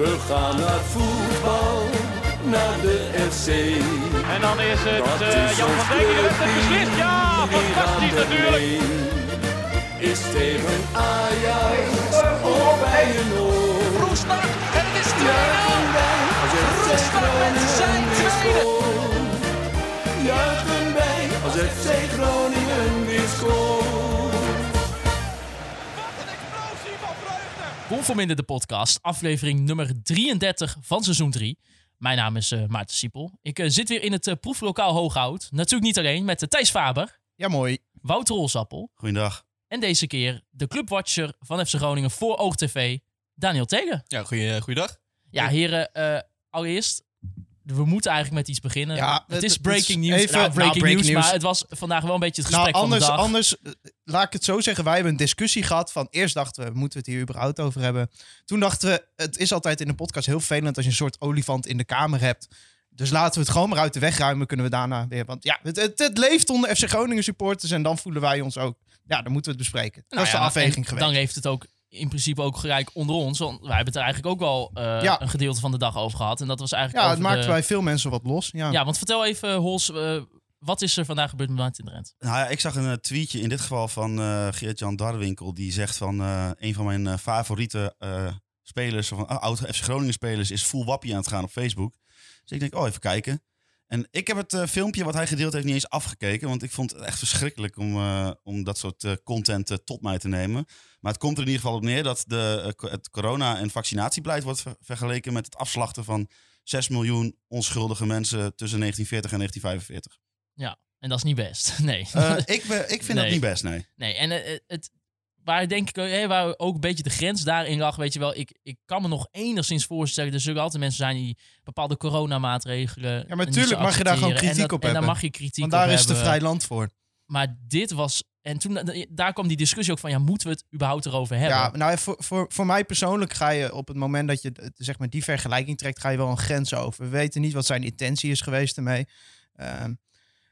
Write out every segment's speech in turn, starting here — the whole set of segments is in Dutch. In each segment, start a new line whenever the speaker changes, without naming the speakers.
We gaan naar voetbal, naar de FC.
En dan is
Dat
het
is
eh, Jan
ons
van Dijk die heeft het
clubteam.
beslist. Ja,
Iedereen
fantastisch
aan de
natuurlijk.
been. Is tegen Ajax of bij een oor.
Roestak en het is 2-0.
Juichen wij, als FC
Roestak met zijn
Groningen
tweede.
scoort. Juichen wij, als FC Groningen weer scoort.
Kom voor Minder de podcast, aflevering nummer 33 van seizoen 3. Mijn naam is eh, Maarten Siepel. Ik eh, zit weer in het eh, proeflokaal Hooghout. Natuurlijk niet alleen, met eh, Thijs Faber,
Ja, mooi.
Wouter Rolsappel
Goeiedag.
en deze keer de clubwatcher van FC Groningen voor Oog TV, Daniel Tegen.
Ja, goeie, goeiedag.
Nou,
Ja, heren, eh, allereerst, we moeten eigenlijk met iets beginnen.
Ja,
het
het-
is
het
breaking
is
news.
even-
Nou,
nou,
breaking
breaking
news,
news.
maar het was vandaag wel een beetje het
Nou,
gesprek
anders,
van de dag.
anders, eh, laat ik het zo zeggen. Wij hebben een discussie gehad van eerst dachten we, moeten we het hier überhaupt over hebben? Toen dachten we, het is altijd in een podcast heel vervelend als je een soort olifant in de kamer hebt. Dus laten we het gewoon maar uit de weg ruimen, kunnen we daarna weer. Want ja, het, het, het leeft onder FC Groningen supporters en dan voelen wij ons ook. Ja, dan moeten we het bespreken.
Nou
dat is
ja,
de afweging
en
geweest.
Dan heeft het ook in principe ook gelijk onder ons. Want wij hebben het er eigenlijk ook wel eh,
Ja.
een gedeelte van de dag over gehad. En dat was eigenlijk.
ja, het
over
maakt
de-
bij veel mensen wat los. Ja.
Ja, want vertel even, Hols, eh, wat is er vandaag gebeurd met Martin Drent?
Nou ja, ik zag een eh, tweetje in dit geval van eh Geert-Jan Darwinkel. Die zegt van eh, een van mijn eh, favoriete eh, spelers, of een oud FC Groningen spelers, is full wappie aan het gaan op Facebook. Dus ik denk, oh, even kijken. En ik heb het eh, filmpje wat hij gedeeld heeft niet eens afgekeken. Want ik vond het echt verschrikkelijk om, eh, om dat soort eh, content eh, tot mij te nemen. Maar het komt er in ieder geval op neer dat de, eh, co- het corona- en vaccinatiebeleid wordt ver- vergeleken met het afslachten van 6 miljoen onschuldige mensen tussen 1940 en 1945.
En dat is niet best. Nee.
Eh, ik, ben- ik vind
Nee.
dat niet best, nee.
nee. En eh, eh, het, waar denk ik eh, waar ook een beetje de grens daarin lag, weet je wel, ik, ik kan me nog enigszins voorstellen. Er zullen altijd mensen zijn die bepaalde coronamaatregelen.
Ja, maar
niet
tuurlijk
zo
mag je daar
accepteren.
gewoon
en
kritiek
dat-
op
En daar
hebben.
mag je kritiek
want
op
daar is
hebben.
het vrij land voor.
Maar dit was. En toen, daar kwam die discussie ook van, ja, moeten we het überhaupt erover hebben?
Ja, nou, voor, voor, voor mij persoonlijk ga je op het moment dat je eh, zeg maar, die vergelijking trekt, ga je wel een grens over. We weten niet wat zijn intentie is geweest ermee. Ehm,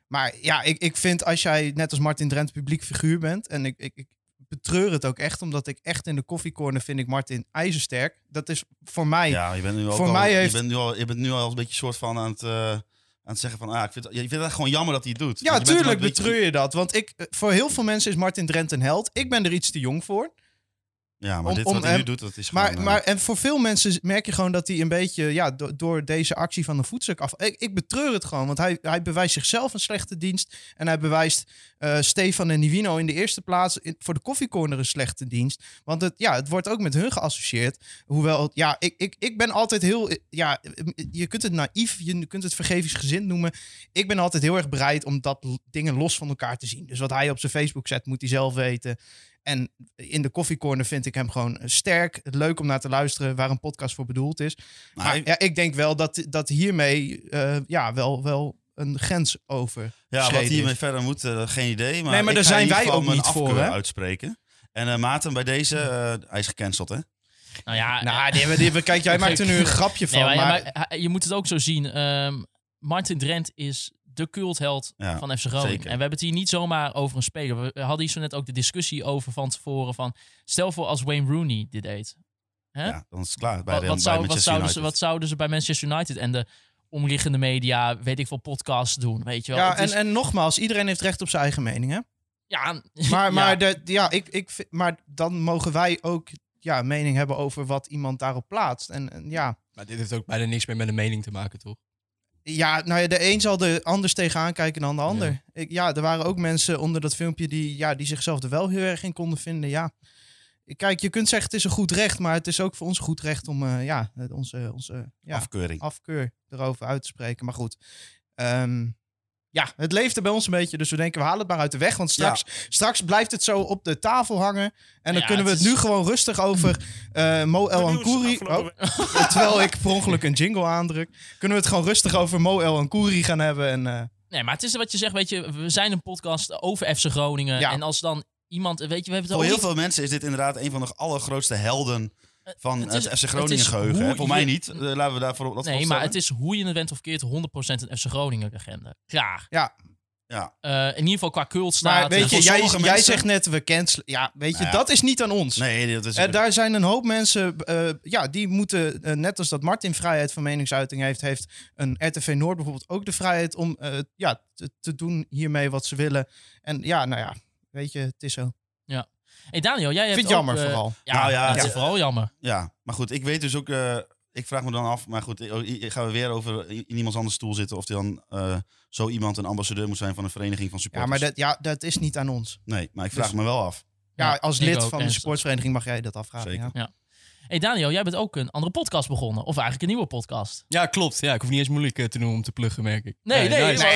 maar ja, ik, ik vind als jij net als Martin Drent publiek figuur bent, en ik, ik, ik betreur het ook echt, omdat ik echt in de koffiecorner vind ik Martin ijzersterk. Dat is voor mij,
Ja, je bent nu ook
Voor
al,
mij heeft-
je, bent nu al, je bent nu al een beetje soort van aan het, eh, aan het zeggen van... Ah, ik vind, je vindt het echt gewoon jammer dat hij het doet.
Ja,
Want je bent
tuurlijk
wel een beetje-
betreur je dat. Want ik, eh, voor heel veel mensen is Martin Drent een held. Ik ben er iets te jong voor.
Ja, maar
om-
dit
om
wat hij nu
hem-
doet, dat is
Maar,
gewoon... eh,
maar en voor veel mensen merk je gewoon dat hij een beetje ja, do- door deze actie van de voetstuk af. Ik, ik betreur het gewoon, want hij, hij bewijst zichzelf een slechte dienst. En hij bewijst eh, Stefan en Nivino in de eerste plaats in- voor de koffiecorner een slechte dienst. Want het, ja, het wordt ook met hun geassocieerd. Hoewel, ja, ik, ik, ik ben altijd heel. eh, Ja, je kunt het naïef, je kunt het vergevingsgezind noemen. Ik ben altijd heel erg bereid om dat l- dingen los van elkaar te zien. Dus wat hij op zijn Facebook zet, moet hij zelf weten. En in de koffiecorner vind ik hem gewoon sterk. Leuk om naar te luisteren waar een podcast voor bedoeld is.
maar
Maar
hij-
ja, ik denk wel dat, dat hiermee eh, ja, wel, wel een grens over.
ja, wat
schreden
hiermee
is.
verder moet, eh, geen idee. Maar
Nee, maar daar
ik ga
zijn
in ieder
wij
geval
ook
mijn
niet voor,
afkeur
hè?
uitspreken. En eh Maarten, bij deze... eh, hij is gecanceld, hè?
nou ja,
Nou, die, hebben- die, hebben- kijk, jij maakt er nu een grapje van.
Nee, maar,
maar,
maar hij- je moet het ook zo zien. Ehm, Martin Drent is de cultheld
Ja,
van FC Groningen.
zeker.
En we hebben het hier niet zomaar over een speler. We hadden hier zo net ook de discussie over van tevoren. Van, stel voor als Wayne Rooney dit deed. Hè?
Ja, dan is het klaar. Bij,
Wat,
de-
wat,
bij
zou, wat,
Manchester
zouden ze,
United.
wat zouden ze bij Manchester United en de omliggende media, weet ik veel, podcasts doen? Weet je wel?
ja,
Het
en,
is-
en nogmaals, iedereen heeft recht op zijn eigen mening. Hè?
ja,
Maar, maar,
ja.
de, ja, ik, ik, vind- maar dan mogen wij ook ja, mening hebben over wat iemand daarop plaatst. En, en ja.
Maar dit heeft ook bijna niks meer met een mening te maken, toch?
Ja, nou ja, de een zal er anders tegenaan kijken dan de ander. Ja, ik, ja er waren ook mensen onder dat filmpje die, ja, die zichzelf er wel heel erg in konden vinden. Ja. Kijk, je kunt zeggen het is een goed recht, maar het is ook voor ons goed recht om eh, ja, het- onze, onze ja,
Afkeuring.
afkeur erover uit te spreken. Maar goed, ehm, ja, het leefde bij ons een beetje, dus we denken we halen het maar uit de weg. Want straks, straks blijft het zo op de tafel hangen en dan
Ja,
kunnen we
het
het
is-
nu gewoon rustig over eh Mo El Ankouri... Oh. Terwijl ik per ongeluk een jingle aandruk. Kunnen we het gewoon rustig over Mo El en Koeri gaan hebben. En, eh,
Nee, maar het is wat je zegt, weet je, we zijn een podcast over FC Groningen.
Ja.
En als dan iemand, weet je, we hebben het
Voor
ook
heel
niet-
veel mensen is dit inderdaad een van de allergrootste helden van
Eh, het
het,
is-
FC
het
Groningen
is
geheugen.
hoe
hè? Voor mij
je-
niet. Eh, laten we daarvoor
Nee,
dat
maar
voorstellen.
het is hoe je het went of keert 100% een FC Groningen legende. Klaar.
Ja.
Ja.
Eh, in ieder geval qua cult staat.
Maar weet je,
Nou, Voor
jij,
sommige
jij
mensen-
zegt net we cancelen. Ja, weet je,
Nou ja.
dat is niet aan ons.
Nee, dat is...
Eh, daar zijn een hoop mensen, eh, ja, die moeten, eh, net als dat Martin vrijheid van meningsuiting heeft, heeft een RTV Noord bijvoorbeeld ook de vrijheid om eh, ja, te, te doen hiermee wat ze willen. En ja, nou ja, weet je, het is zo. Ik
hey Daniel, jij hebt
vind het jammer
ook, eh,
vooral.
Ja,
Nou ja,
het is
ja.
vooral jammer.
Ja, maar goed, ik weet dus ook. eh, ik vraag me dan af, maar goed, ik- oh, ik- ik gaan we weer over i- in iemands anders stoel zitten of die dan eh, zo iemand een ambassadeur moet zijn van een vereniging van
Ja,
supporters?
maar dat, ja, dat is niet aan ons.
Nee, maar ik vraag
Dus-
me wel af.
Ja,
Ja,
als
ik
lid
ook,
van de
ernstig.
sportvereniging mag jij dat
Ah,
afvragen.
Zeker.
Ja.
hey Daniel, jij bent ook een andere podcast begonnen. Of eigenlijk een nieuwe podcast.
Ja, klopt. Ja, ik hoef niet eens moeilijk eh, te doen om te pluggen, merk ik.
Nee, nee.
nice.
maar-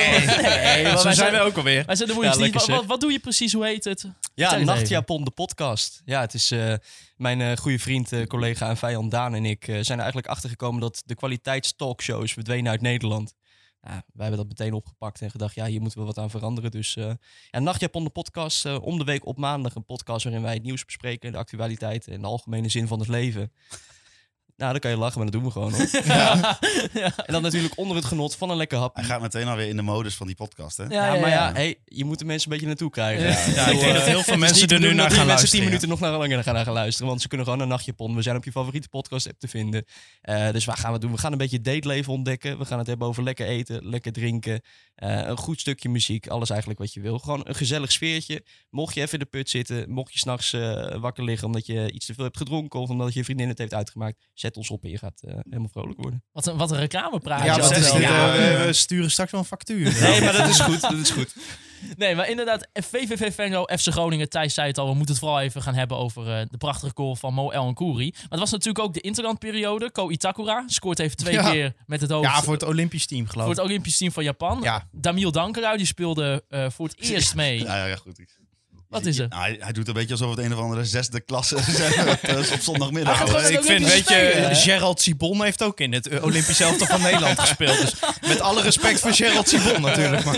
nee, want wij, zijn,
ook alweer.
wij zijn de moeilijkste
Ja,
niet. Wat,
lekker
wat, wat doe je precies? Hoe heet het?
Ja,
Vertel eens
Nachtjapon, de podcast. Ja, het is eh, mijn eh, goede vriend, eh, collega en vijand Daan en ik eh, zijn er eigenlijk achtergekomen dat de kwaliteitstalkshows verdwenen uit Nederland. Ja, wij hebben dat meteen opgepakt en gedacht, ja, hier moeten we wat aan veranderen. Dus eh ja, Nachtjapon, de podcast. eh, om de week op maandag een podcast waarin wij het nieuws bespreken, de actualiteit en de algemene zin van het leven. Nou, dan kan je lachen, maar dat doen we gewoon. hoor. En dan natuurlijk onder het genot van een lekker hap.
Hij gaat meteen alweer in de modus van die podcast, hè?
Ja, maar ja, hey, je moet de mensen een beetje naartoe krijgen.
Ja,
Ik bedoel, eh,
heel veel
het is niet te doen dat die mensen 10 minuten nog naar langer gaan, naar gaan luisteren. Want ze kunnen gewoon een nachtje pon. We zijn op je favoriete podcast app te vinden. Eh, dus waar gaan we doen? We gaan een beetje het dateleven ontdekken. We gaan het hebben over lekker eten, lekker drinken. eh, een goed stukje muziek. Alles eigenlijk wat je wil. Gewoon een gezellig sfeertje. Mocht je even in de put zitten. Mocht je s'nachts eh wakker liggen omdat je iets te veel hebt gedronken. Of omdat je vriendin het heeft uitgemaakt. Zet ons op en je gaat eh, helemaal vrolijk worden.
Wat een, wat een reclamepraatje.
Ja,
was
wat
dat
is
wel.
dit?
Ja,
Eh, we-
eh.
we sturen straks wel een factuur.
Nee, maar dat is goed. Dat is goed.
Nee, maar inderdaad, VVV Venlo, FC Groningen, Thijs zei het al, we moeten het vooral even gaan hebben over eh, de prachtige goal van Mo El Kouri. Maar het was natuurlijk ook de interlandperiode. Ko Itakura scoort even twee
Ja.
keer met het hoofd
Ja, voor het Olympisch team
voor
geloof ik.
het Olympisch team van Japan.
Ja.
Damiel Dankerui, die speelde eh, voor het eerst mee.
Ja, ja, ja, goed. Ik-
Wat is er?
Nou, hij, hij doet een beetje alsof het een of andere zesde klasse is, hè, wat, eh, op zondagmiddag.
Hij gaat gewoon-
hoor.
Ik vind, weet je,
Spelen, hè?
Gerald Sibon heeft ook in het eh, Olympisch elftal van Nederland gespeeld. Dus met alle respect voor Gerald Sibon natuurlijk. Maar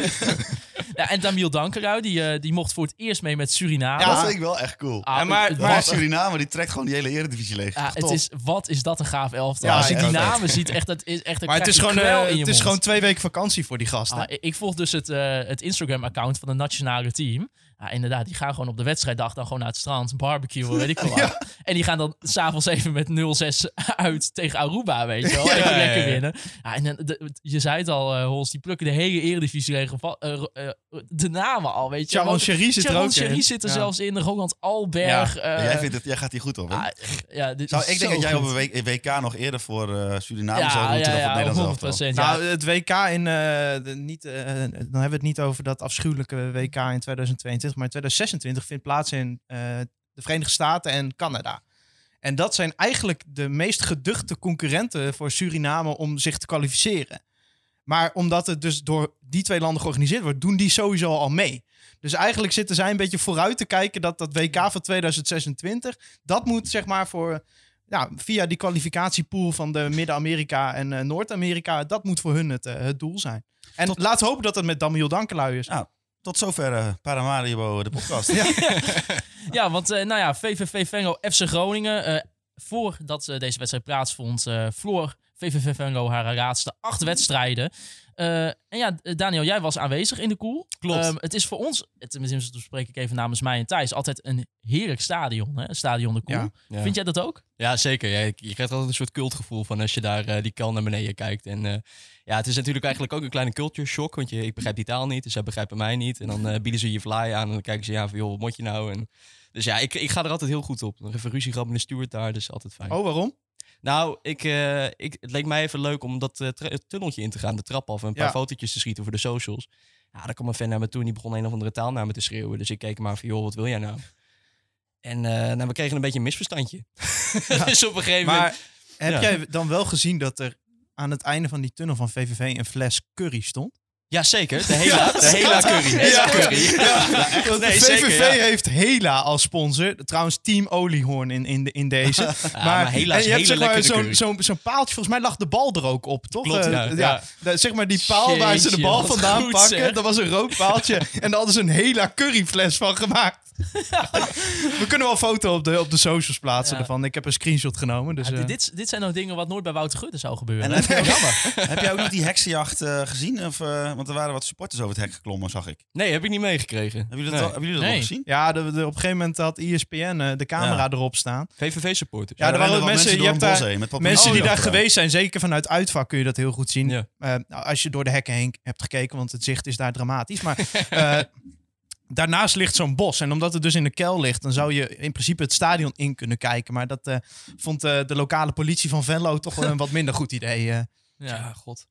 Ja, en Damiel Dankerui, die, eh, die mocht voor het eerst mee met Suriname.
Dat vind ik wel echt cool.
Ah,
Ja, maar-
het-
maar
het-
Suriname, die trekt gewoon die hele eredivisie leeg.
ja, het
Tof.
is, wat is dat een gaaf elftal.
Ja,
Als je
ja,
die
dat
namen ziet, echt, dat is echt een
Maar het is, gewoon, eh,
in je
het is
mond.
gewoon twee weken vakantie voor die gasten.
Ah, ik- ik volg dus het, eh, het Instagram-account van het nationale team. Ja, inderdaad, die gaan gewoon op de wedstrijddag dan gewoon naar het strand, barbecuen, weet ik veel wat. En die gaan dan s'avonds even met 0-6 uit tegen Aruba, weet je wel. Even
ja,
lekker
ja.
winnen. Ja, en dan- de- je zei het al, eh Hols, die plukken de hele eredivisie regel van- eh, ro- eh, de namen al, weet je wel.
Sharon
Want
Cherie zit er
Sharon
ook
Cherie
in.
zit er
Ja.
zelfs in, Roland Alberg. eh,
Ja, jij, vindt het, jij gaat hier goed op, hè?
ah, ja, dit
Zou,
is
ik denk
zo
dat jij
goed.
op een W- WK nog eerder voor eh, Suriname
ja,
zou
ja,
moeten dan voor
ja,
het Nederlands elftal.
100%. Ja,
Nou, het WK in... eh, de- niet, eh, dan hebben we het niet over dat afschuwelijke WK in 2022. Maar in 2026 vindt plaats in eh, de Verenigde Staten en Canada. En dat zijn eigenlijk de meest geduchte concurrenten voor Suriname om zich te kwalificeren. Maar omdat het dus door die twee landen georganiseerd wordt, doen die sowieso al mee. Dus eigenlijk zitten zij een beetje vooruit te kijken dat dat WK van 2026, dat moet zeg maar voor, ja, via die kwalificatiepool van de Midden-Amerika en eh, Noord-Amerika, dat moet voor hun het, eh, het doel zijn. En laten we hopen dat dat met Damiel Dankelui is.
Ja. Tot zover eh Paramaribo, de podcast.
Ja, want eh, nou ja, VVV Venlo, FC Groningen. eh, voordat eh, deze wedstrijd plaatsvond, eh vloor VVV Venlo haar laatste acht wedstrijden. Eh, en ja, eh, Daniel, jij was aanwezig in de koel. Ehm,
Klopt.
het is voor ons, eh, tenminste toen spreek ik even namens mij en Thijs, altijd een heerlijk stadion. Hè? Stadion de koel.
Ja,
ja.
Vind jij dat ook?
Ja, zeker. Ja, je je krijgt altijd een soort cultgevoel van als je daar eh, die kal naar beneden kijkt. En eh, ja, het is natuurlijk eigenlijk ook een kleine culture shock, want je, ik begrijp die taal niet, dus zij begrijpen mij niet. En dan eh, bieden ze je fly aan en dan kijken ze, ja, van joh, wat moet je nou? En, dus ja, ik, ik ga er altijd heel goed op. Nog even ruzie gehad met de steward daar, dus altijd fijn.
Oh, waarom?
Nou, ik, eh, ik, het leek mij even leuk om dat eh, tra- het tunneltje in te gaan, de trap af, en een paar
Ja.
fotootjes te schieten voor de socials. Ja, daar kwam een fan naar me toe en die begon een of andere taal naar me te schreeuwen. Dus ik keek maar van, joh, wat wil jij nou? En eh, nou, we kregen een beetje een misverstandje. dus op een gegeven
Maar
moment...
heb
Ja.
jij dan wel gezien dat er aan het einde van die tunnel van VVV een fles curry stond?
Ja, zeker. De hele, de hele curry.
Ja.
curry.
Want
Nee,
VVV
zeker, ja.
heeft Hela als sponsor. Trouwens, Team Oliehoorn in, in, de, in deze.
maar Hela is
en je hebt
hele
zeg maar
lekkere
zo'n
curry.
zo'n- zo'n paaltje. Volgens mij lag de bal er ook op, toch?
Klopt,
Eh,
ja. Ja.
de- zeg maar die paal waar ze de
Jeetje,
bal
wat
vandaan
goed,
pakken.
zeg.
Dat was een rookpaaltje. en daar hadden ze een Hela curryfles van gemaakt. We kunnen wel een foto op de, op de socials plaatsen
Ja.
ervan. Ik heb een screenshot genomen. Dus,
Ah,
Ja,
eh,
dit, dit, dit zijn nou dingen wat nooit bij Wouter Gudde zou gebeuren.
En heb, je ook, heb jij ook nog die heksenjacht eh, gezien? Of, eh, want er waren wat supporters over het hek geklommen, zag ik.
Nee, heb ik niet meegekregen.
Hebben jullie dat,
Nee.
al, hebben jullie dat
Nee.
al gezien?
ja de, de- op een gegeven moment had ESPN eh, de camera erop staan.
VVV-supporters.
Ja, er waren
rennen
ook
wel
mensen, je
door
hebt
een
daar-
bos heen met papier.
Mensen die
Oh,
daar
ja.
geweest zijn, zeker vanuit uitvak, kun je dat heel goed zien.
Ja.
Eh, nou, als je door de hekken heen hebt gekeken, want het zicht is daar dramatisch. Maar eh, daarnaast ligt zo'n bos. En omdat het dus in de kel ligt, dan zou je in principe het stadion in kunnen kijken. Maar dat eh, vond eh, de lokale politie van Venlo toch wel een wat minder goed idee. eh.
Ja.
god.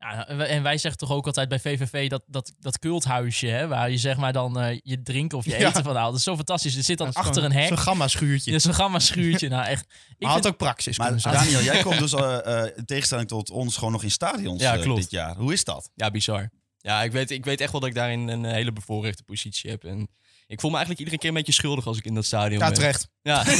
Ja, en wij- en wij zeggen toch ook altijd bij VVV dat, dat, dat culthuisje, hè, waar je zeg maar dan eh, je drinken of je
Ja.
eten van haalt. Dat is zo fantastisch. Er zit dan
Dat is
achter
gewoon
een hek.
Zo'n gamma-schuurtje.
Ja, zo'n gamma schuurtje. Nou echt. Ik
maar had
vind-
ook praxis
Maar
kunnen zijn.
Daniel, jij komt dus eh, eh, in tegenstelling tot ons gewoon nog in stadions
Ja,
eh,
klopt.
dit jaar. Hoe is dat?
Ja, bizar. Ja, ik weet, ik weet echt wel dat ik daarin een hele bevoorrechte positie heb. En ik voel me eigenlijk iedere keer een beetje schuldig als ik in dat stadion
Ja,
ben.
terecht.
Ja,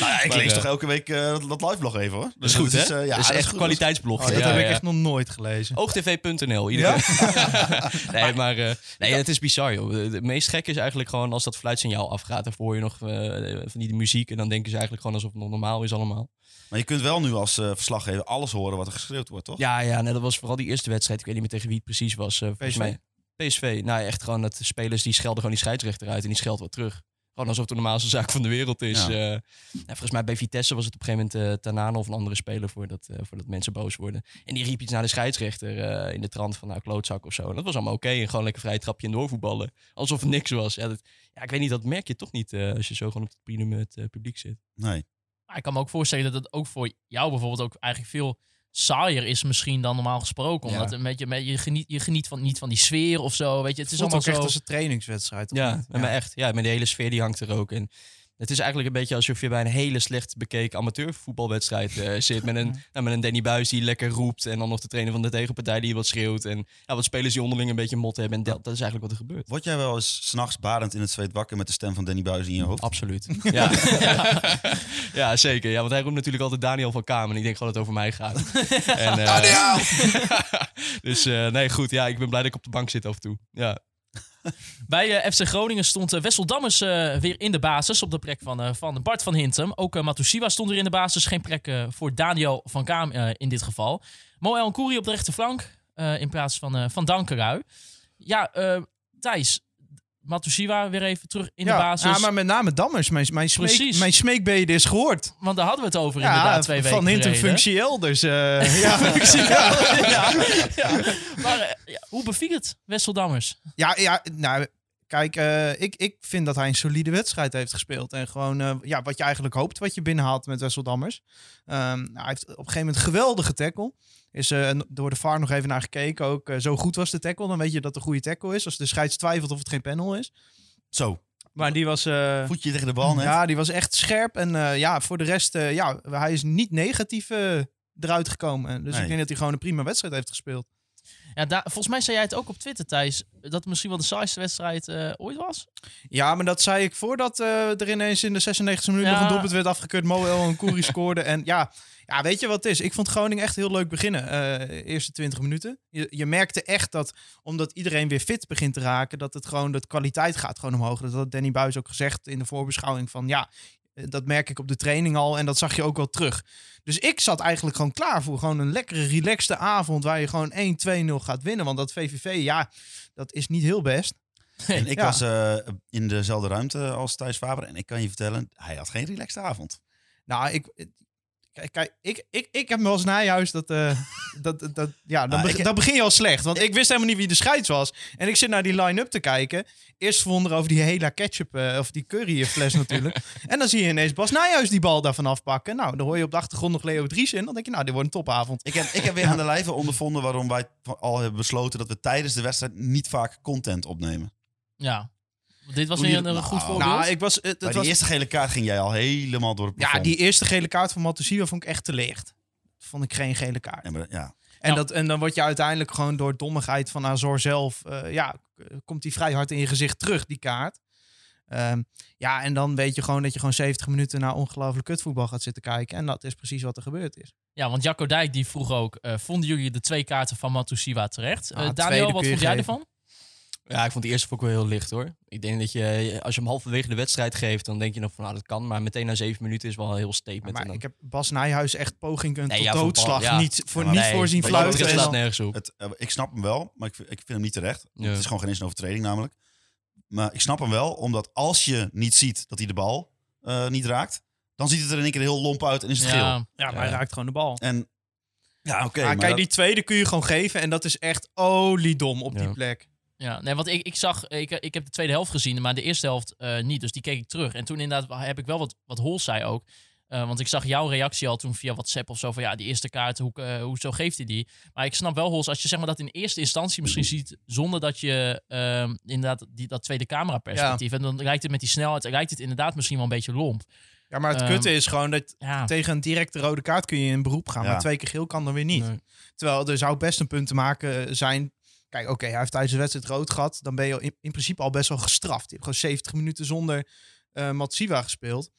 Nou ja, ik
Maar,
lees
eh,
toch elke week eh, dat- dat liveblog even hoor.
dat is goed, hè?
eh, ja,
dat is echt
goed.
kwaliteitsblog.
Oh, dat
ja,
heb
ja.
ik echt nog nooit gelezen.
Oogtv.nl. iedere keer. nee, maar eh, nee, het is bizar, joh. De- Het meest gekke is eigenlijk gewoon als dat fluitsignaal afgaat. Dan hoor je nog eh, van die muziek. En dan denken ze eigenlijk gewoon alsof het nog normaal is allemaal.
Maar je kunt wel nu als eh, verslaggever alles horen wat er geschreeuwd wordt, toch?
Ja, ja nee, dat was vooral die eerste wedstrijd. Ik weet niet meer tegen wie het precies was. eh, volgens
PSV.
Mij. PSV. Nou, echt gewoon dat de spelers die schelden gewoon die scheidsrechter uit en die scheldt wat terug. Gewoon alsof het de normaalste zaak van de wereld is.
Ja.
Eh, nou, volgens mij bij Vitesse was het op een gegeven moment eh Tanane of een andere speler voordat, eh voordat mensen boos worden. En die riep iets naar de scheidsrechter eh, in de trant van nou klootzak of zo. En dat was allemaal oké. En gewoon lekker vrij trapje en doorvoetballen. Alsof het niks was. Ja, dat, ja, ik weet niet, dat merk je toch niet eh, als je zo gewoon op het podium met het eh, publiek zit.
Nee.
Maar ik kan me ook voorstellen dat het ook voor jou bijvoorbeeld ook eigenlijk veel saaier is misschien dan normaal gesproken.
Ja.
Omdat een beetje, met- je, geniet, je geniet van, niet van die sfeer of zo. Weet je, het is
Het is ook echt
allemaal
als
zo...
een trainingswedstrijd. of
Ja,
niet?
maar echt. Ja, maar de hele sfeer die hangt er ook. En het is eigenlijk een beetje alsof je bij een hele slecht bekeken amateurvoetbalwedstrijd eh, zit. Met een, nou, met een Danny Buis die lekker roept. En dan nog de trainer van de tegenpartij die wat schreeuwt. En ja, wat spelers die onderling een beetje mot hebben. En dat, dat is eigenlijk wat er gebeurt.
Word jij wel eens s'nachts barend in het zweet wakker met de stem van Danny Buis in je hoofd?
Absoluut. Ja, ja. zeker. Ja, want hij roept natuurlijk altijd Daniel van Kamer. En ik denk gewoon dat het over mij gaat. En, eh, dus eh, nee, goed. Ja, ik ben blij dat ik op de bank zit af en toe. Ja.
Bij eh, FC Groningen stond eh, Wessel Dammers eh, weer in de basis op de plek van, eh, van Bart van Hintem. Ook eh Matusiwa stond er in de basis. Geen plek eh, voor Daniel van Kaam eh, in dit geval. Moel El Koeri op de rechterflank eh, in plaats van, eh, van Dankerui. Ja, eh, Thijs, Matusiwa weer even terug in
ja,
de basis.
ja, maar met name Dammers. Mijn, mijn, smeek,
Precies.
mijn smeekbeden is gehoord.
Want daar hadden we het over
Ja,
inderdaad twee weken
Van Hintem
geleden.
functieel, dus... eh, ja, functie-
Maar eh, ja, hoe beviel het Wessel Dammers?
ja, ja, nou... Kijk, eh, ik, ik vind dat hij een solide wedstrijd heeft gespeeld. En gewoon eh, ja, wat je eigenlijk hoopt, wat je binnenhaalt met Wessel Dammers. Ehm, nou, hij heeft op een gegeven moment een geweldige tackle. Is eh, door de VAR nog even naar gekeken. Ook eh, zo goed was de tackle, dan weet je dat het een goede tackle is. Als de scheids twijfelt of het geen panel is.
Zo,
Maar die was... eh,
voetje tegen de bal net.
Ja, die was echt scherp. En eh, ja, voor de rest, eh, ja, hij is niet negatief eh, eruit gekomen. En Dus
Nee.
ik denk dat hij gewoon een prima wedstrijd heeft gespeeld.
Ja, daar, volgens mij zei jij het ook op Twitter, Thijs. Dat het misschien wel de saaiste wedstrijd eh, ooit was.
Ja, maar dat zei ik voordat eh, er ineens in de 96e minuut nog
Ja.
een doelpunt werd afgekeurd. Moel en Koeri scoorde. En ja, ja, weet je wat het is? Ik vond Groningen echt heel leuk beginnen. eh eerste 20 minuten. Je, je merkte echt dat, omdat iedereen weer fit begint te raken, dat het gewoon, dat kwaliteit gaat gewoon omhoog. Dat had Danny Buis ook gezegd in de voorbeschouwing van, ja, eh, dat merk ik op de training al en dat zag je ook wel terug. Dus ik zat eigenlijk gewoon klaar voor gewoon een lekkere, relaxte avond waar je gewoon 1-2-0 gaat winnen. Want dat VVV, ja, dat is niet heel best.
En ik
Ja.
was eh, in dezelfde ruimte als Thijs Faber. En ik kan je vertellen, hij had geen relaxte avond.
Nou, ik. Kijk, kijk ik, ik, ik heb me als najuist dat, eh, dat, dat, dat- Ja, dan,
Ah,
beg-
ik-
dan begin je al slecht. Want ik, wist helemaal niet wie de scheids was. En ik zit naar die line-up te kijken. Eerst verwonderen over die hele ketchup eh, of die curryfles natuurlijk. En dan zie je ineens Bas Nijhuis die bal daarvan afpakken. Nou, dan hoor je op de achtergrond nog Leo Dries in. Dan denk je, nou, dit wordt een topavond.
Ik heb, ik heb weer aan de lijve ondervonden waarom wij al hebben besloten dat we tijdens de wedstrijd niet vaak content opnemen.
Ja. Want Dit was
Hoe
weer een,
die-
een goed
Nou,
voorbeeld.
Nou, ik was... Het,
Bij
het
die
was
eerste gele kaart ging jij al helemaal door het
ja,
plafond.
die eerste gele kaart van Matusiwa vond ik echt te licht. Vond ik geen gele kaart.
Ja, maar, ja.
En,
Nou.
dat, en dan word je uiteindelijk gewoon door dommigheid van Azor zelf... eh, ja, k- komt die vrij hard in je gezicht terug, die kaart. Ehm, ja, en dan weet je gewoon dat je gewoon 70 minuten naar ongelooflijk kutvoetbal gaat zitten kijken. En dat is precies wat er gebeurd is.
Ja, want Jacco Dijk die vroeg ook, eh, vonden jullie de twee kaarten van Matusiwa terecht?
Ah,
Eh,
tweede
Daniel, wat
kun je
vond jij
geven.
ervan?
Eh, Ja, ik vond die eerste vond ik wel heel licht hoor. Ik denk dat je, als je hem halverwege de wedstrijd geeft, dan denk je nog van nou dat kan. Maar meteen na zeven minuten is wel een heel statement.
Maar
en dan-
ik heb Bas Nijhuis echt pogingen
Nee,
tot
ja, voor
doodslag
Paul, ja.
niet, voor,
Ja, maar
niet
Nee,
voorzien
wat dat
fluiten.
betreft
en
slaat
dan-
nergens op.
Het, eh, ik snap hem wel, maar ik, vind- ik vind hem niet terecht.
Ja.
Het is gewoon geen eens een overtreding namelijk. Maar ik snap hem wel, omdat als je niet ziet dat hij de bal eh, niet raakt, dan ziet het er in één keer heel lomp uit en is het geel.
Ja,
Ja, maar hij
Ja.
raakt gewoon de bal.
En ja, oké.
Ah,
maar
kijk,
dat-
die tweede kun je gewoon geven. En dat is echt oliedom op die
Ja.
plek.
ja. Nee, want ik, ik zag, ik, ik heb de tweede helft gezien, maar de eerste helft eh, niet. Dus die keek ik terug. En toen inderdaad heb ik wel wat, wat Hols zei ook. Eh, want ik zag jouw reactie al toen via WhatsApp of zo van ja, die eerste kaart, hoe, eh, hoezo geeft hij die? Maar ik snap wel, Hols, als je zeg maar dat in eerste instantie misschien ziet, zonder dat je ehm, inderdaad die, dat tweede camera perspectief, en dan lijkt het met die snelheid, lijkt het inderdaad misschien wel een beetje lomp.
Ja, maar het
Ehm,
kutte is gewoon dat
Ja,
tegen een directe rode kaart kun je in beroep gaan.
Ja.
Maar twee keer geel kan dan weer niet.
Nee.
Terwijl er zou best een punt te maken eh, zijn. Kijk, oké, hij heeft tijdens de wedstrijd rood gehad. Dan ben je in, in principe al best wel gestraft. Je hebt gewoon 70 minuten zonder eh Matsiwa gespeeld.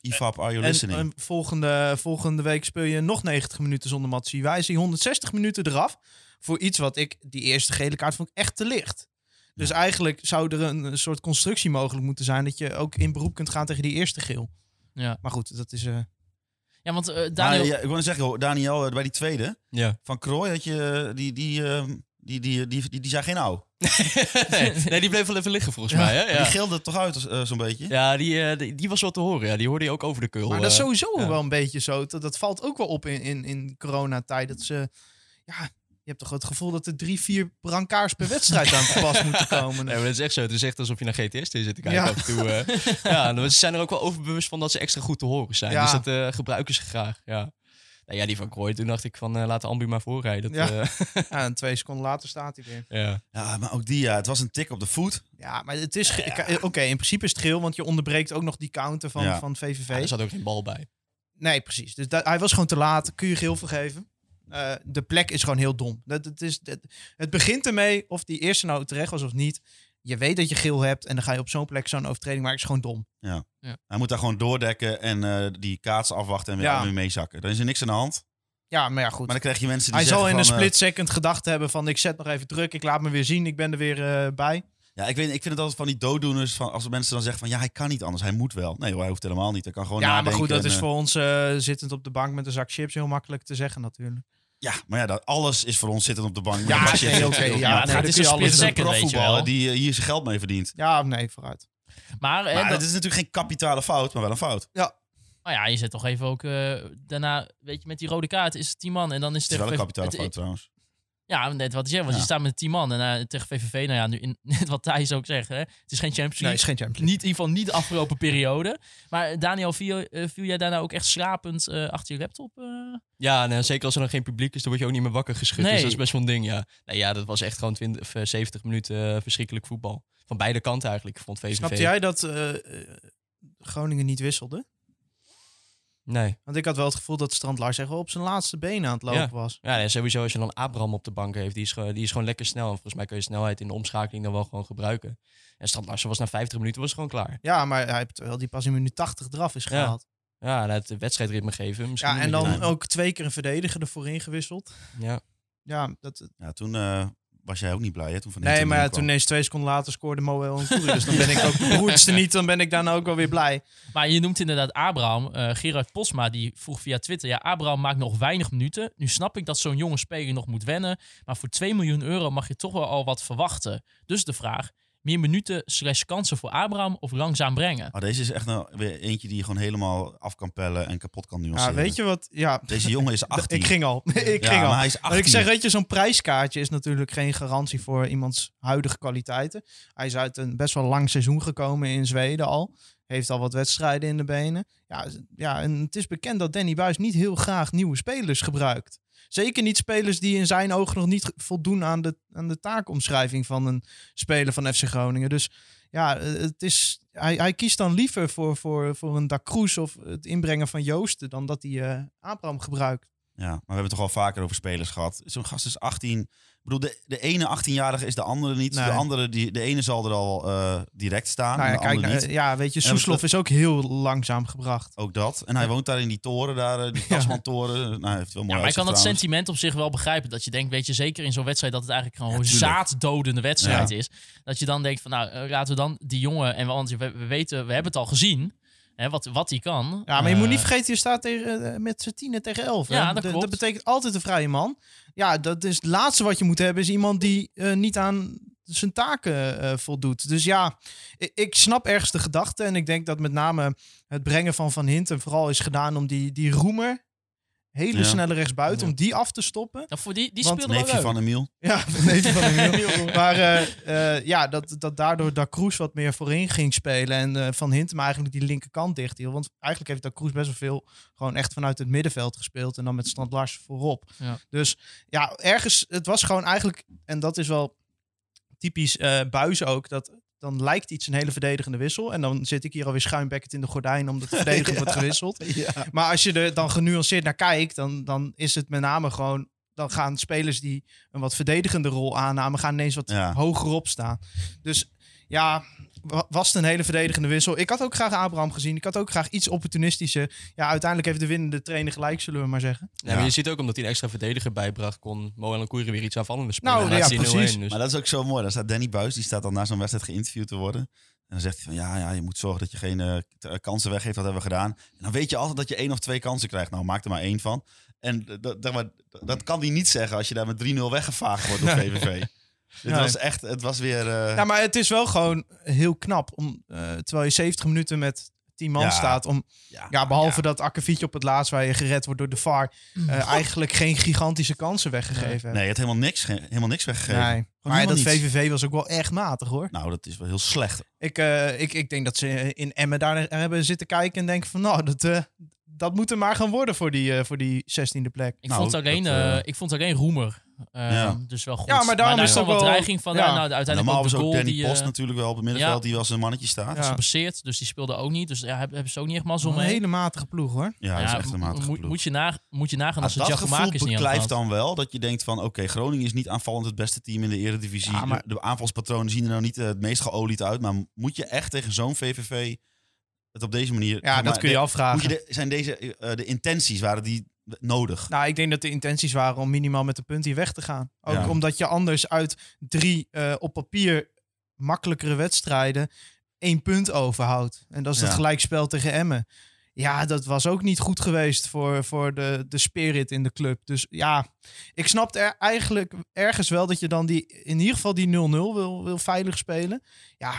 IFAB, are you
En,
listening?
en volgende, volgende week speel je nog 90 minuten zonder Matsiwa. Is die 160 minuten eraf voor iets wat ik... Die eerste gele kaart vond ik echt te licht. Dus eigenlijk zou er een, een soort constructie mogelijk moeten zijn... dat je ook in beroep kunt gaan tegen die eerste geel.
Ja.
Maar goed, dat is... eh,
ja want eh,
Maar,
Daniel...
ja, ik wilde zeggen, Daniel, eh, bij die tweede
Ja.
van Krooi had je eh, die, die, eh, die, die, die, die, die zei geen ouw.
nee, nee, die bleef wel even liggen volgens mij. Hè?
Die
Ja,
gilde toch uit eh, zo'n beetje?
ja die, eh, die, die was wel te horen. Ja. Die hoorde je ook over de keul.
Maar dat is
eh.
sowieso
ja.
wel een beetje zo. Dat, dat valt ook wel op in, in, in coronatijd. Dat ze, ja, je hebt toch het gevoel dat er drie, vier brancards per wedstrijd aan te pas moeten komen.
Nee, maar dat is echt zo. Het is echt alsof je naar GTS zit te kijken
Ja.
af en toe. eh. ja, dan- ze zijn er ook wel overbewust van dat ze extra goed te horen zijn.
Ja.
Dus dat eh, gebruiken ze graag, ja. Nou ja, die van Krooi, toen dacht ik van eh, laat de ambu maar voorrijden. Dat,
Ja.
eh,
Ja, en twee seconden later staat hij weer.
ja.
Ja, maar ook die, ja, het was een tik op de voet.
Ja, maar het is. ge- ka- Oké, in principe is het geel, want je onderbreekt ook nog die counter van,
Ja.
van VVV.
Ja, er zat ook geen bal bij.
Nee, precies. Dus da- hij was gewoon te laat. Kun je geel vergeven? Eh, de plek is gewoon heel dom. Dat, dat is, dat- het begint ermee of die eerste nou terecht was of niet. Je weet dat je geel hebt en dan ga je op zo'n plek zo'n overtreding maken. Het is gewoon dom.
Hij moet daar gewoon doordekken en eh, die kaats afwachten en weer,
Ja.
en weer meezakken. Dan is er niks aan de hand.
Ja, maar ja, goed.
Maar dan krijg je mensen die
Hij zal
zeggen
in een
van, eh,
split second gedacht hebben van ik zet nog even druk, ik laat me weer zien, ik ben er weer eh, bij.
Ja, ik, weet, ik vind het altijd van die dooddoeners. Van, als mensen dan zeggen van ja, hij kan niet anders. Hij moet wel. Nee hoor, hij hoeft helemaal niet. Hij kan gewoon
ja, maar
nadenken
goed, dat
en,
is
eh,
voor ons Oh, eh, zittend op de bank met een zak chips heel makkelijk te zeggen natuurlijk.
Ja, maar ja, dat, alles is voor ons zitten op de bank.
Ja,
Dat is-
nee, oké,
dat is-
ja,
maar
het
nee,
gaat
dit
dus een
alles
split
een
second, weet je
profvoetballer
wel.
die eh, hier zijn geld mee verdient.
Ja, nee, vooruit.
Maar, hè,
Maar
dat-
het is natuurlijk geen kapitale fout, maar wel een fout.
nou ja, je zet toch even ook eh, daarna, weet je, met die rode kaart is het 10 man en dan is
Het
het
is wel
tegen
een
VVV
kapitale
het-
fout trouwens.
Ja, net wat je zegt, want
Ja.
je staat met 10 man en eh, tegen VVV, nou ja, nu in, net wat Thijs ook zegt, hè, het is geen Champions
Nee,
League.
is geen Champions
niet, in ieder geval niet de afgelopen periode. Maar eh, Daniel, viel, eh, viel jij daarna ook echt slapend eh, achter je laptop? eh?
Ja, nou, zeker als er dan geen publiek is, dan word je ook niet meer wakker geschud.
Nee.
Dus dat is best wel een ding, ja. Nou ja, dat was echt gewoon 20, of, eh, 70 minuten eh, verschrikkelijk voetbal. Van beide kanten eigenlijk, vond VVV.
Snapte jij dat eh, eh, Groningen niet wisselde?
Nee.
Want ik had wel het gevoel dat Strand Lars echt wel op zijn laatste benen aan het lopen
Ja.
was.
Ja, nee, sowieso als je dan Abraham op de bank heeft, die is, gewoon- die is gewoon lekker snel. En volgens mij kun je snelheid in de omschakeling dan wel gewoon gebruiken. En Strand Larsen was na 50 minuten was gewoon klaar.
Ja, maar hij heeft wel die pas in minuut 80 eraf is
Ja,
gehaald.
Ja, en het wedstrijdritme geven. Misschien
Ja,
een
en
beetje
dan
lijn.
ook twee keer een verdediger ervoor ingewisseld.
Ja.
Ja, dat,
Ja, toen eh, was jij ook niet blij, hè? Toen van
nee,
Hinton
maar ja,
binnenkwam.
toen ineens twee seconden later scoorde Moel en Koeri. Dus dan ben ik ook de broertste niet, dan ben ik daarna ook wel weer blij.
Maar je noemt inderdaad Abraham. Eh, Gerard Posma die vroeg via Twitter: Ja, Abraham maakt nog weinig minuten. Nu snap ik dat zo'n jonge speler nog moet wennen. Maar voor 2 miljoen euro mag je toch wel al wat verwachten. Dus de vraag: meer minuten slash kansen voor Abraham of langzaam brengen?
Ah, deze is echt nou weer eentje die je gewoon helemaal af kan pellen en kapot kan
Ja,
nuanceren.
weet je wat? Ja,
Deze jongen is 18.
ik ging al. ik
Ja,
ging al.
maar
Maar
hij is 18.
ik zeg, weet je, zo'n prijskaartje is natuurlijk geen garantie voor iemands huidige kwaliteiten. Hij is uit een best wel lang seizoen gekomen in Zweden al. Heeft al wat wedstrijden in de benen. Ja, z- ja en het is bekend dat Danny Buis niet heel graag nieuwe spelers gebruikt. Zeker niet spelers die in zijn ogen nog niet ge- voldoen aan de, aan de taakomschrijving van een speler van FC Groningen. Dus ja, eh, het is, hij, hij kiest dan liever voor, voor, voor een Da Cruz of het inbrengen van Joosten dan dat hij eh Abraham gebruikt.
Ja, maar we hebben het toch al vaker over spelers gehad. Zo'n gast is 18. bedoel, de, de ene 18-jarige is de andere niet.
Nee.
De, andere, die, de ene zal er al eh, direct staan,
nou ja,
en de
kijk,
andere
nou,
niet.
ja, weet je,
Ja, dat-
Soeslof is ook heel langzaam gebracht.
Ook dat. En hij woont daar in die toren, daar, eh, die Tasman-toren. Nou, hij heeft wel mooi
Ja, maar ik
uitzicht
kan dat
trouwens.
sentiment op zich wel begrijpen. Dat je denkt, weet je, zeker in zo'n wedstrijd dat het eigenlijk gewoon een
tuurlijk.
zaaddodende wedstrijd
Ja.
is. Dat je dan denkt van, nou, eh, laten we dan die jongen... En we, want we, we weten, we hebben het al gezien, hè, wat, wat hij kan.
Ja, maar je moet
Eh,
niet vergeten, je staat tegen, eh, met z'n tienen tegen elf. hè?
Ja, dat
De-
klopt.
betekent altijd een vrije man. Ja, dat is het laatste wat je moet hebben, is iemand die eh, niet aan zijn taken eh, voldoet. Dus ja, ik, ik snap ergens de gedachte. En ik denk dat met name het brengen van Van Hinten vooral is gedaan om die, die roemer, hele
Ja.
snelle rechtsbuiten, om die af te stoppen.
nou, voor die, die
Want
speelde wel
Neefje
leuk.
van Emiel.
Ja, nee, van de Wiel. Maar eh, eh, ja, dat, dat daardoor Da Cruz wat meer voorin ging spelen. En eh, Van Hintem eigenlijk die linkerkant dicht hield. Want eigenlijk heeft Da Cruz best wel veel gewoon echt vanuit het middenveld gespeeld. En dan met Strand Lars voorop.
Ja.
Dus ja, ergens, het was gewoon eigenlijk, en dat is wel typisch eh buizen ook, dat dan lijkt iets een hele verdedigende wissel. En dan zit ik hier alweer schuinbekkend in de gordijn omdat de verdediger wordt gewisseld. Maar als je er dan genuanceerd naar kijkt, dan, dan is het met name gewoon. Dan gaan spelers die een wat verdedigende rol aannamen, gaan ineens wat
Ja.
hoger op staan. Dus ja, wa- was het een hele verdedigende wissel. Ik had ook graag Abraham gezien. Ik had ook graag iets opportunistischer. Ja, uiteindelijk heeft de winnende trainer gelijk, zullen we maar zeggen.
Ja, maar je ziet ook omdat hij een extra verdediger bijbracht, kon Moel en Koeren weer iets aanvallende spelen.
Nou,
En laat
ja,
ze in 0-1,
precies.
dus-
Maar dat is ook zo mooi. Dan staat Danny Buis, die staat dan na zo'n wedstrijd geïnterviewd te worden. En dan zegt hij van, ja, ja je moet zorgen dat je geen eh, t- eh, kansen weggeeft. Dat hebben we gedaan. En dan weet je altijd dat je één of twee kansen krijgt. Nou, maak er maar één van. En d- dat, zeg maar, dat kan hij niet zeggen als je daar met 3-0 weggevaagd wordt op VVV. Dit
Nee.
was echt, Dus het was weer... eh,
Ja, maar het is wel gewoon heel knap om, eh, terwijl je 70 minuten met 10 man
Ja.
staat, om
ja,
Ja, behalve dat akkefietje op het laatst waar je gered wordt door de VAR. eh, eigenlijk geen gigantische kansen weggegeven
Nee, je hebt helemaal niks, ge- helemaal niks weggegeven.
hebben. Nee. Maar
helemaal
dat
niets.
VVV was ook wel echt matig hoor.
Nou, dat is wel heel slecht.
Ik, eh, ik, ik denk dat ze in Emmen daar naar hebben zitten kijken en denken van nou, dat, eh, dat moet er maar gaan worden voor die, eh, voor die 16e plek.
Ik,
Nou,
vond alleen,
dat,
eh,
eh,
ik vond alleen Roemer. eh,
Ja.
Dus wel goed.
Ja, maar daarom
daar
is
kwam
toch
wat
wel-
dreiging van.
ja.
nou, nou, uiteindelijk
Normaal
ook
was
de
ook
goal
Danny
die
Post
eh,
natuurlijk wel op het middenveld. Die was een mannetje staat.
Ja.
Ja,
geblesseerd. Dus die speelde ook niet. Dus ja, hebben, hebben ze ook niet echt mazzel
Een
mee.
hele matige ploeg hoor.
dat is
Ja,
echt een
mo-
matige
moet,
ploeg.
moet, je na, moet je nagaan als
Ah,
het
dat gevoel
Jacomakis niet aan
beklijft dan wel. Dat je denkt van, oké, Groningen is niet aanvallend het beste team in de eredivisie.
Ja, maar-
De aanvalspatronen zien er nou niet eh, het meest geolied uit. Maar moet je echt tegen zo'n VVV het op deze manier...
Ja,
maar
dat kun je
de-
afvragen.
moet je de- zijn deze, eh, de intenties, waren die nodig?
Nou, ik denk dat de intenties waren om minimaal met een punt hier weg te gaan. Ook
Ja.
omdat je anders uit drie eh, op papier makkelijkere wedstrijden één punt overhoudt. En dat is het
Ja.
gelijkspel tegen Emmen. Ja, dat was ook niet goed geweest voor, voor de, de spirit in de club. Dus ja, ik snap er eigenlijk ergens wel dat je dan die, in ieder geval die 0-0 wil, wil veilig spelen. Ja,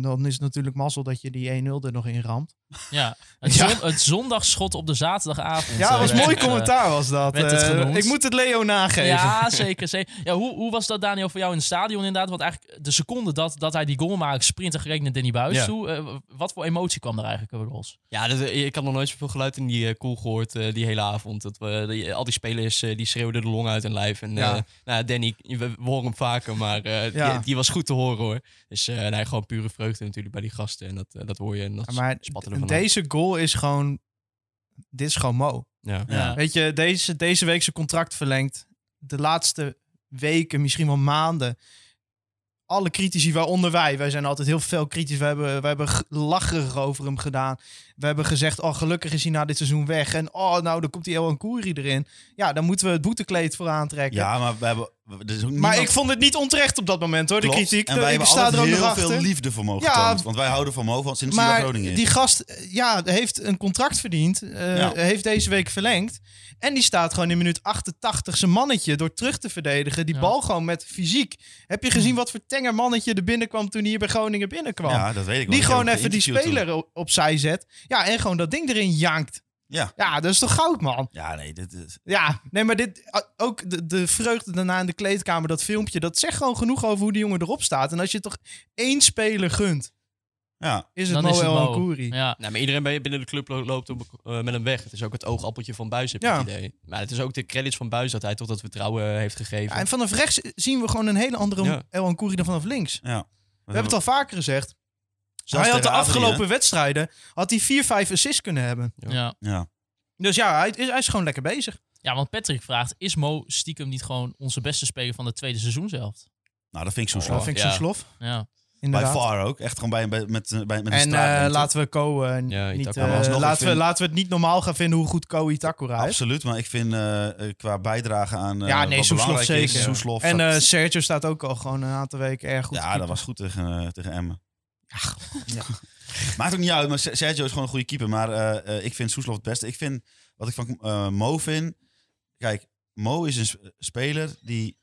dan is het natuurlijk mazzel dat je die 1-0 er nog in ramt.
Ja, het,
Ja.
zon- het zondagschot op de zaterdagavond.
Ja,
eh,
was
werd,
mooi
eh,
commentaar was dat.
werd het
Eh,
genoemd.
ik moet het Leo nageven.
Ja, zeker. zeker. Ja, hoe, hoe was dat, Daniel, voor jou in het stadion inderdaad? Want eigenlijk de seconde dat, dat hij die goal maakt, sprinter gereken naar Danny Buis
Ja.
toe. eh, wat voor emotie kwam er eigenlijk over los?
Ja, dat, eh, ik had nog nooit zoveel geluid in die eh, koel gehoord eh, die hele avond. Dat we, die- al die spelers eh, die schreeuwden de long uit hun lijf. En
Ja.
eh, nou, Danny, we, we horen hem vaker, maar eh,
Ja.
die, die was goed te horen hoor. Dus eh nee, gewoon pure vreugde natuurlijk bij die gasten. En dat, eh, dat hoor je en dat
Ja, maar
spatten
d-
ervan uit.
deze goal is gewoon. Dit is gewoon Mo.
Ja.
Ja.
Weet je, deze, deze week zijn contract verlengd. De laatste weken, misschien wel maanden. Alle critici, waaronder wij. Wij zijn altijd heel veel kritisch. We hebben, we hebben g- lacherig over hem gedaan. We hebben gezegd, oh gelukkig is hij na dit seizoen weg. En oh, nou, dan komt die Elan Koeri erin. Ja, dan moeten we het boetekleed voor aantrekken.
Ja, maar we hebben... we- er is ook
maar
niemand-
ik vond het niet onterecht op dat moment, hoor, de
Klopt.
kritiek.
En
De-
wij
ik
hebben
sta
altijd
er ook nog
heel
achter.
veel liefde voor mogen
Ja.
getoond. Want wij houden van Mo van sinds hij bij
Maar
Groningen is.
die gast eh, ja, heeft een contract verdiend. eh,
Ja.
Heeft deze week verlengd. En die staat gewoon in minuut 88 zijn mannetje door terug te verdedigen. Die
Ja.
bal gewoon met fysiek. Heb je gezien wat voor tenger mannetje er binnenkwam toen hij hier bij Groningen binnenkwam?
Hmm. Ja, dat weet ik wel.
die
Ik
gewoon
heb
even die
geïnterviewd
speler o- opzij zet. Ja, en gewoon dat ding erin jankt.
Ja.
ja, dat is toch goud, man?
toen. Ja, nee, dit is...
Ja, nee, maar dit, a- ook de, de vreugde daarna in de kleedkamer, dat filmpje, dat zegt gewoon genoeg over hoe die jongen erop staat. En als je toch één speler gunt,
Ja,
is het
Dan is het
Moel
Mo.
Ancuri.
Ja.
Nou, maar iedereen bij- binnen de club lo- loopt op, eh, met hem weg. Het is ook het oogappeltje van Buis, heb je
Ja.
het idee. Maar het is ook de credits van Buis dat hij tot dat vertrouwen eh, heeft gegeven.
Ja, en vanaf rechts zien we gewoon een hele andere
Ja.
El Ancoury dan vanaf links.
ja.
We hebben het al vaker gezegd.
Zelfs
hij had de
tegen Adrie, hè?
afgelopen wedstrijden had hij 4-5 assists kunnen hebben.
Ja.
Ja.
Dus ja, hij is, hij is gewoon lekker bezig.
Ja, want Patrick vraagt, is Mo stiekem niet gewoon onze beste speler van het tweede seizoen zelf?
Nou, dat vind ik zo
Dat
slap.
vind ik
ja.
zo'n slof.
Ja.
Bij
Inderdaad.
far ook. Echt gewoon bij, bij, met, eh, bij, met een
En
straatrente.
eh, laten we Ko eh, n-
Ja,
niet...
Itakura.
eh,
Maar alsnog, ik
laten, we,
vind-
laten we het niet normaal gaan vinden hoe goed Ko Itakura is.
Absoluut, maar ik vind eh, eh, qua bijdrage aan eh
Ja, nee,
wat
Soeslof
belangrijk is,
zeker.
Soeslof,
En
dat-
eh, Sergio staat ook al gewoon een aantal weken erg goed. te
ja,
keeper.
dat was goed tegen, eh, tegen Emmen. Maakt ook niet uit, maar Se- Sergio is gewoon een goede keeper. Maar eh, eh, ik vind Soeslof het beste. Ik vind, wat ik van eh, Mo vind... Kijk, Mo is een sp- speler die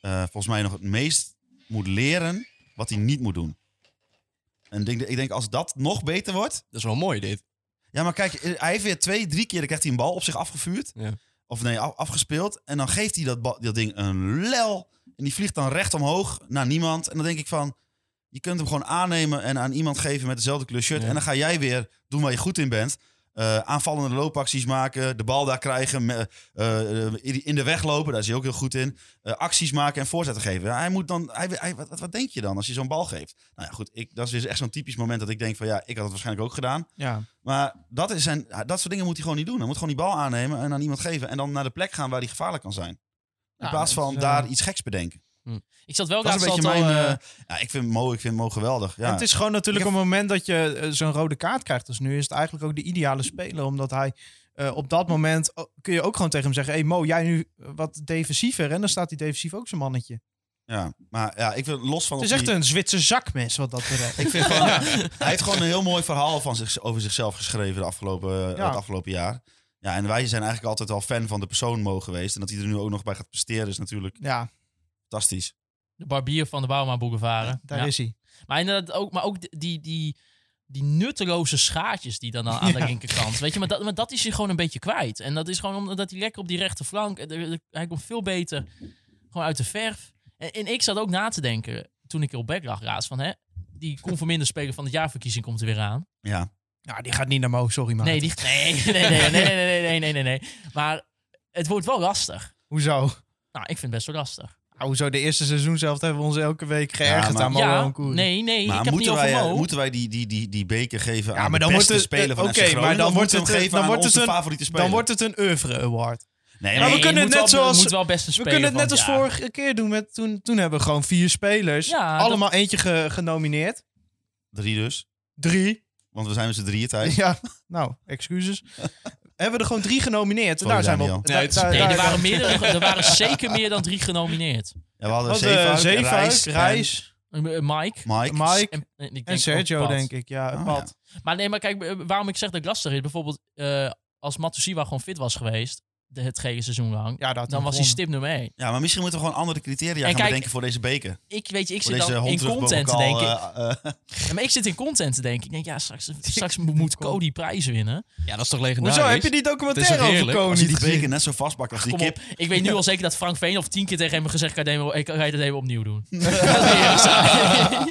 eh, volgens mij nog het meest moet leren wat hij niet moet doen. En ik denk, ik denk als dat nog beter wordt...
Dat is wel mooi dit.
Ja, maar kijk, eh, hij heeft weer twee, drie keer krijgt hij een bal op zich afgevuurd.
Ja.
Of nee, af- afgespeeld. En dan geeft hij dat, bal- dat ding een lel. En die vliegt dan recht omhoog naar niemand. En dan denk ik van, je kunt hem gewoon aannemen en aan iemand geven met dezelfde kleur shirt.
Ja.
En dan ga jij weer doen waar je goed in bent. Eh, aanvallende loopacties maken, de bal daar krijgen, me- eh, eh, in de weg lopen, daar is hij ook heel goed in. Eh, acties maken en voorzetten geven. Ja, hij moet dan, hij, hij- wat, wat denk je dan als je zo'n bal geeft? Nou ja, goed, ik, dat is weer echt zo'n typisch moment dat ik denk van ja, ik had het waarschijnlijk ook gedaan.
Ja.
Maar dat, is zijn, dat soort dingen moet hij gewoon niet doen. Hij moet gewoon die bal aannemen en aan iemand geven. En dan naar de plek gaan waar hij gevaarlijk kan zijn. In
Ja,
plaats
dat
van
is, eh,
daar iets geks bedenken.
Ik zat
Oh,
wel
Dat is
laatst
een beetje
al...
mijn...
eh,
eh, ja, ik vind Mo, ik vind Mo geweldig.
En
Ja.
het is gewoon natuurlijk
Ik
op het moment dat je eh, zo'n rode kaart krijgt als nu, is het eigenlijk ook de ideale speler. Omdat hij eh, op dat moment o- kun je ook gewoon tegen hem zeggen: hey Mo, jij nu eh, wat defensiever. En dan staat hij defensief ook zijn mannetje.
ja. Maar ja, ik vind los van...
Het is
of
echt
hij-
een Zwitser zakmes wat dat betreft.
Ik vind gewoon, hij heeft gewoon een heel mooi verhaal van zich, over zichzelf geschreven de afgelopen, eh,
Ja.
het afgelopen jaar. Ja, en wij zijn eigenlijk altijd al fan van de persoon Mo geweest. En dat hij er nu ook nog bij gaat presteren is natuurlijk
ja,
fantastisch.
de barbier van de Bauma Boulevard.
daar
Ja.
is hij.
Maar inderdaad ook, maar ook die, die, die nutteloze schaartjes die dan aan de
Ja.
linkerkant. Weet je, maar dat, maar dat is je gewoon een beetje kwijt. En dat is gewoon omdat hij lekker op die rechterflank. eh, eh, Hij komt veel beter gewoon uit de verf. En, en ik zat ook na te denken toen ik op back lag, Raas. Van hè, die conforminder speler van het jaarverkiezing komt er weer aan.
Ja.
Nou, die gaat niet naar Mo, sorry maar.
Nee, die, nee, nee, nee, nee, nee, nee, nee, nee, nee, nee. Maar het wordt wel lastig.
Hoezo?
Nou, ik vind het best wel lastig.
Nou, hoezo? De eerste seizoen zelf hebben we ons elke week geërgerd
Ja, maar-
aan Mo
ja,
Alankouri.
nee, nee, ik heb
Maar
het niet
moeten
over
wij, eh,
Mo.
moeten wij die, die, die, die beker geven
Ja,
aan
maar
de
dan wordt
beste
het-
speler van
eh,
FC
oké,
Groningen?
maar dan
Of
wordt
moeten we
het,
hem
eh,
geven
dan
aan
wordt
onze
het een-
favoriete speler.
Dan wordt het een oeuvre award.
Nee,
Maar
maar
we
Nee,
kunnen
je moet
net
wel- je
zoals-
moet wel beste
We
speler
kunnen het
van
net als
jaar.
vorige keer doen. Met, toen, toen hebben we gewoon vier spelers.
Ja, dat-
allemaal eentje ge- genomineerd.
Drie dus.
Drie.
Want we zijn met z'n drieën thuis.
Ja, nou, excuses. hebben we er gewoon drie genomineerd.
Sorry,
daar zijn we op.
Daniel.
daar-
Nee, het is-
daar-
Nee,
daar-
er waren, meerdere, er waren zeker meer dan drie genomineerd.
Ja, we hadden
Want, eh,
Zeefuik,
Zeefuik,
Reis,
Reis
Eh, Mike.
en Mike.
Mike
En, eh, ik denk
en
ook
Sergio,
Pat.
denk ik. Ja,
Oh,
Pat.
Maar nee, maar kijk, eh, waarom ik zeg dat ik lastig is. Bijvoorbeeld, eh, als Matusiwa gewoon fit was geweest, de, het gele seizoen lang,
Ja, dat had
dan was hij
gewonnen.
stip nummer 1.
Ja, maar misschien moeten we gewoon andere criteria
En
gaan
kijk-
bedenken voor deze beker.
Ik weet je, ik
Voor
zit
deze
dan in content te
hondsrugbokaal,
denken.
eh, eh,
Ja, maar ik zit in content te denken. Ik denk, ja, straks, straks moet Cody prijs winnen.
Ja, dat is toch
Hoezo?
legendarisch?
Heb je die
Het is
documentaire
toch
over
heerlijk?
Koning
als hij die
gezien?
beker net zo vastbakt als die
Kom op.
kip.
Ik weet nu al zeker dat Frank Veenhoff tien keer tegen hem gezegd kan nemen, ik ga je dat even opnieuw doen. Dat is heel saai.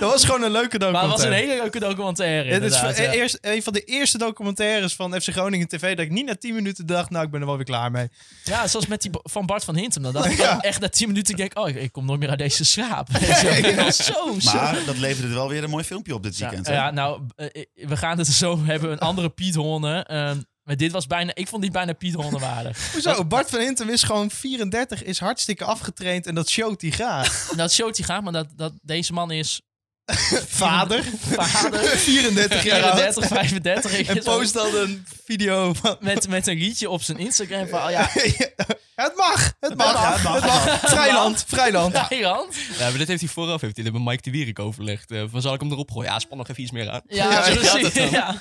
Dat was gewoon een leuke
maar het
documentaire.
was een hele leuke documentaire.
Dit is
inderdaad,
voor- eh,
ja.
eerst, een van de eerste documentaires van FC Groningen TV... dat ik niet na 10 minuten dacht, nou, ik ben er wel weer klaar mee.
Ja, zoals met die b- van Bart van Hintem. Dan dacht ik echt na 10 minuten, ik denk, oh, ik, ik kom nooit meer uit deze slaap. Ik was zo, zo.
Maar dat leverde wel weer een mooi filmpje op dit weekend.
ja,
hè?
ja, nou, eh, eh, we gaan het er zo hebben. Een andere Piet Honne. ehm, maar dit was bijna, ik vond die bijna Piet Honne waardig.
Hoezo? Bart van Hintem is gewoon 34, is hartstikke afgetraind... en dat showt hij graag.
Nou, dat showt hij gaat, maar dat, dat deze man is
Vader,
vader,
34 jaar oud.
34, 35. Ik
En
zo-
post dan een video van...
met, met een liedje op zijn Instagram van, oh ja,
Het mag, het mag,
Ja,
het
het
mag.
mag.
Vrijland, Vrijland.
Thailand.
Ja, maar dit heeft hij vooraf heeft hij dit met Mike de Wierik overlegd. eh, van zal ik hem erop gooien? Ja, span nog even iets meer aan.
Ja,
Ja,
precies.
ja, dat dan.
Ja.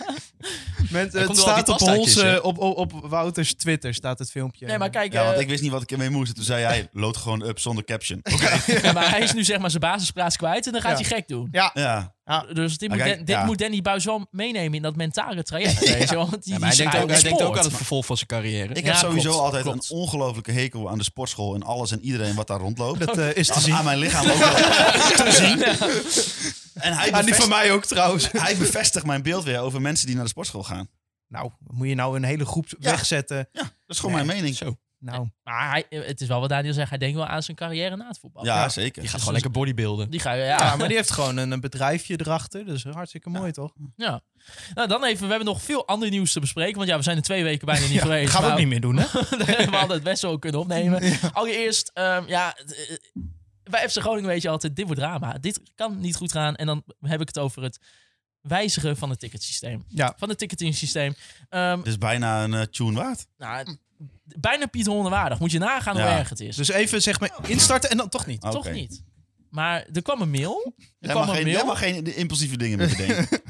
Met,
Er
het
komt wel
staat
die
op,
pastaatjes,
ons,
hè?
eh, op, op, op Wouters Twitter staat het filmpje.
Nee, maar kijk,
Ja, want
eh,
ik wist niet wat ik ermee moest. En Toen zei hij, lood gewoon up zonder caption.
ja, eh, maar hij is nu zeg maar zijn basisplaats kwijt en dan gaat
Ja.
hij gek doen.
Ja,
Dus dit,
Maar
moet,
kijk,
Dan- dit
ja.
moet Danny Buis wel meenemen in dat mentale traject. weet je, want die,
Ja,
die
maar hij denkt,
schaar-
ook, hij denkt ook
spoort.
aan het vervolg van zijn carrière.
ik
Ja,
heb sowieso
klopt,
altijd
klopt.
een ongelofelijke hekel aan de sportschool en alles en iedereen wat daar rondloopt.
dat eh, is te
Dat is
zien.
aan mijn lichaam ook wel te zien. En hij
Ah, die van
bevestigt,
mij ook trouwens.
hij bevestigt mijn beeld weer over mensen die naar de sportschool gaan.
Nou, moet je nou een hele groep
Ja.
wegzetten?
Ja, dat is gewoon mijn mening.
Zo.
Nou,
Maar hij, eh, het is wel wat Daniel zegt. Hij denkt wel aan zijn carrière na het voetbal.
Ja,
Ja.
zeker.
Je gaat
Dus
gewoon
dus-
lekker bodybuilden.
Die ga je,
ja,
ja.
maar die heeft gewoon een, een bedrijfje erachter. Dus hartstikke mooi, toch?
ja. Nou, dan even. We hebben nog veel ander nieuws te bespreken. Want ja, we zijn er twee weken bijna niet geweest.
Gaan we
maar-
ook niet meer doen, hè?
we hadden het best wel kunnen opnemen. Allereerst, ehm, ja, eh, bij FC Groningen weet je altijd, dit wordt drama. Dit kan niet goed gaan. En dan heb ik het over het wijzigen van het ticketsysteem.
Ja.
Van het ticketing systeem. Ehm,
Het is bijna een eh, tune waard.
nou, bijna Piet Honden waardig. Moet je nagaan hoe
Ja.
erg het is.
Dus even zeg maar instarten en dan toch niet.
Ah, Oké.
Toch niet. Maar er kwam een mail. Er
Jij
kwam
mag,
een
geen, jij
mail.
mag geen impulsieve dingen meer bedenken.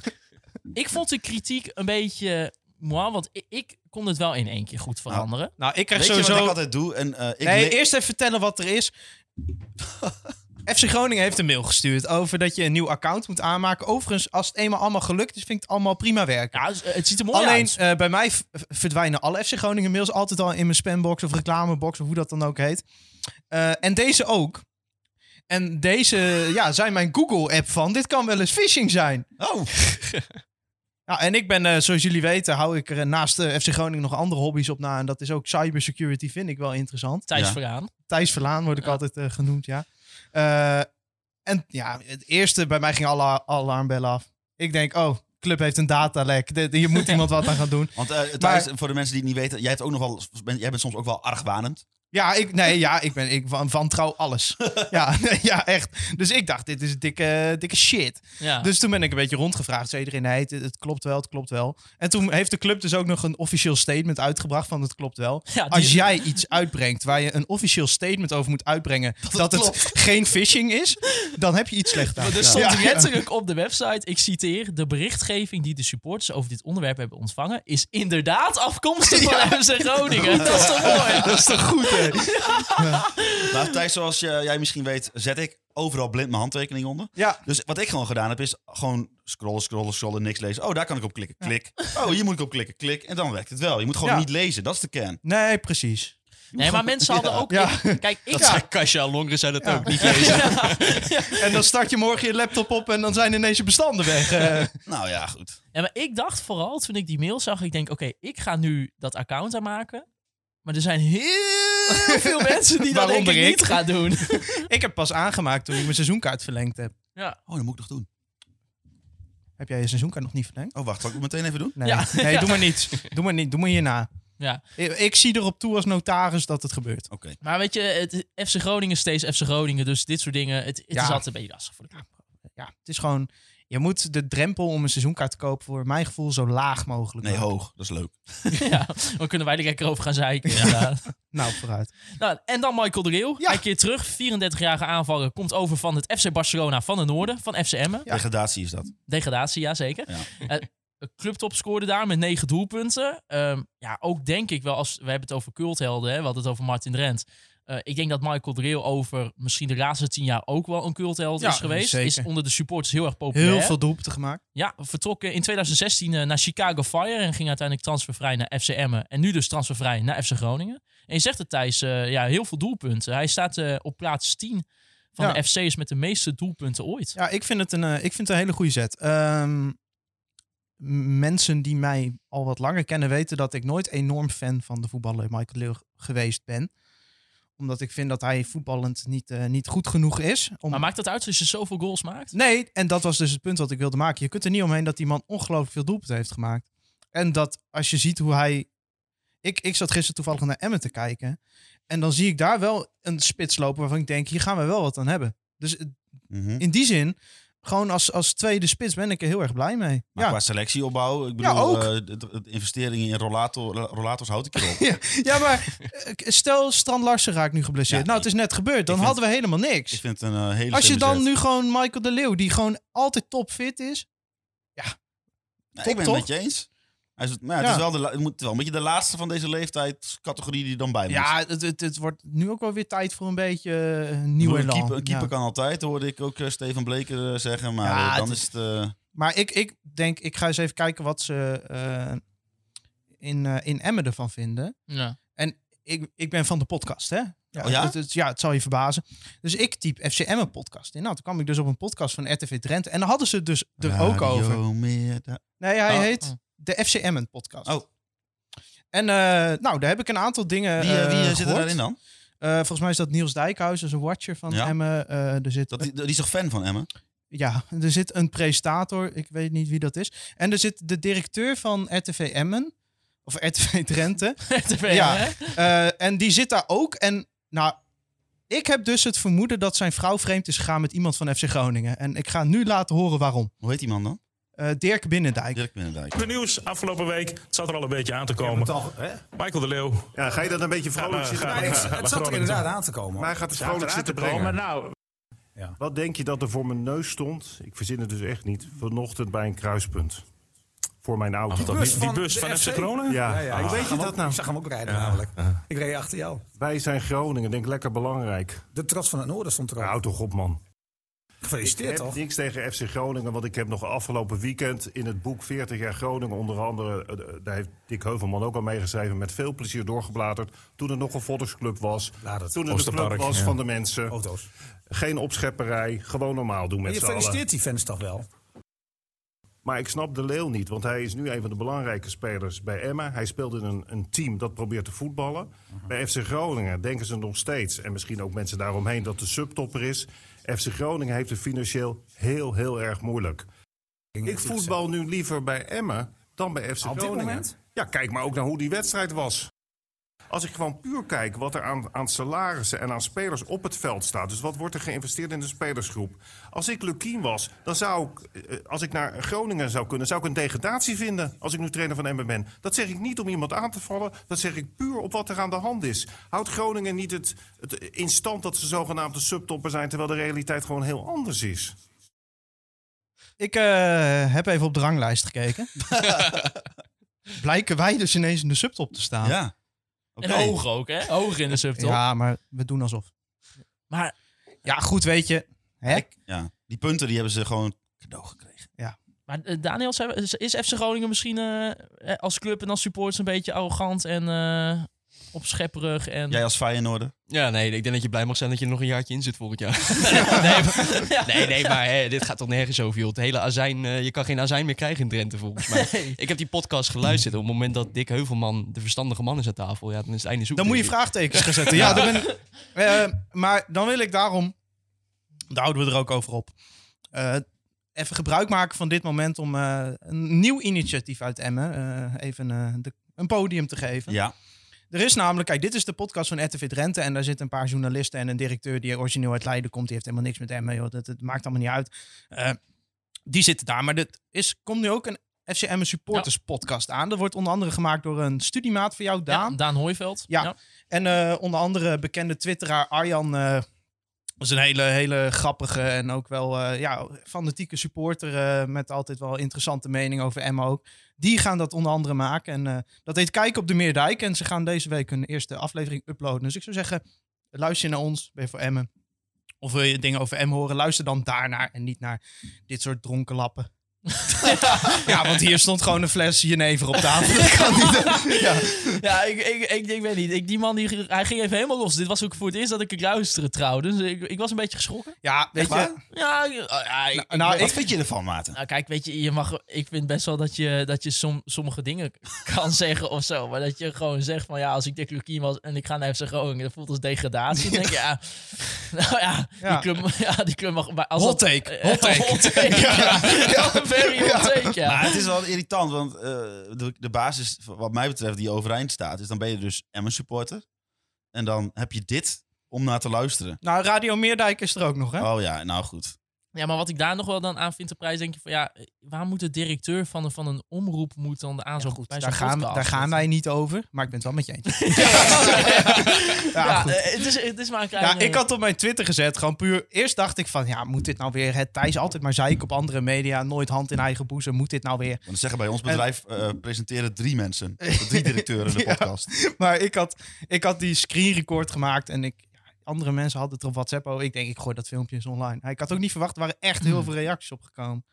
Ik vond de kritiek een beetje moi, want ik, ik kon het wel in één keer goed veranderen.
Nou, ik krijg
Weet je
sowieso...
wat ik altijd doe? En, eh, ik
nee,
le-
eerst even vertellen wat er is. FC Groningen heeft een mail gestuurd over dat je een nieuw account moet aanmaken. Overigens, als het eenmaal allemaal gelukt is, vind ik het allemaal prima werken.
Ja, dus, eh, het ziet er mooi
Alleen
uit.
eh, bij mij v- verdwijnen alle FC Groningen mails altijd al in mijn spambox of reclamebox of hoe dat dan ook heet. Eh, en deze ook. En deze ja, zijn mijn Google-app van. Dit kan wel eens phishing zijn.
Oh,
Ja, en ik ben, eh, zoals jullie weten, hou ik er eh, naast eh, FC Groningen nog andere hobby's op na. En dat is ook cybersecurity, vind ik wel interessant.
Thijs
ja.
Vergaan.
Thijs Verlaan word ik altijd eh, genoemd, ja. Eh, en ja, het eerste, bij mij ging alle a- alarmbellen af. Ik denk, oh, club heeft een datalek. Dit- Hier moet iemand wat aan gaan doen.
want eh, thuis, voor de mensen die het niet weten, jij, hebt ook nog wel, ben- jij bent soms ook wel argwanend.
Ja, ik, nee, ja, ik ben ik van, van trouw alles. ja, nee, ja, echt. Dus ik dacht, dit is dikke, dikke shit.
Ja.
Dus toen ben ik een beetje rondgevraagd. Zei iedereen, nee, het, het klopt wel, het klopt wel. En toen heeft de club dus ook nog een officieel statement uitgebracht van het klopt wel.
Ja, die-
Als jij iets uitbrengt waar je een officieel statement over moet uitbrengen... dat, het geen phishing is, dan heb je iets slecht aan.
Maar er
gedaan.
stond
Ja.
letterlijk op de website, ik citeer... De berichtgeving die de supporters over dit onderwerp hebben ontvangen... is inderdaad afkomstig van FC Groningen. Dat is toch mooi?
Dat is toch goed, hè?
Nou, Thijs, zoals eh, jij misschien weet, zet ik overal blind mijn handtekening onder.
Ja.
Dus wat ik gewoon gedaan heb, is gewoon scrollen, scrollen, scrollen, niks lezen. Oh, daar kan ik op klikken, klik. Oh, hier moet ik op klikken, klik. En dan werkt het wel. Je moet gewoon
Ja.
niet lezen, dat is de kern.
Nee, precies.
Nee, maar mensen hadden ook...
Ja.
ik- kijk, ik...
Dat
Ja.
zei Kasia Longren, zei dat ook niet.
En dan start je morgen je laptop op en dan zijn ineens je bestanden weg. eh.
Nou ja, goed.
Ja, maar ik dacht vooral, toen ik die mail zag... Ik denk, oké, ik ga nu dat account aanmaken... Maar er zijn heel veel mensen die dat denk ik
Waaronder ik.
niet gaan doen.
ik heb pas aangemaakt toen ik mijn seizoenkaart verlengd heb.
Oh, dat moet ik nog doen.
Heb jij je seizoenkaart nog niet verlengd?
Oh, wacht, zal ik het meteen even doen?
Nee,
Ja.
nee doe maar niet. Doe maar niet. Doe maar hierna.
Ja.
Ik, ik zie erop toe als notaris dat het gebeurt.
Oké.
Maar weet je, het, FC Groningen is steeds FC Groningen. Dus dit soort dingen, het, het
Ja.
is altijd een beetje lastig voor de club.
Ja, het is gewoon... Je moet de drempel om een seizoenkaart te kopen voor mijn gevoel zo laag mogelijk
Nee,
maken.
hoog. Dat is leuk.
Ja, dan kunnen wij er lekker over gaan zeiken. inderdaad.
Nou, vooruit.
Nou, en dan Michael de Leeuw. Een keer terug. 34-jarige aanvaller. Komt over van het FC Barcelona van de Noorden. Van FC Emmen.
Ja.
Degradatie is dat.
Degradatie, jazeker.
Ja.
Eh, clubtop scoorde daar met 9 doelpunten. Ehm, ja, ook denk ik wel als... We hebben het over culthelden. Hè? We hadden het over Martin Drent. Eh, ik denk dat Michael de Leeuw over misschien de laatste tien jaar ook wel een cultheld
Ja,
is geweest.
zeker.
Is onder de supporters heel erg populair.
Heel veel doelpunten gemaakt.
Ja, vertrok eh, in 2016 eh, naar Chicago Fire en ging uiteindelijk transfervrij naar FC Emmen. En nu dus transfervrij naar FC Groningen. En je zegt het Thijs, eh, ja, heel veel doelpunten. Hij staat eh, op plaats 10 van
Ja.
de FC's met de meeste doelpunten ooit.
Ja, ik vind het een, eh, ik vind het een hele goede zet. Ehm, m- mensen die mij al wat langer kennen weten dat ik nooit enorm fan van de voetballer Michael Leeuw geweest ben. Omdat ik vind dat hij voetballend niet, eh, niet goed genoeg is. Om...
Maar maakt dat uit als je zoveel goals maakt?
Nee, en dat was dus het punt wat ik wilde maken. Je kunt er niet omheen dat die man ongelooflijk veel doelpunten heeft gemaakt. En dat als je ziet hoe hij... Ik, ik zat gisteren toevallig naar Emmen te kijken. En dan zie ik daar wel een spits lopen waarvan ik denk, hier gaan we wel wat aan hebben. Dus het
Mhm.
in die zin, gewoon als, als tweede spits ben ik er heel erg blij mee.
Maar
Ja.
qua selectieopbouw, ik bedoel,
Ja, ook.
eh, de, de- de investeringen in rollator, rollators houd ik erop.
ja, maar eh, stel Strand Larsen raakt nu geblesseerd.
Ja,
nou, het is net gebeurd. Dan
vind-
hadden we helemaal niks.
ik vind het een eh, hele
als je
slimme
dan
zet.
nu gewoon Michael de Leeuw, die gewoon altijd topfit is.
Ja,
top,
ik ben
toch?
het met je eens. Hij is, maar ja, het,
Ja.
is wel de, la- het moet wel een beetje de laatste van deze leeftijdscategorie die er dan bij moet.
Ja, het, het, het wordt nu ook wel weer tijd voor een beetje eh, een
Ik
nieuw
bedoel,
elan.
Een keeper, een keeper
Ja.
kan altijd, hoorde ik ook eh, Stefan Bleker eh, zeggen. Maar
Ja,
eh, dan
het
is het... eh,
Maar ik, ik denk, ik ga eens even kijken wat ze eh, in, eh, in Emmen ervan vinden.
Ja.
Ik, ik ben van de podcast, hè? Ja,
Oh ja?
Het, het- ja, het zal je verbazen. Dus ik typ FCM een podcast in. Nou, toen kwam ik dus op een podcast van RTV Drenthe. En daar hadden ze het dus er ook
Radio
over.
Meer, da-
Nee, hij
Oh.
heet de FCM podcast.
Oh.
En eh, nou, daar heb ik een aantal dingen.
Wie, eh,
eh,
wie eh, zit er
gehoord.
daarin dan?
Eh, volgens mij is dat Niels Dijkhuis, dat is een watcher van
Ja.
Emmen. Eh, er zit,
Dat, die, die is toch fan van Emmen?
ja, er zit een presentator, ik weet niet wie dat is. En er zit de directeur van RTV Emmen, of RTV Drenthe.
RTV,
Ja.
hè?
Eh, en die zit daar ook. En nou, ik heb dus het vermoeden dat zijn vrouw vreemd is gegaan met iemand van FC Groningen. En ik ga nu laten horen waarom.
Hoe heet die man dan?
Eh, Dirk Binnendijk.
Dirk Binnendijk.
Het nieuws afgelopen week. Het zat er al een beetje aan te komen. Michael de Leeuw.
Ja, ga je dat een beetje vrolijk
nou,
zitten
ga-
brengen?
ik-
Maar
het
Het zat er inderdaad aan te komen.
hij gaat het vrolijk zitten brengen.
nou,
Wat denk je dat er voor mijn neus stond? Ik verzin het dus echt niet. Vanochtend bij een kruispunt. Voor mijn auto.
die- die bus van FC Groningen?
Ja. Hoe
ik
weet je
zag hem
dat
ook-
nou?
Ik zag hem ook rijden namelijk. Ik reed achter jou.
Wij zijn Groningen, denk lekker belangrijk.
De trots van het noorden stond erop.
Houd toch op, man.
Gefeliciteerd
Ik
toch?
heb niks tegen FC Groningen, want ik heb nog afgelopen weekend in het boek 40 jaar Groningen onder andere, eh, daar heeft Dick Heuvelman ook al meegeschreven, met veel plezier doorgebladerd. Toen er nog een volksclub was,
Laat het.
toen er de club
Oosterpark,
was
ja.
van de mensen.
Auto's.
Geen opschepperij, gewoon normaal doen
Maar
met
je
z'n allen.
feliciteert die fans toch wel?
Maar ik snap de Leeuw niet, want hij is nu een van de belangrijke spelers bij Emma. Hij speelt in een, een team dat probeert te voetballen. Bij FC Groningen denken ze nog steeds, en misschien ook mensen daaromheen, dat de subtopper is. FC Groningen heeft het financieel heel, heel erg moeilijk. Ik voetbal nu liever bij Emmen dan bij FC
Op dit
Groningen.
moment?
Ja, kijk maar ook naar hoe die wedstrijd was. Als ik gewoon puur kijk wat er aan, aan salarissen en aan spelers op het veld staat. Dus wat wordt er geïnvesteerd in de spelersgroep. Als ik Lukien was, dan zou ik, eh, als ik naar Groningen zou kunnen, zou ik een degradatie vinden. Als ik nu trainer van Emmen ben. Dat zeg ik niet om iemand aan te vallen. Dat zeg ik puur op wat er aan de hand is. Houdt Groningen niet het, het in stand dat ze zogenaamd de subtopper zijn. Terwijl de realiteit gewoon heel anders is.
Ik eh, heb even op de ranglijst gekeken. Blijken wij dus ineens in de subtop te staan.
Ja. Oké.
En hoog ook, hè? Hoog in de subtop.
Ja, maar we doen alsof.
Maar
Ja, goed, weet je. Hè?
Ja. Die punten die hebben ze gewoon cadeau gekregen.
Maar eh, Daniel, zijn we- is- is FC Groningen misschien eh, eh, als club en als supporters een beetje arrogant en eh, opschepperig? En...
Jij als Feyenoorder.
Ja, nee, ik denk dat je blij mag zijn dat je er nog een jaartje in zit volgend jaar. nee, maar, nee, nee, maar hè, dit gaat toch nergens over, joh. Het hele azijn, eh, je kan geen azijn meer krijgen in Drenthe, volgens mij. Ik heb die podcast geluisterd. Op het moment dat Dick Heuvelman de verstandige man is aan tafel, ja, dan is het einde zoek.
Dan moet je
denk ik.
vraagtekens gaan zetten. Ja, dan ben ik- Eh, maar dan wil ik daarom, daar houden we er ook over op, Eh, even gebruik maken van dit moment om eh, een nieuw initiatief uit Emmen eh, even eh, de- een podium te geven.
Ja.
Er is namelijk, kijk, dit is de podcast van RTV Drenthe. En daar zitten een paar journalisten en een directeur die origineel uit Leiden komt. Die heeft helemaal niks met Emmen, joh. Dat, dat maakt allemaal niet uit. Eh, die zitten daar. Maar er is, komt nu ook een FC Emmen supporters podcast aan. Dat wordt onder andere gemaakt door een studiemaat van jou, Daan.
Ja, Daan Hooiveld.
Ja. En eh, onder andere bekende twitteraar Arjan. eh, dat is een hele, hele grappige en ook wel eh, ja, fanatieke supporter. eh, met altijd wel interessante mening over Emma ook. Die gaan dat onder andere maken. En eh, dat heet Kijk op de Meerdijk. En ze gaan deze week hun eerste aflevering uploaden. Dus ik zou zeggen, luister je naar ons. Ben je voor Emmen? Of wil je dingen over Emmen horen? Luister dan daarnaar en niet naar dit soort dronken lappen. ja, want hier stond gewoon een fles jenever op tafel. Dat kan niet. Ja.
Ja, ik, ik, ik, ik weet niet. Ik, die man die, hij ging even helemaal los. Dit was ook voor het eerst dat ik het luisteren trouw. Dus ik, ik was een beetje geschrokken.
ja, weet je.
Ja, ik- ah, ja, ik- ik-
Nou,
Wat
ik-
vind je ervan, Maarten?
nou, kijk, weet je, je mag, ik vind best wel dat je, dat je som, sommige dingen kan zeggen of zo. Maar dat je gewoon zegt van ja, als ik Dick Lukien was en ik ga naar FC Groningen, dat voelt als degradatie. Dan denk ik, ja, nou ja,
Ja.
Die, club, ja die club mag... maar Als
Hot
dat-
take,
eh,
hot take.
ja. Ja, very hot take, ja.
Nou,
Maar het is wel irritant, want eh, de, de basis, wat mij betreft, die overeind staat, is dan ben je dus Emmen supporter. En dan heb je dit om naar te luisteren.
Nou, Radio Meerdijk is er ook nog, hè?
Oh ja, nou goed.
Ja, maar wat ik daar nog wel dan aan vind te prijs, denk je van ja, eh, waar moet de directeur van een, van een omroep moet dan de aanzag goed, bij zo'n
daar gaan,
podcast
daar gaan
zitten?
wij niet over, maar ik ben het wel met je eens. ja,
Ja,
goed.
eh, het, is, het is maar een
Ja,
kleine...
ik had op mijn Twitter gezet, gewoon puur. Eerst dacht ik van, ja, moet dit nou weer? Het Thijs altijd maar zeiken op andere media, nooit hand in eigen boezem. Moet dit nou weer?
Want ze zeggen bij ons bedrijf eh, presenteren drie mensen, drie directeuren de
Ja.
podcast.
Maar ik had, ik had die screen record gemaakt en ik, ja, andere mensen hadden het op WhatsApp. Oh, ik denk, ik gooi dat filmpje eens online. Ik had ook niet verwacht, er waren echt
Hmm.
heel veel reacties op gekomen.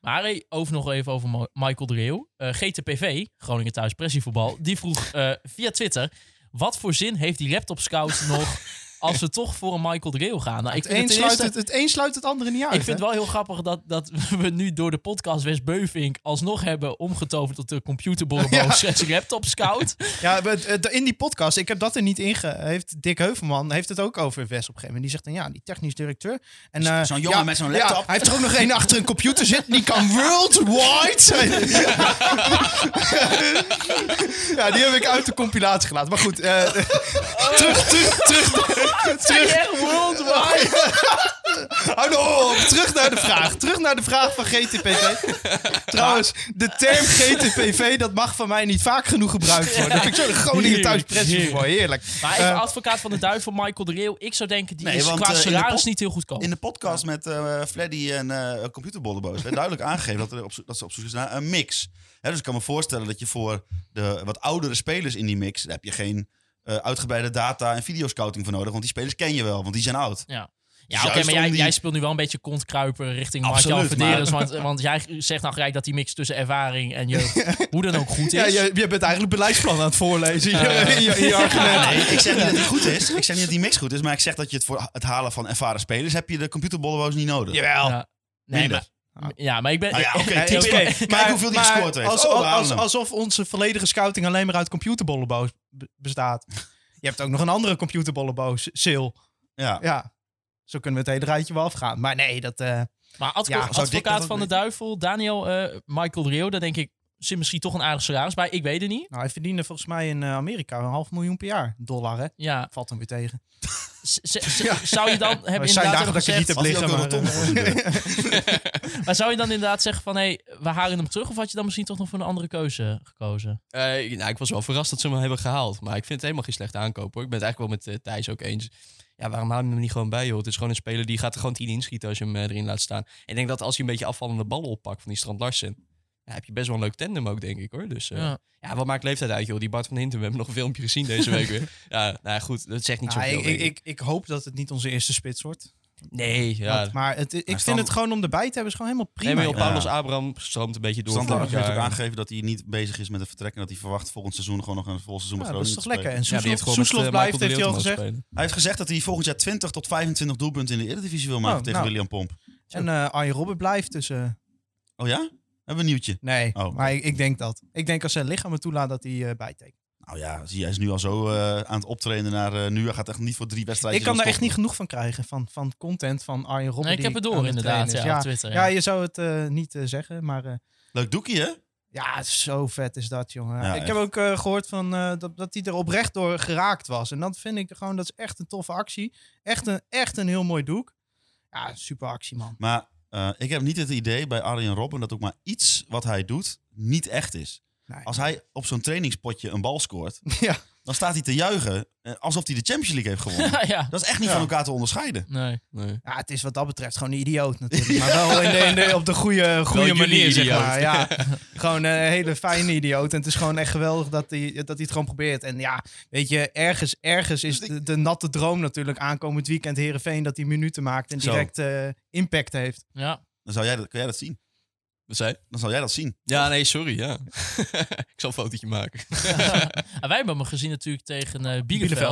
Maar hey, over nog even over Ma- Michael de Leeuw. Eh, GTPV, Groningen Thuis Pressievoetbal, die vroeg eh, via Twitter... Wat voor zin heeft die laptop scout nog als we toch voor een Michael Dreel gaan. Nou, ik
Het
vind het
een,
ten
sluit
eerste-
het, het een sluit het andere niet uit.
Ik vind
hè?
het wel heel grappig dat, dat we nu door de podcast West Beuvink alsnog hebben omgetoverd tot de computerborrelboos en laptop scout.
Ja, maar, eh, in die podcast, ik heb dat er niet in ge... Heeft Dick Heuvelman heeft het ook over Wes op een gegeven moment. Die zegt dan, ja, die technisch directeur. En, eh,
Zo'n jongen
ja,
met zo'n
ja,
laptop.
hij heeft er ook nog één achter een computer zitten. Die kan worldwide zijn. ja, die heb ik uit de compilatie gelaten. Maar goed, eh, terug, terug, terug. terug.
Echt worldwide.
Hou nou op. Terug naar de vraag. Terug naar de vraag van GTPV. Trouwens, de term GTPV, dat mag van mij niet vaak genoeg gebruikt worden. Dat vind ik zo'n Groningen thuis pressie voor. Heerlijk.
Maar even
Eh,
advocaat van de duivel, Michael Dreel. Ik zou denken, die
Nee,
is
want,
qua
eh, in de
salaris
pop-
niet heel goedkoop.
In de podcast met eh Freddy en eh Computerbolleboos werd duidelijk aangegeven dat, er op, zo- dat ze op zoek is naar een mix. Hè, dus ik kan me voorstellen dat je voor de wat oudere spelers in die mix, daar heb je geen eh, uitgebreide data en videoscouting voor nodig, want die spelers ken je wel, want die zijn oud.
Ja. Ja,
Dus
oké,
juist
maar jij,
om die-
jij speelt nu wel een beetje kontkruiper richting
Absoluut,
Marjan Verderens. Want, want jij zegt nou gelijk dat die mix tussen ervaring en jeugd hoe dan ook goed is. Eh.
Ja, je, je bent eigenlijk beleidsplan aan het voorlezen. in je- in je- in je argument.
Nee, ik zeg niet dat die goed is. Ik zeg niet dat die mix goed is, maar ik zeg dat je het voor het halen van ervaren spelers heb je de computerbolleboos niet nodig.
Jawel.
Ja. Nee,
Minder.
maar, ja, maar ik ben...
Nou ja, oké,
Nee,
typ
oké.
in. Kijk hoeveel die
maar
gescoord heeft.
Als,
Oh, we
als-
halen
als-
hem.
alsof onze volledige scouting alleen maar uit computerbollenboos b- bestaat. Je hebt ook nog een andere computerbollenboos, Sil.
Ja.
Ja, zo kunnen we het hele rijtje wel afgaan. Maar nee, dat... eh,
Maar advo-
Ja, zou Dick
dat
advocaat
ook
van de
weten?
duivel, Daniel, eh, Michael Rio, daar denk ik zit misschien toch een aardig salaris bij. Ik weet het niet.
nou, hij verdiende volgens mij in eh, Amerika een half miljoen per jaar. Dollar, hè?
Ja,
Valt hem weer tegen.
Z- z- Zou je dan hebben
Er
inderdaad
zijn dagen
hebben
dat je niet
gezegd,
hebt
Had hij ook
liggen,
een
maar...
rotonde
eh,
voor zijn deur?
maar zou je dan inderdaad zeggen van, hé, we halen hem terug? Of had je dan misschien toch nog voor een andere keuze gekozen?
Eh, nou, ik was wel verrast dat ze hem hebben gehaald. Maar ik vind het helemaal geen slechte aankoop hoor. Ik ben het eigenlijk wel met eh, Thijs ook eens. Ja, waarom haal je hem er niet gewoon bij joh? Het is gewoon een speler die gaat er gewoon tien inschieten als je hem eh, erin laat staan. En ik denk dat als hij een beetje afvallende ballen oppakt van die Strand Larsen... Ja, heb je best wel een leuk tandem ook, denk ik hoor. Dus eh,
Ja.
ja. wat maakt leeftijd uit joh? Die Bart van Hintem, we hebben nog een filmpje gezien deze week weer. Ja, nou ja, goed, dat zegt niet
nou,
zoveel.
ik, ik,
denk ik.
ik, ik hoop dat het niet onze eerste spits wordt.
nee, ja.
Want- maar het, ik vind
Stan-
het gewoon om erbij te hebben, is gewoon helemaal prima.
Nee, maar joh,
joh.
Paulus Abraham stroomt een beetje door.
Standaard
vorig
heeft ook
jaar.
aangegeven dat hij niet bezig is met het vertrek en dat hij verwacht volgend seizoen gewoon nog een vol seizoen met
Ja, dat is toch
Groningen te spelen.
lekker. En
Ja, die heeft
Soeslof
gewoon met,
Soeslof
eh,
blijft,
Michael
heeft
de
hij al
Leeuw te
gezegd.
mogen spelen.
Hij heeft gezegd dat hij volgend jaar 20 tot 25 doelpunten in de Eredivisie wil maken
Oh,
tegen
nou.
William Pomp.
En eh Arjen Robben blijft, dus... eh,
Oh ja? Hebben we een nieuwtje?
Nee,
Oh.
maar ik, ik denk dat. Ik denk als zijn lichaam het toelaat dat hij eh, bijtekent.
Nou ja, zie je, hij is nu al zo eh, aan het optrainen naar eh, nu. Hij gaat echt niet voor drie wedstrijden.
Ik kan daar echt niet genoeg van krijgen, van, van content van Arjen Robben.
Nee, ik
die
heb het door
aan het
inderdaad, ja,
trainen is.
op Twitter.
Ja,
Ja.
je zou het eh, niet eh, zeggen, maar eh,
Leuk doekie, hè?
ja, zo vet is dat, jongen.
Ja,
ik
echt.
heb ook eh, gehoord van, eh, dat, dat hij er oprecht door geraakt was. En dat vind ik gewoon, dat is echt een toffe actie. Echt een, echt een heel mooi doek. Ja, super actie, man.
Maar eh, ik heb niet het idee bij Arjen Robben dat ook maar iets wat hij doet niet echt is.
Nee.
Als hij op zo'n trainingspotje een bal scoort,
Ja.
dan staat hij te juichen eh, alsof hij de Champions League heeft gewonnen.
ja,
Dat is echt niet van elkaar te onderscheiden.
nee.
Nee.
Ja, het is wat dat betreft gewoon een idioot natuurlijk. Maar wel in de, in de- op de goede, goede
jullie
manier, zeg
idioot.
maar. Ja, gewoon een hele fijne idioot. En het is gewoon echt geweldig dat hij, dat hij het gewoon probeert. En ja, weet je, ergens, ergens is de, de natte droom natuurlijk aankomend weekend Herenveen dat hij minuten maakt en
Zo.
direct eh, impact heeft.
Ja.
Dan zou jij dat, kun jij dat zien.
Wat zei je?
Dan zou jij dat zien.
Ja, nee, sorry, ja. ik zal een fotootje maken.
En Ah, wij hebben hem gezien natuurlijk tegen eh Bielefeld,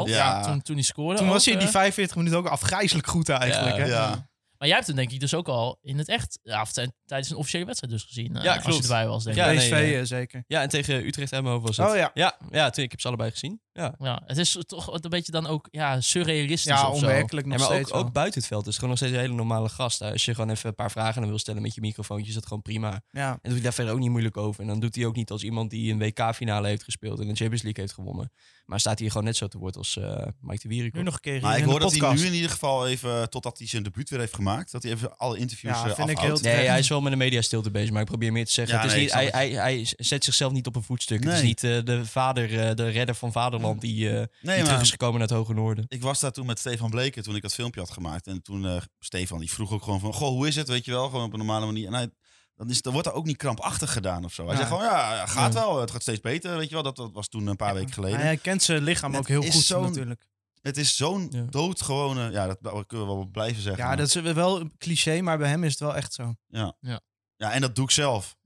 Bielefeld,
ja.
toen, toen hij scoorde.
Toen
ook,
was hij in die
eh.
45 minuten ook afgrijzelijk goed eigenlijk.
Ja,
hè?
Ja.
Maar jij hebt hem denk ik dus ook al in het echt, ja, of tij- tijdens een officiële wedstrijd dus gezien. eh,
Ja,
Als
klopt.
je erbij was, denk ik.
Ja, nee,
PSV
ja.
eh, zeker.
Ja, en tegen Utrecht Emmenhoven was het.
Oh ja.
Ja, ja toen, ik heb ze allebei gezien. Ja.
Ja, het is toch wat een beetje dan ook ja, surrealistisch
dus
Ja,
of zo.
onwerkelijk
Ja,
nog
maar
steeds.
ook,
wel.
ook buiten het veld is het gewoon nog steeds een hele normale gast. hè. Als je gewoon even een paar vragen aan wil stellen met je microfoontje, is dat gewoon prima. En
ja.
doet hij daar verder ook niet moeilijk over. En dan doet hij ook niet als iemand die een WK-finale heeft gespeeld en een Champions League heeft gewonnen. Maar staat hij gewoon net zo te woord als eh, Mike de Wierik.
Nu nog een keer
Maar
hier
ik
in de
hoor dat hij
podcast.
nu in ieder geval even, eh, totdat hij zijn debuut weer heeft gemaakt, dat hij even alle interviews
Ja,
eh,
vind ik
afhoudt.
heel-
Nee, hij is wel met de media stilte bezig, maar ik probeer meer te zeggen.
Ja,
het is
nee,
niet,
ik
hij,
snap
hij, hij zet zichzelf niet op een voetstuk. Het is
Nee.
niet eh, de vader, eh, de redder van vaderland die, eh,
Nee,
die
maar-
terug is gekomen naar het Hoge Noorden.
Ik was daar toen met Stefan Bleken toen ik dat filmpje had gemaakt. En toen eh, Stefan die vroeg ook gewoon van, goh, hoe is het? Weet je wel, gewoon op een normale manier. En hij, dan, is, dan wordt er ook niet krampachtig gedaan of zo. Hij
Ja.
zegt gewoon, ja, ja, gaat wel. Het gaat steeds beter, weet je wel. Dat, dat was toen een paar weken geleden.
Hij kent zijn lichaam
Het
ook heel
is
goed
zo'n-
natuurlijk.
Het is zo'n
Ja.
doodgewone, ja, dat, dat kunnen we wel blijven zeggen.
Ja,
maar-
dat is wel een cliché, maar bij hem is het wel echt zo.
ja, en dat doe ik zelf.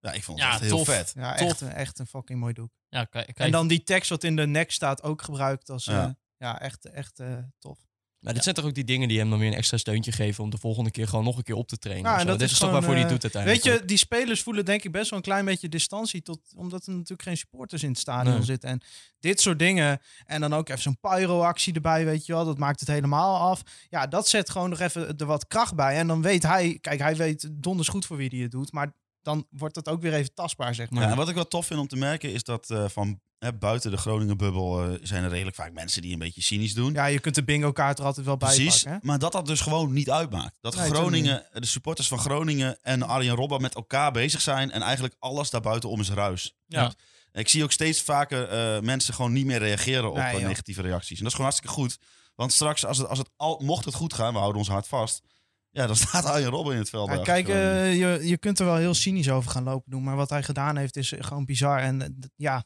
Ja, ik vond het
Ja,
echt heel
tof.
vet.
Ja,
Top.
echt, een- echt een fucking mooi doek.
Ja, kijk, kijk.
En dan die tekst wat in de nek staat ook gebruikt als...
Ja.
eh, Ja, ja, echt, echt eh, tof.
Maar dit zijn toch ook die dingen die hem dan weer een extra steuntje geven om de volgende keer gewoon nog een keer op te trainen.
Nou,
of
en
zo.
dat
dit
is
is, toch
gewoon,
waarvoor hij
eh,
doet uiteindelijk.
Weet je, die spelers voelen denk ik best wel een klein beetje distantie. Tot, omdat er natuurlijk geen supporters in het stadion
Nee.
zitten. En dit soort dingen. En dan ook even zo'n pyro-actie erbij, weet je wel. Dat maakt het helemaal af. Ja, dat zet gewoon nog even er wat kracht bij. En dan weet hij... Kijk, hij weet donders goed voor wie hij het doet. Maar dan wordt dat ook weer even tastbaar, zeg maar.
Ja, en wat ik wel tof vind om te merken is dat eh, van hè, buiten de Groningen-bubbel eh, zijn er redelijk vaak mensen die een beetje cynisch doen.
Ja, je kunt de bingo-kaart er altijd wel bij
Precies,
pakken, hè?
maar dat dat dus gewoon niet uitmaakt. Dat
Nee,
Groningen, de supporters van Groningen en Arjen Robben met elkaar bezig zijn en eigenlijk alles daarbuitenom is ruis.
Ja.
Ik zie ook steeds vaker eh, mensen gewoon niet meer reageren op
Nee,
eh,
joh.
negatieve reacties. En dat is gewoon hartstikke goed. Want straks, als het, als het al, mocht het goed gaan, we houden ons hard vast. Ja, dan staat Arjen Robben in het veld.
Ja,
bij
kijk,
Groningen.
eh, je, je kunt er wel heel cynisch over gaan lopen doen. Maar wat hij gedaan heeft is gewoon bizar. En eh, d- ja,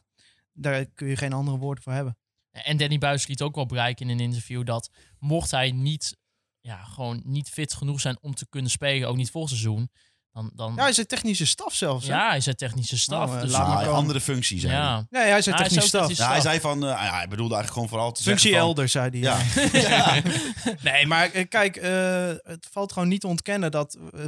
daar kun je geen andere woorden voor hebben.
En Danny Buis liet ook wel bereiken in een interview dat mocht hij niet, ja, gewoon niet fit genoeg zijn om te kunnen spelen, ook niet vol seizoen, dan, dan
Ja, hij is een technische staf zelfs. hè?
ja, hij is een technische staf.
Oh, eh,
dus
laat
Nou,
maar
een
komen.
andere functie zijn.
ja.
Nee, hij zei
Nou, Hij
technisch
is ook
staf.
technisch-
Ja, hij zei van, eh, ja, hij bedoelde eigenlijk gewoon vooral te
Functie
zeggen van,
elder, zei hij.
Ja.
nee, maar eh, kijk, eh, het valt gewoon niet te ontkennen dat... eh,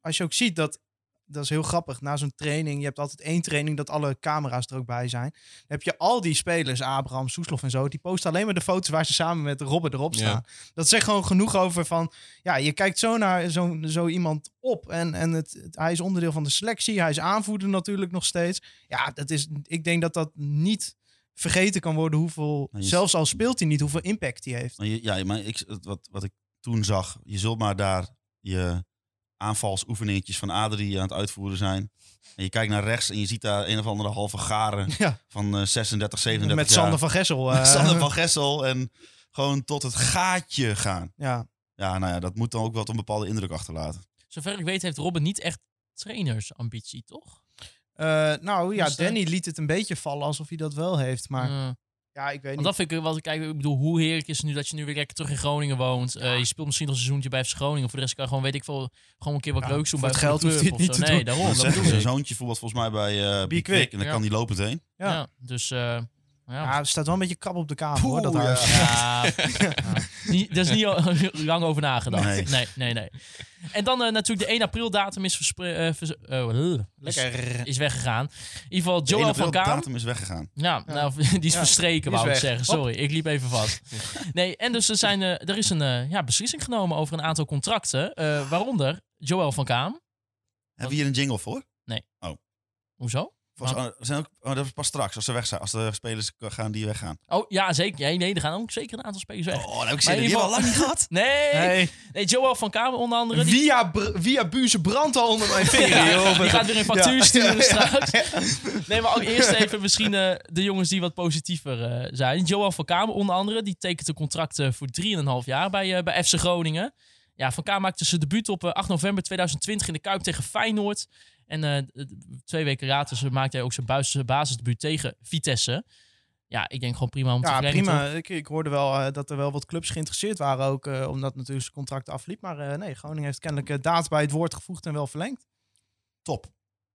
als je ook ziet dat... Dat is heel grappig. Na zo'n training, je hebt altijd één training dat alle camera's er ook bij zijn. Dan heb je al die spelers, Abraham, Soeslof en zo, die posten alleen maar de foto's waar ze samen met Robben erop
Ja.
staan. Dat zegt gewoon genoeg over van, ja, je kijkt zo naar zo, zo iemand op. En, en het, het- hij is onderdeel van de selectie, hij is aanvoerder natuurlijk nog steeds. Ja, dat is, ik denk dat dat niet vergeten kan worden hoeveel,
Maar je-
zelfs al speelt hij niet, hoeveel impact hij heeft.
Maar Nou, je- Ja, maar ik, het- wat, wat ik toen zag, je zult maar daar je aanvalsoefeningetjes van Adrie aan het uitvoeren zijn. En je kijkt naar rechts en je ziet daar een of andere halve garen
Ja.
van eh, 36, 37
Met
jaar.
Sander van Gessel. eh,
Met Sander van Gessel en gewoon tot het gaatje gaan.
Ja,
Ja, nou ja, dat moet dan ook wel een bepaalde indruk achterlaten.
Zover ik weet heeft Robben niet echt trainersambitie, toch?
Eh, nou ja,
Dus, eh,
Danny liet het een beetje vallen alsof hij dat wel heeft. Maar
Eh,
ja, ik weet
want
niet.
dat vind ik wat ik kijk, ik bedoel, hoe heerlijk is het nu dat je nu weer lekker terug in Groningen woont. Eh, je speelt misschien nog een seizoentje bij FC Groningen. Voor de rest kan je gewoon, weet ik veel, gewoon een keer wat
Ja,
leuks doen
voor
bij
het
een
geld
club
hoeft hij het
of
niet
zo.
te
Nee,
doen.
daarom.
dat
Dat
zeggen ze.
bedoel
Zijn
ik.
zoontje voetbalt volgens mij bij eh Bikwik.
Bikwik,
En dan
ja.
kan die lopend heen.
Ja.
Ja. dus eh, ja.
Ja, het staat wel een beetje krap op de kamer hoor.
Oeh,
Dat
ja.
huis.
Ja, Niet- daar is niet al- lang over nagedacht.
Nee.
Nee, nee, nee. En dan eh, natuurlijk de 1 april datum is, verspre- eh, vers- eh, eh, is, is weggegaan. In ieder geval
De
Joel van Kaam.
datum is weggegaan.
Ja, nou, die is
Ja,
verstreken,
die
wou
is
ik
weg.
zeggen. Sorry, ik liep even vast. Nee, en dus er, zijn, eh, er is een eh, ja, beslissing genomen over een aantal contracten. eh, waaronder Joel van Kaam.
Hebben we hier een jingle voor?
Hoezo?
Volgens, oh, zijn ook, oh, dat is pas straks, als ze weg zijn. Als de spelers gaan die weggaan.
Oh, ja, zeker. Nee, nee, er gaan ook zeker een aantal spelers weg.
Oh, dat heb ik
Maar
zin
in
in. Die
ieder
hebben we al lang niet gehad.
Nee, nee.
Hey,
Joel van Kaam onder andere. die-
via, Br- via Buze brandt al onder mijn vinger.
Ja,
joh.
die gaat weer een factuur sturen straks. Nee, maar ook eerst even misschien eh, de jongens die wat positiever eh, zijn. Johan van Kamer onder andere, die tekent een contract eh, voor 3,5 jaar bij, eh, bij FC Groningen. Ja, Van Kamer maakte zijn debuut op eh, 8 november 2020 in de Kuip tegen Feyenoord. En eh, d- twee weken later ze- maakte hij ook zijn buis- zijn basisdebuut tegen Vitesse. Ja, ik denk gewoon prima om te
Ja,
verlengen, toch?
prima. Ik, ik hoorde wel eh, dat er wel wat clubs geïnteresseerd waren ook, eh, omdat natuurlijk zijn contract afliep. Maar eh, nee, Groningen heeft kennelijk eh, daad bij het woord gevoegd en wel verlengd.
Top.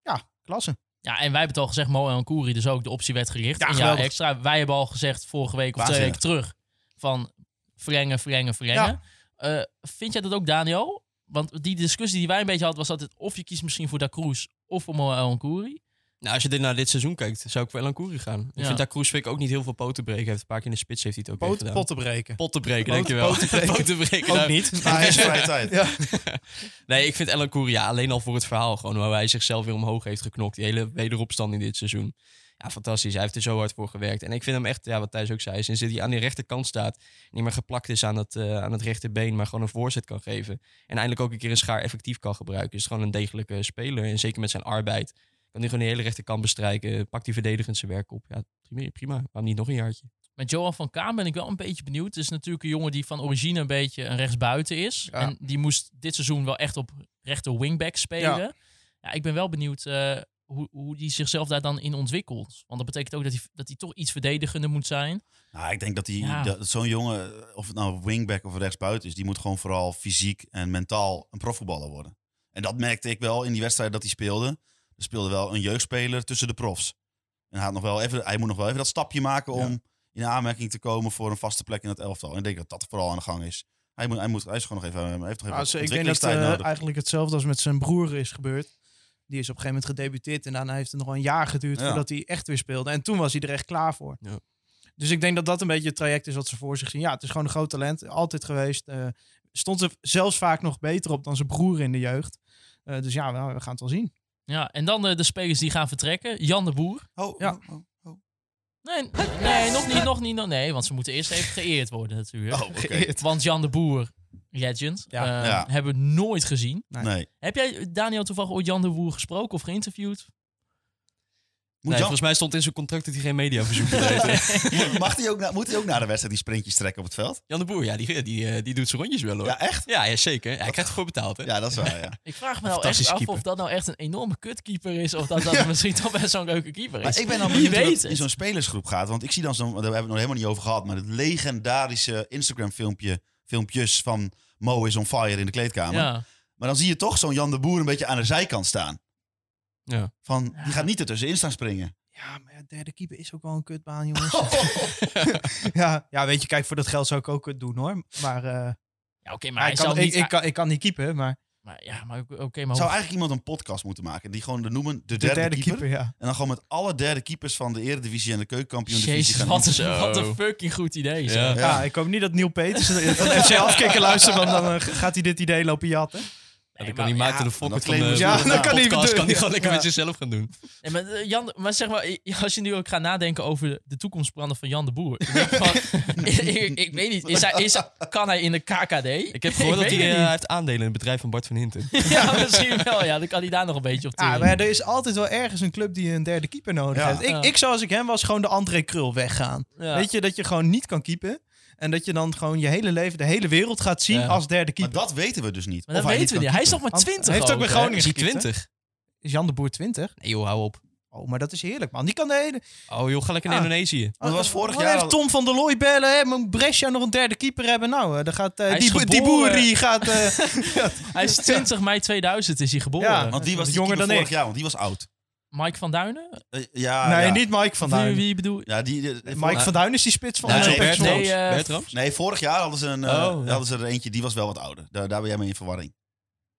Ja, klasse.
Ja, en wij hebben het al gezegd, Mo en Koeri, dus ook de optie werd gericht.
Ja,
Ja, ja
geweldig.
extra. Wij hebben al gezegd vorige week of twee
Waanzinnig.
weken terug van verlengen, verlengen, verlengen. Eh, vind jij dat ook, Daniel? Want die discussie die wij een beetje hadden was dat het of je kiest misschien voor Da Cruz of voor Mo en Koeri.
Nou, als je dit naar dit seizoen kijkt, zou ik wel aan Koeri gaan. Ik
Ja.
vind dat Kroes vind ik ook niet heel veel poten breken. Hij heeft een paar keer in de spits heeft hij het ook echt
Poten,
gedaan.
potten breken.
Potten breken,
Poten-
dankjewel.
poten breken.
breken.
Ook
nou,
niet.
Hij
Maar,
is vrije tijd.
Nee, ik vind Ellen Koeri ja, alleen al voor het verhaal gewoon hoe hij zichzelf weer omhoog heeft geknokt. Die hele wederopstand in dit seizoen. Ja, fantastisch. Hij heeft er zo hard voor gewerkt. En ik vind hem echt, ja, wat Thijs ook zei, sinds hij aan die rechterkant staat, niet meer geplakt is aan het, eh, aan het rechterbeen, maar gewoon een voorzet kan geven. En eindelijk ook een keer een schaar effectief kan gebruiken. Is gewoon een degelijke speler. En zeker met zijn arbeid. Kan hij gewoon de hele rechterkant bestrijken. Pakt die verdedigend zijn werk op. Ja, prima. prima. Waarom niet nog een jaartje?
Met Johan van Kaan ben ik wel een beetje benieuwd. Het is natuurlijk een jongen die van origine een beetje een rechtsbuiten is.
Ja.
En die moest dit seizoen wel echt op rechter wingback spelen. Ja. ik ben wel benieuwd eh, hoe, hoe die zichzelf daar dan in ontwikkelt. Want dat betekent ook dat hij, dat hij toch iets verdedigender moet zijn.
Nou, ik denk dat, die-
Ja.
dat zo'n jongen, of het nou wingback of rechtsbuiten is, die moet gewoon vooral fysiek en mentaal een profvoetballer worden. En dat merkte ik wel in die wedstrijd dat hij speelde. Er speelde wel een jeugdspeler tussen de profs. En hij, had nog wel even, hij moet nog wel even dat stapje maken om in aanmerking te komen voor een vaste plek in het elftal. En ik denk dat dat vooral aan de gang is. Hij, moet, hij, moet, hij is gewoon nog even, hij heeft nog
Nou,
even
ik denk dat
ontwikkelingstijd
eh,
nodig.
eigenlijk hetzelfde als met zijn broer is gebeurd. Die is op een gegeven moment gedebuteerd en daarna heeft het nog wel een jaar geduurd
Ja.
voordat hij echt weer speelde. En toen was hij er echt klaar voor.
Ja.
Dus ik denk dat dat een beetje het traject is wat ze voor zich zien. Ja, het is gewoon een groot talent, altijd geweest. eh, stond er zelfs vaak nog beter op dan zijn broer in de jeugd. Eh, dus ja, nou, we gaan het wel zien.
Ja, en dan eh, de spelers die gaan vertrekken. Jan de Boer.
Oh,
Ja.
oh, oh.
Nee, nee nog niet, nog niet. nog- nee, want ze moeten eerst even geëerd worden natuurlijk.
Oh, oké.
Want Jan de Boer, legend,
Ja.
eh,
Ja.
hebben we nooit gezien.
Nee.
Heb jij, Daniel, toevallig ooit Jan de Boer gesproken of geïnterviewd?
Moet
Nee,
Jan-
volgens mij stond in zijn contract dat hij geen mediaverzoek deed.
mag hij ook na, moet hij ook na de wedstrijd die sprintjes trekken op het veld?
Jan de Boer, ja, die, die, eh, die doet zijn rondjes wel hoor.
Ja, echt?
Ja, ja, zeker. Ja, hij krijgt ervoor betaald. Hè?
Ja, dat is waar, ja.
Ik vraag me nou echt
Fantastische
af
keeper.
of dat nou echt een enorme kutkeeper is. Of dat dat misschien toch best zo'n leuke keeper is.
Maar ik ben dan
Wie
benieuwd hoe
weet
dat in
het?
zo'n spelersgroep gaat. Want ik zie dan zo'n, daar hebben we het nog helemaal niet over gehad, maar het legendarische Instagram filmpje, filmpjes van Mo is on fire in de kleedkamer.
ja.
Maar dan zie je toch zo'n Jan de Boer een beetje aan de zijkant staan.
Ja.
Van, die gaat niet ertussenin staan springen.
Oh.
Ja, maar ja, derde keeper is ook wel een kutbaan, jongens. Oh. ja, ja, weet je, kijk, voor dat geld zou ik ook het doen, hoor. Maar, eh,
Ja, oké, maar
maar
hij
ik, kan,
zou
ik,
niet...
ik, kan, ik kan niet keeper, maar
maar, ja, maar oké, maar...
Zou
hoe-
eigenlijk iemand een podcast moeten maken die gewoon de noemen de
de
derde,
derde,
keeper,
keeper, ja.
En dan gewoon met alle derde keepers van de Eredivisie en de Keukenkampioen Divisie
Jezus,
gaan
wat
interviewen.
een, wat een
Zo.
fucking goed idee. zeg.
Ja.
Ja. ik hoop niet dat Neil Peters van FC Afkikken luistert, want dan eh, gaat hij dit idee lopen jatten.
Ja,
Nee,
dan kan die
maar-
Maarten
ja.
de Fokker
Dat
van de,
claimen ze
Ja,
van de
dat kan hij
eh, podcast
even doen.
kan die gewoon lekker
Ja.
met zichzelf gaan doen.
Nee, maar, eh, Jan, maar zeg maar, eh, als je nu ook gaat nadenken over de toekomstplannen van Jan de Boer. dan denk ik, van, ik, ik weet niet, is hij, is, hij- kan hij in de KKD?
Ik heb gehoord dat
weet
hij
het
eh, heeft aandelen in het bedrijf van Bart van Hinten.
niet. Ja, misschien wel. Ja, dan kan hij daar nog een beetje op
Ja,
teren.
Ah, maar ja, er is altijd wel ergens een club die een derde keeper nodig
Ja.
heeft. Ik,
Ja.
ik zou als ik hem was gewoon de André Krul weggaan.
Ja.
Weet je, dat je gewoon niet kan keepen. En dat je dan gewoon je hele leven de hele wereld gaat zien
Ja.
als derde
Maar
keeper.
dat weten we dus niet.
Maar dat
Of hij
weten we niet.
kan
Hij is nog
keepen.
maar 20
Want hij heeft ook bij
hè?
Groningen
Is hij
geschiet, hè?
20?
Is Jan de Boer 20?
Nee joh, hou op.
Oh, maar dat is heerlijk, man. Die kan de hele...
Oh joh, ga lekker naar
Ah.
Indonesië.
Want dat was
Oh,
vorig
Wat
jaar
heeft
al-
Tom van der Looy bellen, hè? Moet Brescia nog een derde keeper hebben? Nou, eh, dan gaat... eh,
Hij is
die, boer- die
geboren.
boer, die gaat... eh,
Hij is 20 mei 2000 is hij geboren.
Ja.
Want die was die
Jonger
keeper
dan
vorig
ik.
jaar, want die was oud.
Mike van Duinen?
Eh, ja,
nee,
ja.
niet Mike van
Wie,
Duin.
wie bedoel je?
Ja, die, die-
Mike van Duin is die spits van...
Nee,
eh,
nee,
Pek Zwolle.
nee, eh,
Bertrams?
Nee, vorig jaar hadden ze, een, eh,
Oh, ja.
hadden ze er eentje, die was wel wat ouder. Daar, daar ben jij mee in verwarring.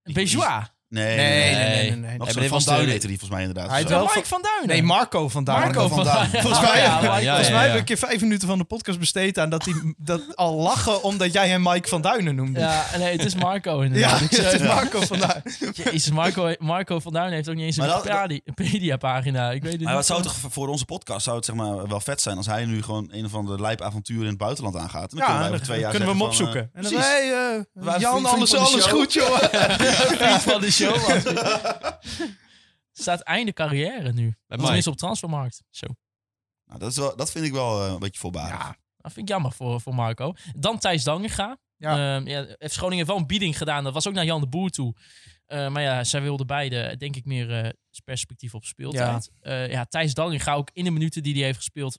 Die-
Bejois.
die- Nee, nee,
Nee,
nee.
nee, nee, nee, nee.
Nog
maar
zo'n
dit
Van
was de-
Duin heette die volgens mij inderdaad.
Hij
Zo.
had wel-
Oh, Mike van Duinen.
Nee, Marco van Duin.
Marco van Duinen.
Volgens mij,
Ja,
ja,
Mike
ja,
Volgens
ja.
mij heb ik een vijf minuten van de podcast besteed aan dat hij dat al lachen omdat jij hem Mike van Duinen noemde. Ja,
Ja, nee, het is Marco
ja,
inderdaad. Ik zei-
het is Marco van Duin.
Jezus, Marco, Marco van Duin heeft ook niet eens een
Maar dat-
Wikipedia- Wikipedia-pagina. Ik weet het
Maar
niet.
wat zou toch voor onze podcast zou het zeg maar wel vet zijn als hij nu gewoon een of ander lijpavontuur in het buitenland aangaat. En dan kunnen wij over twee jaar
kunnen we hem
zeggen
opzoeken.
Van,
en
eh,
dan,
precies.
hey, eh,
Waar-
Jan,
vriend van
alles,
de
alles
show.
goed, joh.
van de show Staat einde carrière nu. Tenminste op transfermarkt. Zo.
Nou, dat, is wel, dat vind ik wel eh, een beetje voorbarig.
Dat vind ik jammer voor, voor Marco. Dan Thijs Danginga.
Ja.
Ja. ja, FC Groningen heeft wel een bieding gedaan. Dat was ook naar Jan de Boer toe. Eh, maar ja, zij wilden beide, denk ik, meer eh, perspectief op speeltijd. Ja, ja Thijs Danginga ook in de minuten die hij heeft gespeeld.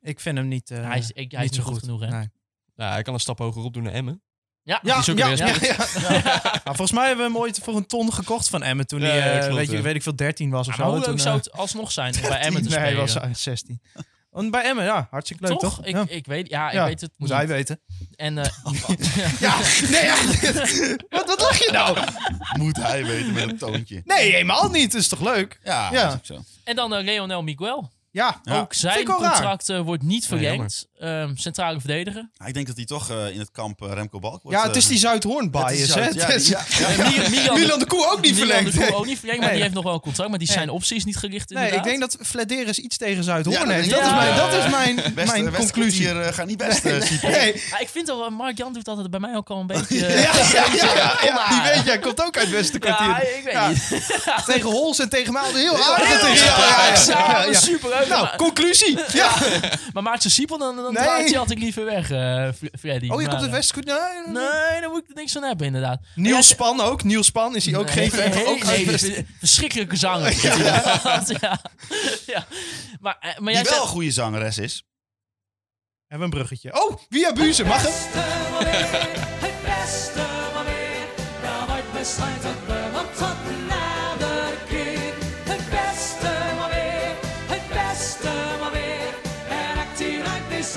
Ik vind hem niet, eh,
hij is, ik, hij is
niet
niet goed, genoeg, hè?
Nee.
Nou, hij kan een stap hoger op doen naar Emmen.
Ja,
Ja,
is ook
ja,
weer
ja, ja, ja. Maar volgens mij hebben we hem ooit voor een ton gekocht van Emmen toen
Ja,
hij, eh,
ja, klopt,
weet, je,
ja.
weet ik veel, 13 was of
maar
zo.
hoe
Toen,
leuk
eh,
zou het alsnog zijn om bij Emmen te
13,
spelen?
Nee, hij was 16. Want bij Emmen, ja, hartstikke leuk,
toch?
toch?
Ik,
Ja.
ik weet, ja, ik
Ja,
weet het
Moet
niet.
hij weten.
En eh,
Ja, nee, ja. wat, wat lach je nou?
Moet hij weten met een toontje.
Nee, helemaal niet. Het is toch leuk?
Ja,
Ja.
dat is ook zo. Nou,
En dan eh, Leonel Miguel.
Ja.
Ja.
Ook zijn
ik wel raar.
contract eh, wordt niet
Ja,
verlengd. Ehm, centrale verdediger.
Nou, ik denk dat hij toch eh, in het kamp eh, Remco Balk wordt.
Ja, het is die Zuidhoorn
eh, het
bias,
is
hè?
uit- ja,
Het is-
ja, ja.
En Eh, Mi- Milan,
Milan de Koer ook niet
Milan
verlengd.
de Koer
Nee.
ook niet verlengd, maar
Nee.
die heeft nog wel een contract. Maar die zijn opties niet gericht
Nee,
inderdaad.
ik denk dat Flederis iets tegen Zuidhoorn
Ja,
heeft.
dat
Dat, is
denk
mijn,
ik
dat
ook.
is mijn,
Best-
mijn
best
conclusie.
kwartier, eh, gaat niet best, eh, Sipho.
Nee.
Ja, Ah, ik vind al, Mark Jan doet altijd bij mij ook al een beetje...
Ja,
eh,
ja, ja, ja, Die weet jij, komt ook uit het beste
Ja,
kwartier.
ik weet
Ja.
niet.
Tegen Hols en tegen Maal. Heel aardig tegen jou. Ja,
Ja,
ja, ja, ja, ja.
super leuk.
Nou,
maar,
conclusie. Ja.
maar Maarten Siepel, dan, dan
Nee.
draait hij altijd liever weg, eh, Fre- Freddy.
Oh, je komt
Maar,
het
eh,
best goed. Nee, nee, nee.
Nee, daar moet ik niks van hebben inderdaad.
Niels Span ook. Niels Span is hij ook geen fan van.
nee,
Ook
nee,
uit
die
West-
vind- verschrikkelijke zanger. Ja. ja. Maar, eh, maar jij
Die wel een
zegt,
goede zangeres is.
Hebben we een bruggetje. Oh, via Buzen. Mag het?
Het beste maar weer. Ja, wat besluit dat we want tot na de keer. Het beste maar weer. Het beste maar weer. En actieruit is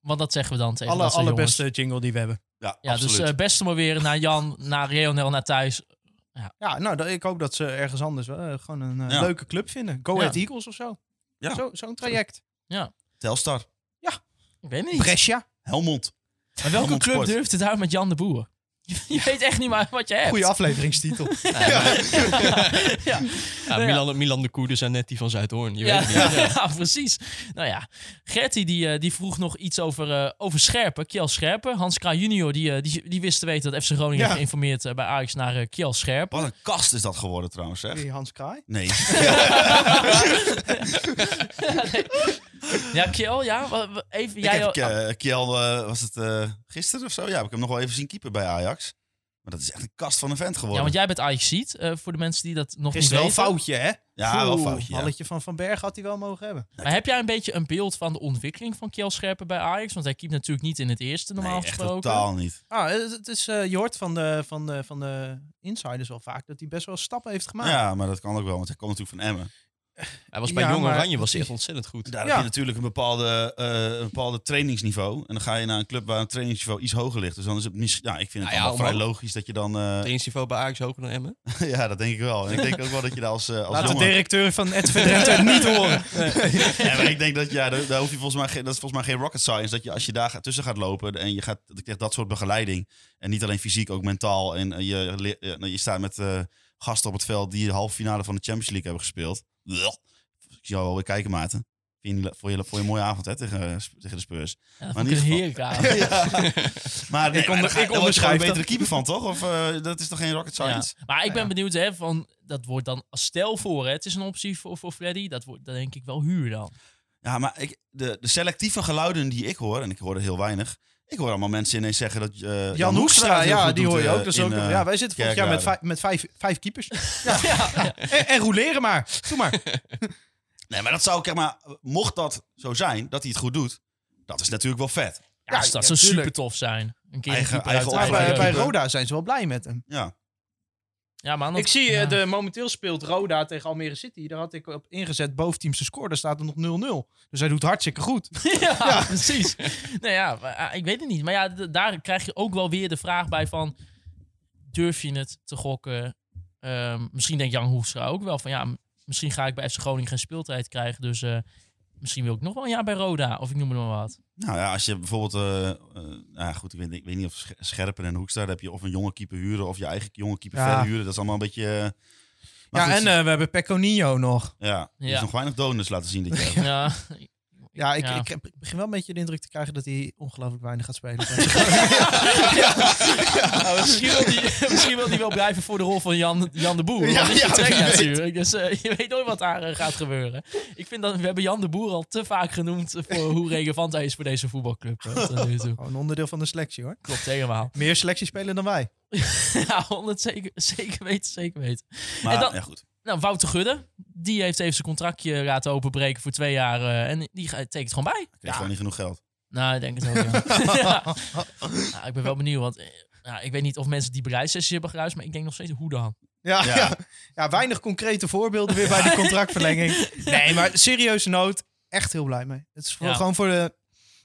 Want dat zeggen we dan tegen
Alle,
dat soort jongens.
allerbeste jingle die we hebben.
Ja,
Ja,
absoluut.
dus eh beste maar weer naar Jan, naar Reonel, naar thuis.
Ja, nou, dat- ik hoop dat ze ergens anders wel, eh, gewoon een eh,
Ja.
leuke club vinden. Go
Ja.
Ahead Eagles of zo.
Ja.
Zo- Zo'n traject.
Telstar,
Ik weet het niet.
Brescia.
Helmond.
maar welke
Helmond
club
Sport.
durft het uit met Jan de Boer? Je weet echt niet maar wat je hebt.
Goeie afleveringstitel.
Ja, Milan, Milan de Koer, dus Annette van Zuidhoorn. Je
Ja,
weet het niet.
ja, precies. Nou ja, Gertie die, eh, die vroeg nog iets over, eh, over Scherpen, Kiel Scherpen. Hans Kraaij junior die, eh, die, die wist te weten dat FC Groningen
Ja.
geïnformeerd eh, bij Ajax naar eh, Kiel Scherpen.
Wat een kast is dat geworden trouwens, zeg.
Die Hans Kraai.
Nee.
Ja, Kiel, ja. wa- wa- Even,
ik
jij,
heb
al-
eh, Kiel, eh, was het eh, gisteren of zo? Ja, heb ik hem nog wel even zien keeper bij Ajax. Maar dat is echt een kast van een vent
ja,
geworden.
want jij bent Ajax ziet voor de mensen die dat nog
Is
niet
wel een
weten.
foutje, hè?
Ja, wel
Oeh,
foutje, ja.
Balletje van Van Berg had hij wel mogen hebben.
Maar heb jij een beetje een beeld van de ontwikkeling van Kiel Scherpen bij Ajax? Want hij keept natuurlijk niet in het eerste normaal
nee, echt
gesproken.
totaal niet.
Ah, het, het is, eh, je hoort van de, van, de, van de insiders wel vaak dat hij best wel stappen heeft gemaakt.
Ja, maar dat kan ook wel, want hij komt natuurlijk van Emmen.
Hij was bij
Ja,
Jong
maar-
Oranje was hij echt ontzettend goed.
Daar
Ja.
heb je natuurlijk een bepaalde, eh, een bepaalde trainingsniveau. En dan ga je naar een club waar een trainingsniveau iets hoger ligt. Dus dan is het misschien... Ja, ik vind het
Nou ja,
allemaal vrij
om-
logisch dat je dan... eh,
Trainingsniveau bij Ajax hoger dan Emmen.
ja, dat denk ik wel. En ik denk ook wel dat je daar als, eh, als
Laat de
jongen...
directeur van Ed Drenthe het niet horen.
Ja, maar ik denk dat ja, daar, daar hoef je volgens mij geen, dat is volgens mij geen rocket science. Dat je als je daar gaat- tussen gaat lopen en je gaat dat ik zeg, dat soort begeleiding. En niet alleen fysiek, ook mentaal. En eh, je, le- eh, nou, je staat met eh, gasten op het veld die de halve finale van de Champions League hebben gespeeld. Blech. Ik zou wel weer kijken, Maarten. Vind je, voor, je, voor je een mooie avond hè, tegen, eh, Sp- tegen de Spurs.
Ja, dat
Maar
vond
in
ik een
ieder
heerlijke avond.
Maar nee,
Ik onder- ik
ik, ik
onderschrijf
onderschrijf een
dat.
betere keeper van, toch? Of eh, dat is toch geen rocket
Ja.
science?
Maar ik ben benieuwd, hè, van, dat wordt dan, stel voor, hè, het is een optie voor, voor Freddy, dat wordt dan denk ik wel huur dan.
Ja, maar ik, de, de selectieve geluiden die ik hoor, en ik hoor er heel weinig. Ik hoor allemaal mensen ineens zeggen dat eh, Jan,
Jan Hoekstra,
het heel
ja,
goed
die
doet,
hoor je
eh,
ook. Dus
in,
ook
eh,
ja, wij zitten vorig jaar met, vijf,
Kerkrade.
met vijf, vijf keepers. Ja. En, en rouleren maar. Doe maar.
Nee, maar dat zou ik, maar, mocht dat zo zijn, dat hij het goed doet, dat is natuurlijk wel vet.
Ja, dus dat
ja,
zou
tuurlijk.
super tof zijn. Een keer
Eigen-
een keeper
eigen
uit
Maar
eigen
bij,
jeugd.
bij Roda zijn ze wel blij met hem.
Ja,
Ja, man,
Ik zie, eh,
ja.
de, momenteel speelt Roda tegen Almere City. Daar had ik op ingezet, boventeams te scoren. Daar staat er nog 0-0. Dus hij doet hartstikke goed.
ja, precies. nou ja, maar, ah, ik weet het niet. Maar ja, d- daar krijg je ook wel weer de vraag bij van... Durf je het te gokken? Ehm, misschien denkt Jan Hoefstra ook wel van... Ja, m- misschien ga ik bij FC Groningen geen speeltijd krijgen. Dus eh, misschien wil ik nog wel een jaar bij Roda. Of ik noem het maar wat.
nou ja, als je bijvoorbeeld, eh, eh, nou ja, goed, ik weet, niet- ik weet niet of Scher- Scherpen en Hoekstra, daar heb je of een jonge keeper huren of je eigen jonge keeper
Ja.
verhuren. Dat is allemaal een beetje... eh, maar
ja,
goed,
en eh, we hebben Peconinho nog.
ja, die heeft
Ja.
nog weinig donors laten zien dit jaar.
Ja,
Ja, ik,
Ja.
ik heb- begin wel een beetje de indruk te krijgen dat hij ongelooflijk weinig gaat spelen.
Nou, misschien, wil die, misschien wil die wel blijven voor de rol van Jan, Jan de Boer.
Ja,
Ja, is
ja,
vertrekt
wie weet.
natuurlijk. Dus eh, je weet nooit wat daar eh, gaat gebeuren. Ik vind dat we hebben Jan de Boer al te vaak genoemd voor hoe relevant hij is voor deze voetbalclub. eh, tot nu toe.
Gewoon een onderdeel van de selectie hoor.
Klopt helemaal.
Meer selectiespelen dan wij.
Ja, 100 Nou, zeker, zeker weten, zeker weten. En
Maar
dan-
ja, goed.
Nou, Wouter Gudde, die heeft even zijn contractje laten openbreken voor twee jaar. eh, en die ga- tekent gewoon bij.
Ik kreeg gewoon niet genoeg geld.
Nou, ik denk het ook. Ja. Ja. Nou, ik ben wel benieuwd, want eh, nou, ik weet niet of mensen die bereissessies hebben geluisterd, maar ik denk nog steeds hoe dan.
Ja, ja.
Ja.
Ja. weinig concrete voorbeelden weer bij die contractverlenging. Nee, maar serieuze nood. Echt heel blij mee. Het is voor-
Ja.
gewoon voor de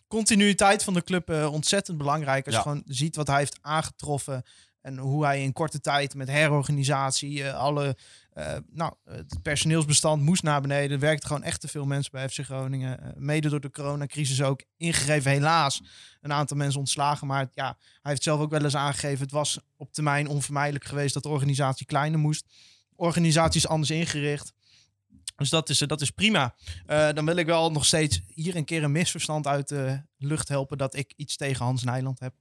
continuïteit van de club eh, ontzettend belangrijk. Als
Ja.
je gewoon ziet wat hij heeft aangetroffen. En hoe hij in korte tijd met herorganisatie eh, alle... eh, nou, het personeelsbestand moest naar beneden. Er werkten gewoon echt te veel mensen bij FC Groningen. Eh, mede door de coronacrisis ook. Ingegeven helaas een aantal mensen ontslagen. Maar ja, hij heeft zelf ook wel eens aangegeven... het was op termijn onvermijdelijk geweest... dat de organisatie kleiner moest organisaties anders ingericht. Dus dat is, eh, dat is prima. Eh, dan wil ik wel nog steeds hier een keer een misverstand uit de lucht helpen dat ik iets tegen Hans Nijland heb.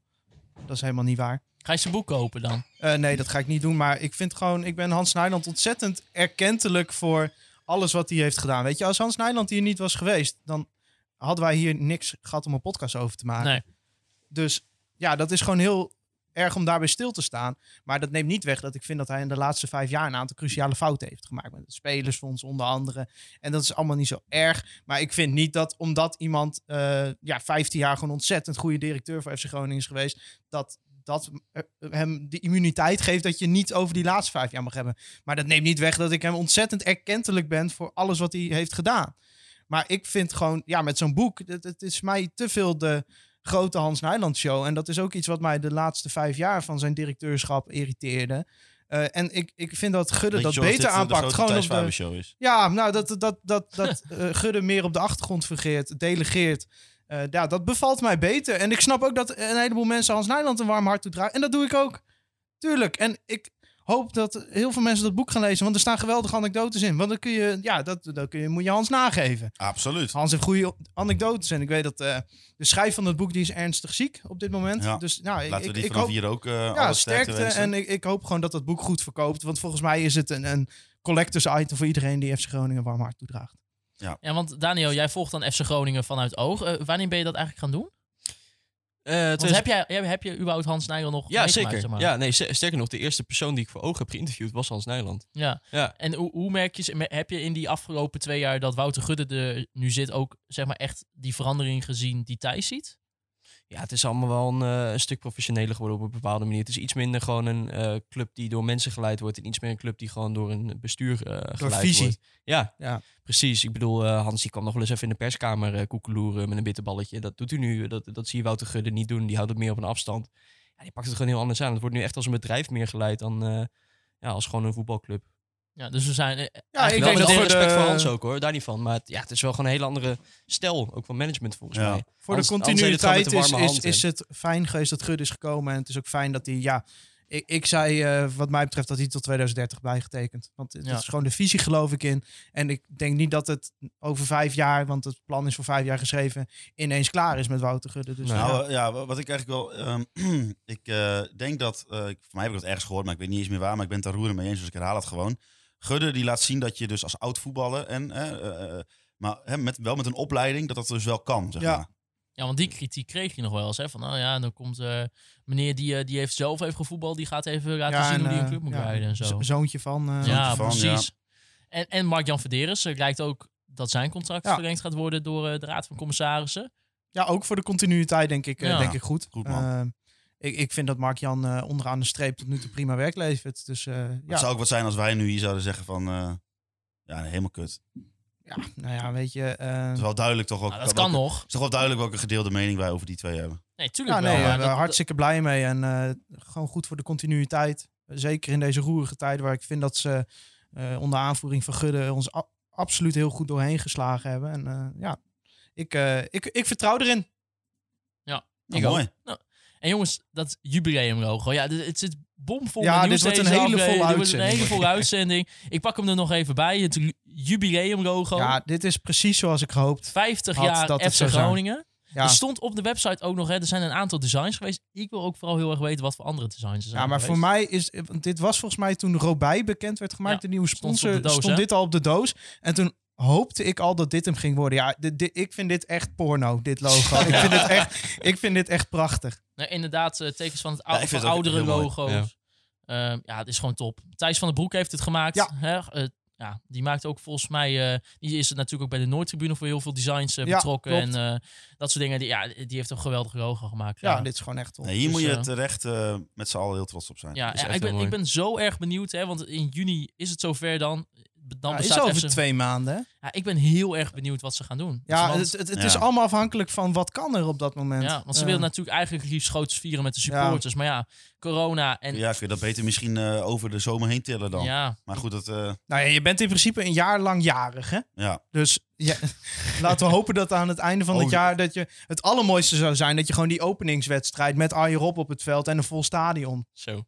Dat is helemaal niet waar.
Ga je zijn boek kopen dan?
Eh, nee, dat ga ik niet doen. Maar ik vind gewoon, ik ben Hans Nijland ontzettend erkentelijk voor alles wat hij heeft gedaan. Weet je, als Hans Nijland hier niet was geweest, dan hadden wij hier niks gehad om een podcast over te maken.
Nee.
Dus ja, dat is gewoon heel erg om daarbij stil te staan. Maar dat neemt niet weg dat ik vind dat hij in de laatste vijf jaar een aantal cruciale fouten heeft gemaakt. Met het spelersfonds onder andere. En dat is allemaal niet zo erg. Maar ik vind niet dat omdat iemand eh, ja, 15 jaar gewoon ontzettend goede directeur voor FC Groningen is geweest, dat dat eh, hem de immuniteit geeft dat je niet over die laatste vijf jaar mag hebben. Maar dat neemt niet weg dat ik hem ontzettend erkentelijk ben voor alles wat hij heeft gedaan. Maar ik vind gewoon, ja, met zo'n boek, het, het is mij te veel de, grote Hans Nijland show. En dat is ook iets wat mij de laatste vijf jaar van zijn directeurschap irriteerde. Eh, en ik, ik vind dat Gudde
Beetje
dat
zoals
beter
dit, eh, de
aanpakt.
grote
Gewoon
Thijs
op de,
Fabershow is.
ja, nou, dat, dat, dat, dat eh, Gudde meer op de achtergrond vergeert, delegeert. Eh, ja, dat bevalt mij beter. En ik snap ook dat een heleboel mensen Hans Nijland een warm hart toedragen. En dat doe ik ook. Tuurlijk. En ik hoop dat heel veel mensen dat boek gaan lezen. Want er staan geweldige anekdotes in. Want dan kun je, ja, dat, dat kun je, moet je Hans nageven.
Absoluut.
Hans heeft goede anekdotes. En ik weet dat eh, de schrijver van het boek, die is ernstig ziek op dit moment.
Ja.
Dus nou, ik,
Laten we
ik,
die
ik
vanaf
hoop
hier ook eh
ja,
alle sterkte
sterkte.
wensen.
en ik, ik hoop gewoon dat dat boek goed verkoopt. Want volgens mij is het een, een collectors item voor iedereen die FC Groningen warm hart toedraagt.
Ja, want Daniel, jij volgt dan FC Groningen vanuit oog. Eh, wanneer ben je dat eigenlijk gaan doen? Want heb, jij, heb- heb je überhaupt Hans Nijland nog
Eh, ja,
meegemaakt,
zeker.
zeg maar?
Ja, nee, ze- sterker nog, de eerste persoon die ik voor ogen heb geïnterviewd was Hans Nijland.
Ja.
Ja.
En hoe, hoe merk je, me- heb je in die afgelopen twee jaar dat Wouter Gudde er nu zit ook zeg maar echt die verandering gezien die Thijs ziet?
Ja, het is allemaal wel een, eh, een stuk professioneler geworden op een bepaalde manier. Het is iets minder gewoon een eh, club die door mensen geleid wordt. En iets meer een club die gewoon door een bestuur eh geleid
visie.
wordt. Ja,
Ja.
precies. Ik bedoel, eh, Hans die kwam nog wel eens even in de perskamer eh, koekeloeren met een bitterballetje. Dat doet hij nu. eh, Dat, dat zie je Wouter Gudde niet doen. Die houdt het meer op een afstand. Ja, die pakt het gewoon heel anders aan. Het wordt nu echt als een bedrijf meer geleid dan eh, ja, als gewoon een voetbalclub.
Ja, dus we zijn... eh,
Ja, ik
Ik
eigenlijk
denk
wel met
dat
alle
voor
respect
de-
voor Hans ook hoor, daar niet van. Maar het, ja, het is wel gewoon een hele andere stijl, ook van management volgens
Ja.
mij.
Voor
Hans-
de
Hans deed het
continuïteit
gewoon met
is,
de warme
is,
hand
is
en-
het fijn geweest dat Gudde is gekomen. En het is ook fijn dat hij, ja, ik, ik zei eh, wat mij betreft dat hij tot 2030 bijgetekend. Want het
Ja.
is gewoon de visie geloof ik in. En ik denk niet dat het over vijf jaar, want het plan is voor vijf jaar geschreven, ineens klaar is met Wouter Gudde. Dus ja.
Nou eh, ja, wa- wat ik eigenlijk wel. ehm, ik eh, denk dat. eh, ik, voor mij heb ik dat ergens gehoord, maar ik weet niet eens meer waar. Maar ik ben het daar roerend mee eens, dus ik herhaal het gewoon. Gudde die laat zien dat je dus als oud voetballer. En, eh, eh, eh, maar hè, met, wel met een opleiding, dat dat dus wel kan. Zeg
Ja.
maar.
Ja, want die kritiek kreeg je nog wel eens. Hè? Van, nou ja, dan komt eh, meneer die, eh, die heeft zelf even gevoetbald. Die gaat even laten
Ja,
zien
en,
hoe die een
eh,
club moet
ja,
rijden en zo.
zo- Zoontje van. eh,
ja,
van,
precies. En, en Mark-Jan Verderes eh, lijkt ook dat zijn contract
Ja.
verlengd gaat worden door eh, de Raad van Commissarissen.
Ja, ook voor de continuïteit denk ik, eh,
Ja.
denk ik goed.
Goed, man.
Eh, ik, ik vind dat Mark-Jan eh, onderaan de streep tot nu toe prima werk levert. Dus eh,
Het
ja.
zou ook wat zijn als wij nu hier zouden zeggen van. eh, ja, nee, helemaal kut. Het
ja, nou ja, weet je. eh,
is wel duidelijk toch ook.
Nou, dat kan nog.
Het is toch wel duidelijk welke gedeelde mening wij over die twee hebben.
Nee, tuurlijk
ja, nee,
wel.
eh,
maar dat-
hartstikke blij mee en eh, gewoon goed voor de continuïteit. Zeker in deze roerige tijd waar ik vind dat ze eh, onder aanvoering van Gudde ons a- absoluut heel goed doorheen geslagen hebben. En eh, ja, ik, eh, ik, ik vertrouw erin.
Nou,
Ik ook.
mooi.
En jongens, dat jubileumlogo. Ja, dit- het zit bomvol
Ja,
met
dit
nieuws
wordt een
deze
hele
aflevering.
volle
Dit wordt een hele volle uitzending. Ik pak hem er nog even bij. Het lu- jubileumlogo.
Ja, dit is precies zoals ik gehoopt.
50
Had
jaar
dat het
FC
zo zijn.
Groningen.
Ja.
Er stond op de website ook nog, hè, er zijn een aantal designs geweest. Ik wil ook vooral heel erg weten wat voor andere designs er zijn
Ja, maar
geweest.
voor mij is... want Dit was volgens mij toen Robij bekend werd gemaakt,
Ja,
de nieuwe
stond ze
sponsor.
op de
Stond,
doos, hè?
dit al op de doos. En toen hoopte ik al dat dit hem ging worden. Ja, dit, dit- ik vind dit echt porno, dit logo. ik, vind dit echt, ik vind dit echt prachtig.
Nee, inderdaad, eh, tekens van het ou-
ik
van
vind het ook
oudere
heel mooi.
logo's.
Ja.
Ehm, Ja. het is gewoon top. Thijs van den Broek heeft het gemaakt.
Ja.
Hè? eh, ja, die maakt ook volgens mij... eh, die is natuurlijk ook bij de Noordtribune voor heel veel designs eh,
Ja,
betrokken.
klopt.
en eh, dat soort dingen. Die, ja, die heeft een geweldig logo gemaakt.
Ja, dit is gewoon echt top.
Nee, hier
Dus,
moet je
eh,
terecht eh, met z'n allen heel trots op zijn.
Ja,
is
ja,
echt
ik, ben,
heel mooi.
ik ben zo erg benieuwd, hè, want in juni is het zover dan. dan
Ja,
bestaat
is over
FC
twee maanden. hè?
Ja, ik ben heel erg benieuwd wat ze gaan doen.
Ja,
want,
het, het, het is
Ja.
allemaal afhankelijk van wat kan er op dat moment.
ja, want ze
Eh,
willen natuurlijk eigenlijk liefst groots vieren met de supporters. Maar ja, corona en...
Ja, kun je dat beter misschien eh, over de zomer heen tillen dan.
ja.
Maar goed, dat. eh,
Nou ja, je bent in principe een jaar lang jarig, hè?
ja.
Dus ja, laten we hopen dat aan het einde van
Oh,
het
ja.
jaar... dat je het allermooiste zou zijn... dat je gewoon die openingswedstrijd met Arjen Rob op het veld... en een vol stadion.
Zo.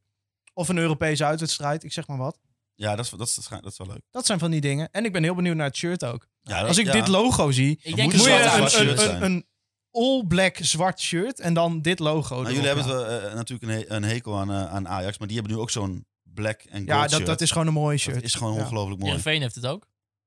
Of een Europese uitwedstrijd, ik zeg maar wat.
Ja, dat is, dat, is, dat is wel leuk.
Dat zijn van die dingen. En ik ben heel benieuwd naar het shirt ook.
Ja, dat-
Als ik
ja.
dit logo zie...
Ik denk
moet
moet
een
je
zwart-
zwarte-
een,
zwart shirt
een, een,
zijn.
een all-black zwart shirt... en dan dit logo
Nou,
erop,
jullie hebben
ja.
het, wel, eh, natuurlijk een, he- een hekel aan, eh, aan Ajax, maar die hebben nu ook zo'n black en gold
Ja, dat,
shirt.
dat is gewoon een mooi shirt.
Dat is gewoon
Ja.
ongelooflijk mooi.
Heerenveen heeft het ook.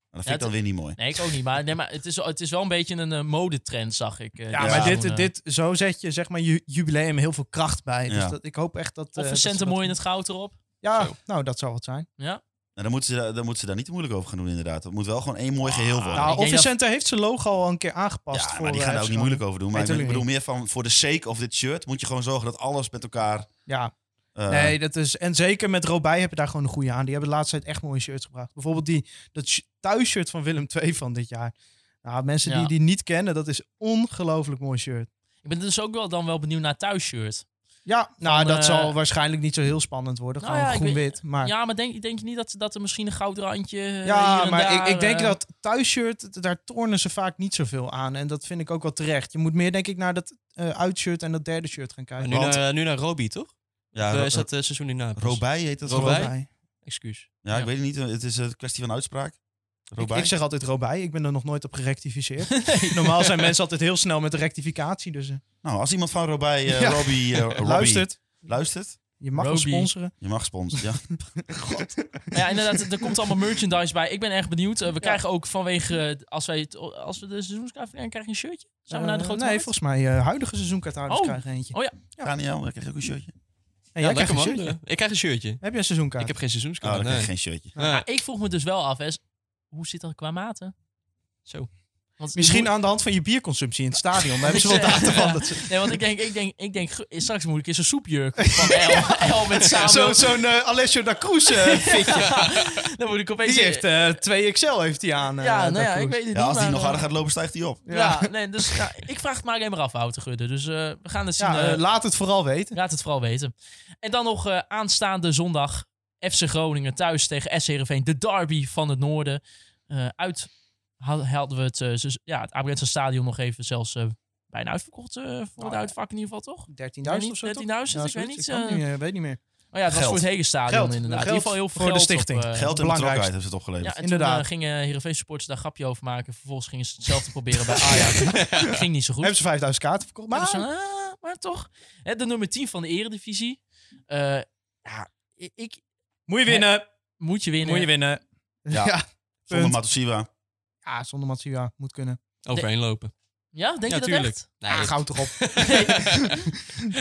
Maar dat vind
Ja,
ik dan weer niet mooi.
Nee, ik ook niet. Maar, nee, maar het, is, het is wel een beetje een eh, modetrend, zag ik. eh,
Ja,
dit
maar
seizoen,
dit,
eh.
dit, zo zet je zeg maar je jubileum heel veel kracht bij. Dus
Ja.
dat, ik hoop echt dat... eh,
Of een
dat ze
centen
dat-
mooi in het goud erop.
Ja, nou dat zou wat zijn.
Nou, dan, moeten ze, daar- dan moeten ze daar niet te moeilijk over gaan doen, inderdaad. Dat moet wel gewoon één mooi geheel worden.
nou,
ik
of
denk
de
dat-
centen heeft zijn logo al een keer aangepast.
ja,
voor,
maar die
eh,
gaan daar ook niet
Epsilon.
moeilijk over doen. Maar
Nee,
ik, ben- ik bedoel
tuurlijk
meer van, voor de sake of dit shirt moet je gewoon zorgen dat alles met elkaar...
Ja,
eh,
nee, dat is... En zeker met Robij hebben daar gewoon een goede aan. Die hebben de laatste tijd echt mooie shirts gebracht. Bijvoorbeeld die, dat sh- thuisshirt van Willem II van dit jaar. Nou, mensen
Ja.
die die niet kennen, dat is een ongelooflijk mooi shirt.
Ik ben dus ook wel dan wel benieuwd naar thuisshirt.
Ja, nou,
Van,
dat
eh,
zal waarschijnlijk niet zo heel spannend worden.
Nou
Gewoon
ja, ik weet-
groen-wit. Maar...
Ja, maar denk, denk je niet dat, dat er misschien een goudrandje eh,
Ja,
hier en
maar
daar,
ik, ik denk
eh,
dat thuisshirt, d- daar tornen ze vaak niet zoveel aan. En dat vind ik ook wel terecht. Je moet meer, denk ik, naar dat eh, uitshirt en dat derde shirt gaan
Maar
kijken.
nu,
Want-
naar, nu naar Roby, toch?
Ja,
Of, eh,
Ro-
is dat eh, seizoen in Napels?
Robij heet dat
Robij?
geloof ik.
Robij.
Excuus.
Ja, ik weet het niet. eh, Het is een kwestie van uitspraak.
Ik,
Robij.
ik zeg altijd Robij. Ik ben er nog nooit op gerectificeerd. Normaal zijn mensen altijd heel snel met de rectificatie. Dus eh,
Nou, als iemand van Robij, eh
Ja.
Robbie, eh, Robbie
luistert.
luistert,
Je mag ons
Roby.
sponsoren.
je mag sponsoren. Ja.
Maar ja, inderdaad, er komt allemaal merchandise bij. Ik ben erg benieuwd. Eh, we krijgen ook vanwege, eh, als, wij het, als we de seizoenskaart verlengen, krijgen we een shirtje. Zijn we naar de
Eh,
grote
Nee,
markt?
volgens mij eh, huidige seizoenkaarthouders
Oh.
krijgen eentje.
Oh,
Daniel, dan krijg je ook een shirtje.
Ah, En
Ja,
jij
lekker
krijgt een
man.
shirtje.
Eh, Ik krijg een shirtje.
Heb je een seizoenkaart?
Ik heb geen
Oh,
seizoenskaart.
dan krijg
nee.
je geen shirtje.
Nee.
Ik vroeg me dus wel af, hè, s- hoe zit dat qua maten?
Zo.
Want
Misschien aan de hand van je bierconsumptie in het stadion. Daar hebben ze wel
Ja.
data van. Dat ze-
Nee, want ik denk, ik denk, ik denk gu- straks moet ik eens een soepjurk van El, El met samen.
Zo- Zo'n eh, Alessio da Cruz eh, fitje.
Dan moet ik opeens...
Die heeft eh 2XL heeft hij aan. eh,
ja, nou
da
ja,
Cruz.
ik weet het
Ja,
niet.
als die
maar,
nog
eh,
harder gaat lopen, stijgt hij op.
Ja, nee, dus ja, ik vraag het maar alleen maar af, Wouter Gudde. Dus eh, we gaan het zien.
Ja,
eh,
eh, laat het vooral weten.
Laat het vooral weten. En dan nog eh, aanstaande zondag FC Groningen thuis tegen SC Heerenveen. De derby van het noorden. Eh, uit ha- hadden we het, eh, ze- ja, het Abrentse stadion nog even zelfs eh, bijna uitverkocht. eh, voor
Nou
het uitvak in ieder geval, toch?
13.000 of zo.
13.000,
toch?
ik
zoiets.
weet niet,
kan
eh,
niet, eh, weet niet meer.
Oh ja, het was
Geld.
voor het hele stadion
Geld.
inderdaad.
Geld
in ieder geval heel veel
voor de
geld op,
stichting.
eh,
Geld
belangrijkste.
en betrokkenheid hebben ze het opgeleverd.
ja, en toen
Inderdaad.
eh, gingen Heerenveen supporters daar een grapje over maken. Vervolgens gingen ze hetzelfde proberen bij Ajax. Ging niet zo goed.
Hebben ze 5000 kaarten verkocht? Maar
Maar, "Ah, maar toch. Hè, de nummer 10 van de eredivisie. Eh, ja, ik- ik...
moet je
winnen. Moet je winnen.
winnen. Ja,
Ja.
ja.
Zonder
punt.
Matosiwa.
ja zonder Matsuya. Moet kunnen.
Overheen lopen.
Ja, denk
Ja,
je dat
tuurlijk.
echt?
Nee,
ah,
het-
goud erop.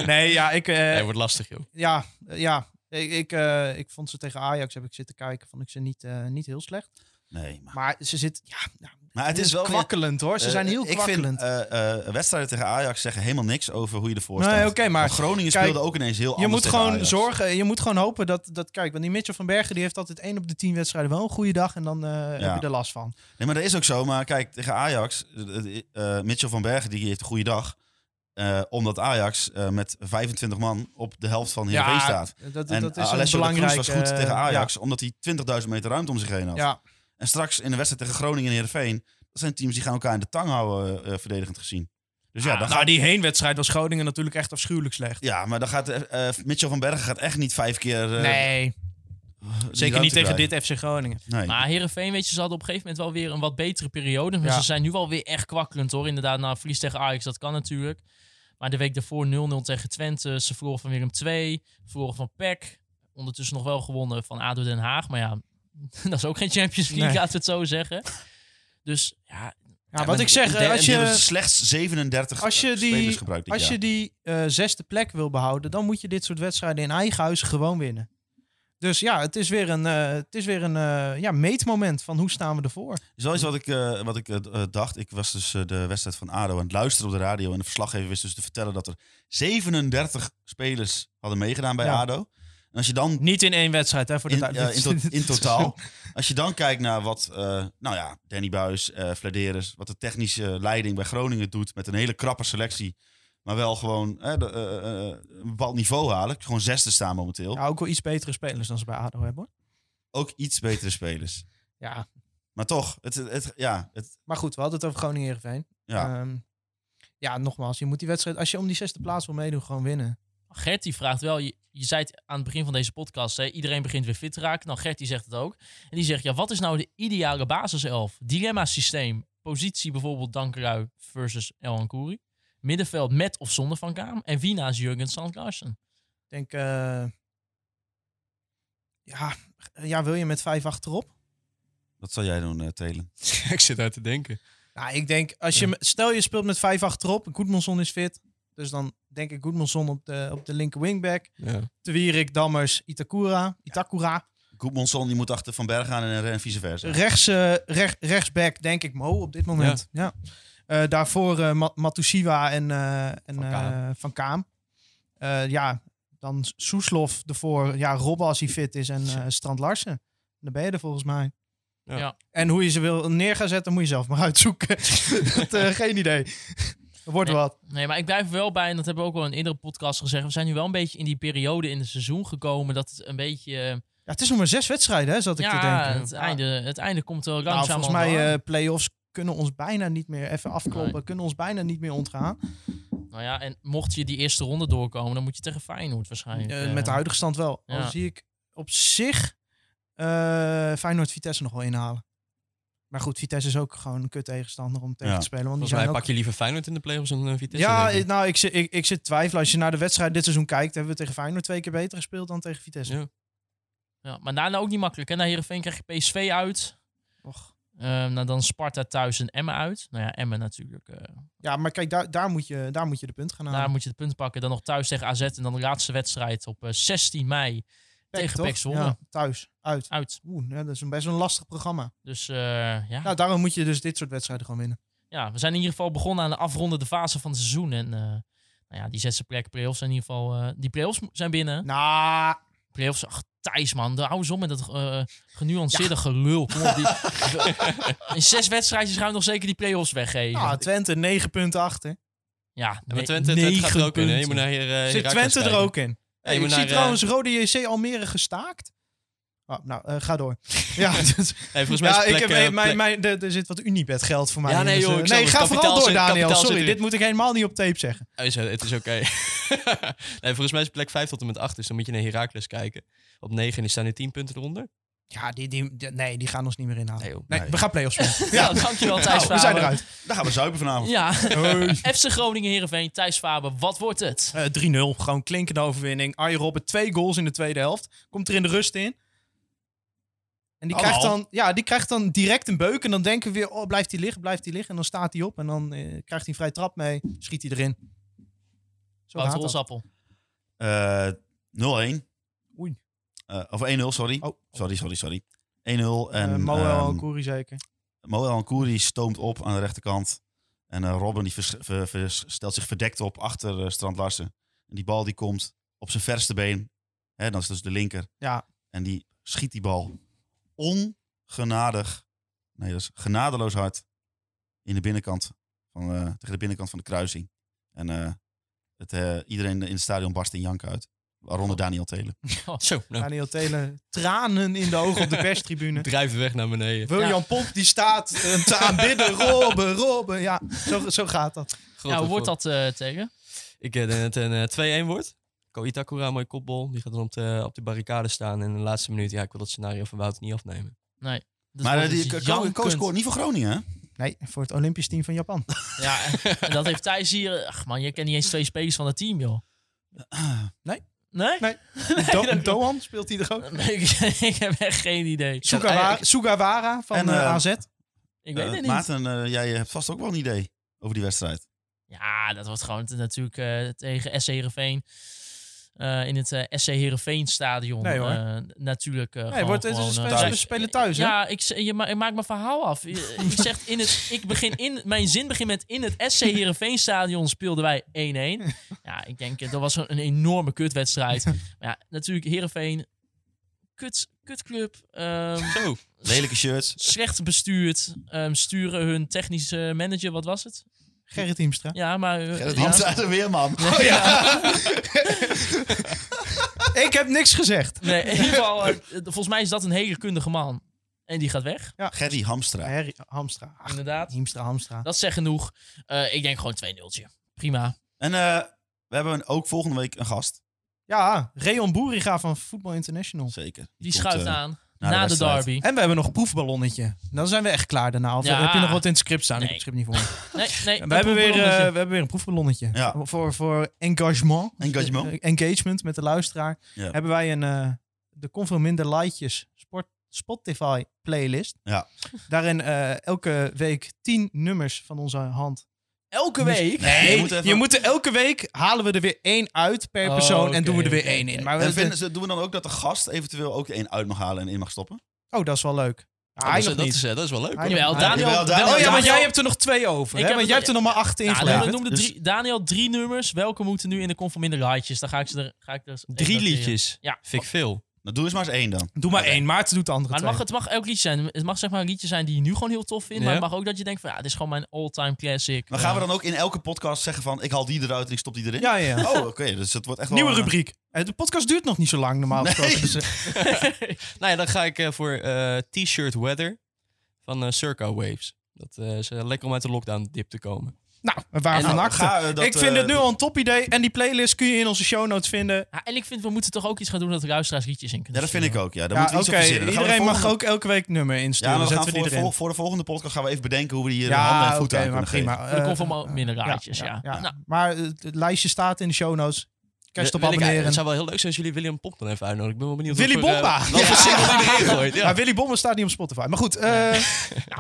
nee, ja, ik... eh,
nee, wordt lastig, joh.
ja, eh, ja. Ik, ik, eh, ik vond ze tegen Ajax, heb ik zitten kijken, vond ik ze niet, eh, niet heel slecht.
Nee, maar,
Maar ze zit, ja, nou,
maar het is wel...
kwakkelend hoor. Ze
Eh,
zijn heel
ik
kwakkelend.
vind eh, eh, wedstrijden tegen Ajax zeggen helemaal niks over hoe je ervoor
Nee,
staat.
oké, maar
Want Groningen
kijk,
speelde ook ineens heel
je
anders
moet
tegen
gewoon
Ajax.
zorgen, eh, je moet gewoon hopen dat, dat, kijk, want die Mitchell van Bergen die heeft altijd één op de tien wedstrijden wel een goede dag en dan eh, heb je er last van.
Nee, maar dat is ook zo. Maar kijk, tegen Ajax, eh, eh, eh, Mitchell van Bergen die heeft een goede dag. eh, omdat Ajax eh, met 25 man op de helft van Heerenveen staat.
Dat, dat,
En
dat is
Alessio
een
de Cruz
belangrijk.
was goed
eh,
tegen Ajax, omdat hij 20.000 meter ruimte om zich heen had.
Ja, ja.
En straks in de wedstrijd tegen Groningen en Heerenveen, dat zijn teams die gaan elkaar in de tang houden, eh, verdedigend gezien. Dus ja, dan
nou,
gaat,
die heenwedstrijd was Groningen natuurlijk echt afschuwelijk slecht.
ja maar dan gaat eh, eh, Mitchell van Bergen gaat echt niet vijf keer... eh,
nee,
die
zeker niet
ruimte
tegen
krijgen.
dit FC Groningen.
Nee.
Maar Herenveen, weet je, ze hadden op een gegeven moment wel weer een wat betere periode. Maar
Ja.
ze zijn nu wel weer echt kwakkelend hoor. Inderdaad, na een verlies tegen Ajax, dat kan natuurlijk. Maar de week daarvoor 0-0 tegen Twente. Ze verloren van Willem 2. Verloren van PEC. Ondertussen nog wel gewonnen van ADO Den Haag. Maar ja, dat is ook geen Champions League,
Nee.
laten we het zo zeggen. Dus ja,
Ja, wat ik zeg, eh,
En
als
die hebben
je,
slechts 37
als je die-
spelers gebruikt dit
als je
jaar.
die eh, zesde plek wil behouden, dan moet je dit soort wedstrijden in eigen huis gewoon winnen. Dus ja, het is weer een, eh, het is weer een eh, ja, meetmoment van hoe staan we ervoor.
Dat is wel iets wat ik, eh, wat ik eh, d- eh, dacht. Ik was dus eh, de wedstrijd van ADO aan het luisteren op de radio. En de verslaggever wist dus te vertellen dat er 37 spelers hadden meegedaan bij
Ja.
ADO. En als je dan
Niet in één wedstrijd, hè, voor de
in,
duidelijkheid.
eh, in, to- in totaal. Als je dan kijkt naar wat, eh, nou ja, Danny Buis, eh Vladeres, wat de technische leiding bij Groningen doet met een hele krappe selectie. Maar wel gewoon eh, de- eh, eh, een bepaald niveau halen. Gewoon zesde staan momenteel.
Ja, ook wel iets betere spelers dan ze bij ADO hebben, hoor.
Ook iets betere spelers.
Ja,
Maar toch, het, het, ja, het,
maar goed, we hadden het over Groningen-Heerenveen.
ja.
Ehm, ja, nogmaals, je moet die wedstrijd, als je om die zesde plaats wil meedoen, gewoon winnen.
Gert die vraagt wel, je, je zei het aan het begin van deze podcast, hè, iedereen begint weer fit te raken. Nou, Gert die zegt het ook. En die zegt, ja, wat is nou de ideale basiself? Dilemma systeem, positie bijvoorbeeld Dankerui versus El Ancoury. Middenveld met of zonder Van Kaam. En wie naast Jurgen Sand Larsen?
Ik denk, eh, ja, ja, wil je met vijf achterop?
Wat zal jij doen, eh, Telen?
ik zit daar te denken.
Nou, ik denk, als je, stel je speelt met vijf achterop, Goedmanson is fit. Dus dan denk ik Goedmanson op de, op de linker wingback.
Ja.
Te Wierik, Dammers, Itakura. Itakura.
Goedmonson die moet achter Van Berg aan en, en vice versa.
Rechts, eh, rech- rechtsback, denk ik Mo op dit moment. Ja. Eh, daarvoor eh Ma- Matusiwa en, eh, en
Van Kaam.
eh, Van Kaam. Eh, ja, dan Soeslof ervoor. Ja, Robben als hij fit is en eh, Strand Larsen. Dan ben je er volgens mij.
Ja.
Ja.
En hoe je ze wil neer gaan zetten, moet je zelf maar uitzoeken. Dat, eh, geen idee. Dat wordt wat.
Nee, maar ik blijf er wel bij, en dat hebben we ook wel in een eerdere podcast gezegd. We zijn nu wel een beetje in die periode in het seizoen gekomen dat het een beetje. eh,
Ja, het is nog maar zes wedstrijden, hè, zat ik te
ja,
denken.
het, Einde, het einde komt wel
Nou,
langzaam.
volgens
aan de
mij,
hand.
eh play-offs kunnen ons bijna niet meer even afkloppen. Kunnen ons bijna niet meer ontgaan.
nou ja, en mocht je die eerste ronde doorkomen, dan moet je tegen Feyenoord waarschijnlijk.
Eh,
eh,
met de huidige stand wel.
ja.
Dan zie ik op zich eh Feyenoord-Vitesse nog wel inhalen. Maar goed, Vitesse is ook gewoon een kut tegenstander om tegen
Ja.
te spelen. Want die
Volgens mij
zijn ook...
pak je liever Feyenoord in de play-offs dan eh, Vitesse.
Ja,
denk ik.
ik- nou, ik zit, ik, ik zit te twijfelen. Als je naar de wedstrijd dit seizoen kijkt, hebben we tegen Feyenoord twee keer beter gespeeld dan tegen Vitesse.
Ja.
ja, maar daarna ook niet makkelijk. En naar Heerenveen krijg je PSV uit.
Och.
Eh, nou, dan Sparta thuis en Emmen uit. Nou ja, Emmen natuurlijk. eh,
Ja, maar kijk, daar, daar, moet je, daar moet je de punt gaan halen.
Daar moet je het punt pakken. Dan nog thuis tegen AZ. En dan de laatste wedstrijd op eh, 16 mei
Pek,
tegen
toch?
Pek Zwolle.
Ja, thuis, uit.
uit.
Oeh, ja, dat is een best wel een lastig programma.
Dus eh, ja.
Nou, daarom moet je dus dit soort wedstrijden gewoon winnen.
ja, we zijn in ieder geval begonnen aan de afrondende fase van het seizoen. En eh, nou ja, die zesde plek play-offs zijn in ieder geval... eh, die play-offs mo- zijn binnen.
Nou,
Play-offs, ach Thijs man, hou eens om met dat eh, genuanceerde gelul. Kom op, die, in zes wedstrijdjes gaan we nog zeker die play-offs weggeven.
nou, Twente, negen punten achter.
ja,
Ja, maar
ne-
Twente, Twente gaat er ook in. hè. Je
punten.
moet naar hier, eh,
Zit
Heracles
Twente er
kijken.
ook in?
Ja, je
ik
moet
zie
naar, eh,
trouwens Rode JC Almere gestaakt. Oh, nou, eh, ga door. Ja, dus-
Nee, volgens mij
ja
is
ik
plek,
heb,
eh,
mijn, mijn,
plek-
er- er zit wat Unibet geld voor mij.
Ja,
in,
nee,
dus,
joh,
eh,
ik snap
nee,
het.
ga
Kapitaal
vooral door,
zit-
Daniel.
kapitaal zit
Sorry,
erin.
dit moet ik helemaal niet op tape zeggen.
Oh, is- het is oké. nee, volgens mij is plek 5 tot en met 8. Dus dan moet je naar Heracles kijken. Op 9 en er staan er 10 punten eronder.
Ja, die, die, die- nee, die gaan ons niet meer inhalen.
Nee, joh.
Nee,
Nee.
we gaan play-offs spelen.
Ja, Nou, dankjewel Thijs
Nou, we zijn
Faber.
eruit.
Daar gaan we zuipen vanavond.
Ja, FC Groningen, Heerenveen, Thijs Faber, wat wordt het?
Eh, 3-0, gewoon klinkende overwinning. Arjen Robben, twee goals in de tweede helft. Komt er in de rust in. En die
Oh.
krijgt, dan, ja, die krijgt dan direct een beuk. En dan denken we weer, oh, blijft hij liggen, blijft hij liggen. En dan staat hij op en dan eh, krijgt hij een vrij trap mee. Schiet hij erin. Zo
Wouter
gaat dat.
Holsappel.
Eh, 0-1.
Oei.
Eh, of 1-0, sorry.
Oh.
Sorry, sorry, sorry. 1-0. En
Eh,
ehm,
Moel Koeri zeker.
Moel Ankouri stoomt op aan de rechterkant. En eh, Robben die vers- ver- vers- stelt zich verdekt op achter eh, Strand Larsen. En die bal die komt op zijn verste been. Hè, dat is dus de linker.
Ja.
En die schiet die bal ongenadig. Nee, dat is genadeloos hard. In de binnenkant. Van, eh, tegen de binnenkant van de kruising. En eh, het, eh, iedereen in het stadion barst in jank uit. Waaronder Daniel Telen.
Zo, nou,
Daniel Telen, tranen in de ogen op de perstribune.
drijven weg naar beneden.
William Pomp die staat eh, te aanbidden. Robben, Robben. Ja, zo, zo gaat dat.
God,
Ja, hoe
wat
wordt
voor-
dat eh, tegen?
Ik eh, denk dat het een eh, 2-1 wordt. Ko Itakura, mooie kopbal. Die gaat dan op de, op de barricade staan. En in de laatste minuut, ja, ik wil dat scenario van Wouter niet afnemen.
Dat wordt
maar
dus
eh, die
het
Ko- Ko
jankend.
scoort niet voor Groningen. hè?
Nee, voor het Olympisch team van Japan.
Ja, en dat heeft Thijs hier... Ach man, je kent niet eens twee spelers van het team, joh.
Nee.
Nee?
Nee. Do Doan speelt hij er ook.
ik, ik heb echt geen idee. Eh, Ik,
Sugawara, Sugawara van
En,
eh,
eh,
AZ.
weet
Eh,
het niet.
Maarten, eh, jij hebt vast ook wel een idee over die wedstrijd.
Ja, dat wordt gewoon te- natuurlijk eh, tegen SC Heerenveen. eh, in het eh, SC Heerenveen stadion.
Nee, hoor.
Eh, natuurlijk. eh,
Nee,
gewoon,
wordt,
gewoon,
ze,
eh,
spelen,
thuis.
ze spelen thuis, hè?
Ja, ik, z- je, ma- je maakt mijn verhaal af. Je, je zegt in het, ik begin in, mijn zin begint met in het SC Heerenveen stadion speelden wij 1-1. Ja, ik denk eh, dat was een, een enorme kutwedstrijd. Maar ja, natuurlijk Heerenveen, kut, kutclub, ehm,
Zo.
Lelijke shirts.
slecht bestuurd, ehm, sturen hun technische manager, wat was het?
Gerrit Hiemstra.
Ja, maar... eh, ja.
Hans uit de Weerman.
Ik heb niks gezegd.
Nee, in ieder geval, eh, eh, volgens mij is dat een hele kundige man. En die gaat weg,
Gerry Hamstra.
Harry, Hamstra. Ach,
inderdaad.
Hiemstra, Hamstra.
Dat zegt genoeg. Eh, ik denk gewoon 2-0'tje. Prima.
En eh, we hebben ook volgende week een gast.
Ja, Reon Boeriga van Football International.
Zeker.
Die
komt,
schuift
eh,
aan na,
na de
de
wedstrijd.
derby.
En we hebben nog een proefballonnetje. Dan zijn we echt klaar daarna. Of
Ja.
heb je nog wat in het script staan?
Nee.
Ik heb het script niet voor me.
Nee, nee.
We hebben, weer, eh, we
proefballonnetje.
hebben weer een proefballonnetje.
Ja.
Voor, voor engagement.
Engagement.
Eh, engagement met de luisteraar.
Oh. Ja.
Hebben wij een, eh de Kon Veel Minder Lightjes sport, Spotify playlist.
Ja.
Daarin eh, elke week tien nummers van onze hand. Dus-
elke week.
Nee,
je
je
moet,
moet even-
er elke week halen we er weer één uit per
Oh,
persoon en
oké,
doen we er weer
oké,
één
oké.
in. Maar we
En vinden ze, doen we dan ook dat de gast eventueel ook één uit mag halen en in mag stoppen?
Oh, dat is wel leuk. Ja, hij
Oh, dat, is,
nog
dat,
niet.
is, eh, dat is wel leuk.
Hij
hoor.
nog
Jawel,
niet.
Daniel.
Jawel, Daniel.
Oh ja, want
Daniel-
jij hebt er nog twee over.
Ik
Hè?
heb
Want
het
jij
al-
hebt er nog maar acht
Ja,
ingeladen.
Daniel noemde
Dus-
drie, Daniel drie nummers. Welke moeten nu in de conform minder lightjes? Dan ga ik ze er. Ga ik er eens even
Drie
noteren.
liedjes.
Ja.
Vind ik veel.
Nou, doe eens maar eens één dan.
Doe Dus- maar één, Maarten doet de andere
Maar het
twee.
mag, het mag elk liedje zijn. Het mag zeg maar een liedje zijn die je nu gewoon heel tof vindt. Maar
Ja.
het mag ook dat je denkt van ja, dit is gewoon mijn all-time classic.
Maar gaan we dan ook in elke podcast zeggen van... ik haal die eruit en ik stop die erin?
Ja, ja.
Oh, oké. dus het wordt echt wel...
Nieuwe
een-
rubriek. Eh, De podcast duurt nog niet zo lang normaal gesproken. Dus, eh,
Nou ja, dan ga ik eh, voor eh, T-shirt Weather van eh Circa Waves. Dat eh, is eh, lekker om uit de lockdown dip te komen.
nou, waar
Nou,
van
ga, eh, dat,
Ik vind
eh,
het nu al een top idee. En die playlist kun je in onze show notes vinden.
Ja, en ik vind we moeten toch ook iets gaan doen dat de luisteraars liedjes in
Ja,
kunnen
dat vind ik
sturen.
ook. Ja, daar
Ja,
moeten
oké.
we iets op verzinnen. Dan gaan we
Iedereen
de
mag
volgende-
ook elke week nummer
Ja,
insturen.
maar
Dan
we gaan
zetten we
voor,
die
de
erin.
vol- voor de volgende podcast gaan we even bedenken... hoe we hier eh, handen
Ja,
en voeten
oké,
aan
maar
kunnen geven.
prima.
Voor de
Eh,
conform ook minder raadjes, ja.
ja.
Nou,
maar eh, het lijstje staat in de show notes. Kerst op
Wil ik-
abonneren.
Het zou wel heel leuk zijn als jullie William Pomp dan even uitnodigen. Ik ben wel benieuwd
Willy
wat voor, eh,
Bomba!
wat voor single die erin gooit. Ja.
Maar Willy Bommen staat niet op Spotify. Maar goed, eh,
nou,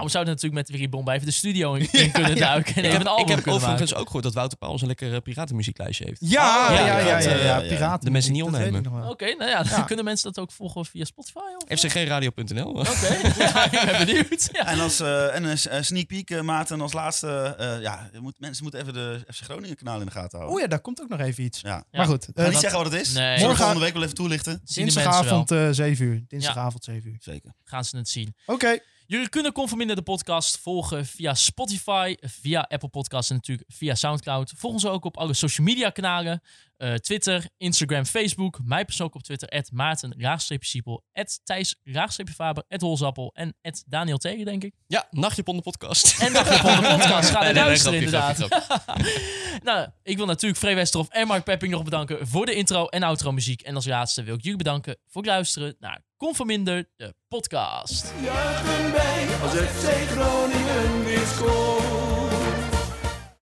we zouden natuurlijk met Willy Bomba even de studio in, in kunnen duiken. En
Ik
even een
heb, ik
album
heb
kunnen maken.
overigens ook gehoord dat Wouter Pauls een lekker eh, piratenmuzieklijstje heeft.
ja,
Oh,
ja,
ja,
ja, ja,
inderdaad,
ja,
eh, ja.
piraten.
De mensen niet
dat weet ik
opnemen.
nog wel.
Oké, nou ja, dan
Ja.
kunnen mensen dat ook volgen via Spotify? Of?
fcgradio.nl.
Oké, ja, ik ben benieuwd. Ja.
En als eh, en een s- eh, sneak peek, eh, Maarten, als laatste... eh, ja, je moet, mensen moeten even de FC Groningen kanaal in de gaten houden.
Oh ja, daar komt ook nog even iets.
Ja.
Maar goed, eh,
Ga niet
dat-
zeggen wat het is.
Nee.
Zullen we
Morgen-
volgende week wel even toelichten?
Zien de mensen wel.
dinsdagavond eh 7 uur. Dinsdagavond 7 uur.
Zeker.
Gaan ze het zien.
Oké.
Jullie kunnen Conforminder de podcast volgen via Spotify, via Apple Podcasts en natuurlijk via Soundcloud. Volg ons ook op alle social media kanalen. eh, Twitter, Instagram, Facebook. Mij persoonlijk op Twitter, at Maarten, raagstreepje Siepel, at Thijs, raagstreepje Faber, at Holzappel en at Daniel Tegen, denk ik.
Ja, Nachtjepon de podcast.
En dat je van de podcast gaat
Nee, nee,
luisteren,
nee,
inderdaad.
grapje, grapje,
nou, ik wil natuurlijk Free Westerhof en Mark Pepping nog bedanken voor de intro en outro muziek. En als laatste wil ik jullie bedanken voor het luisteren naar Conforminder, de podcast.
juichen wij als FC Groningen weer scoort.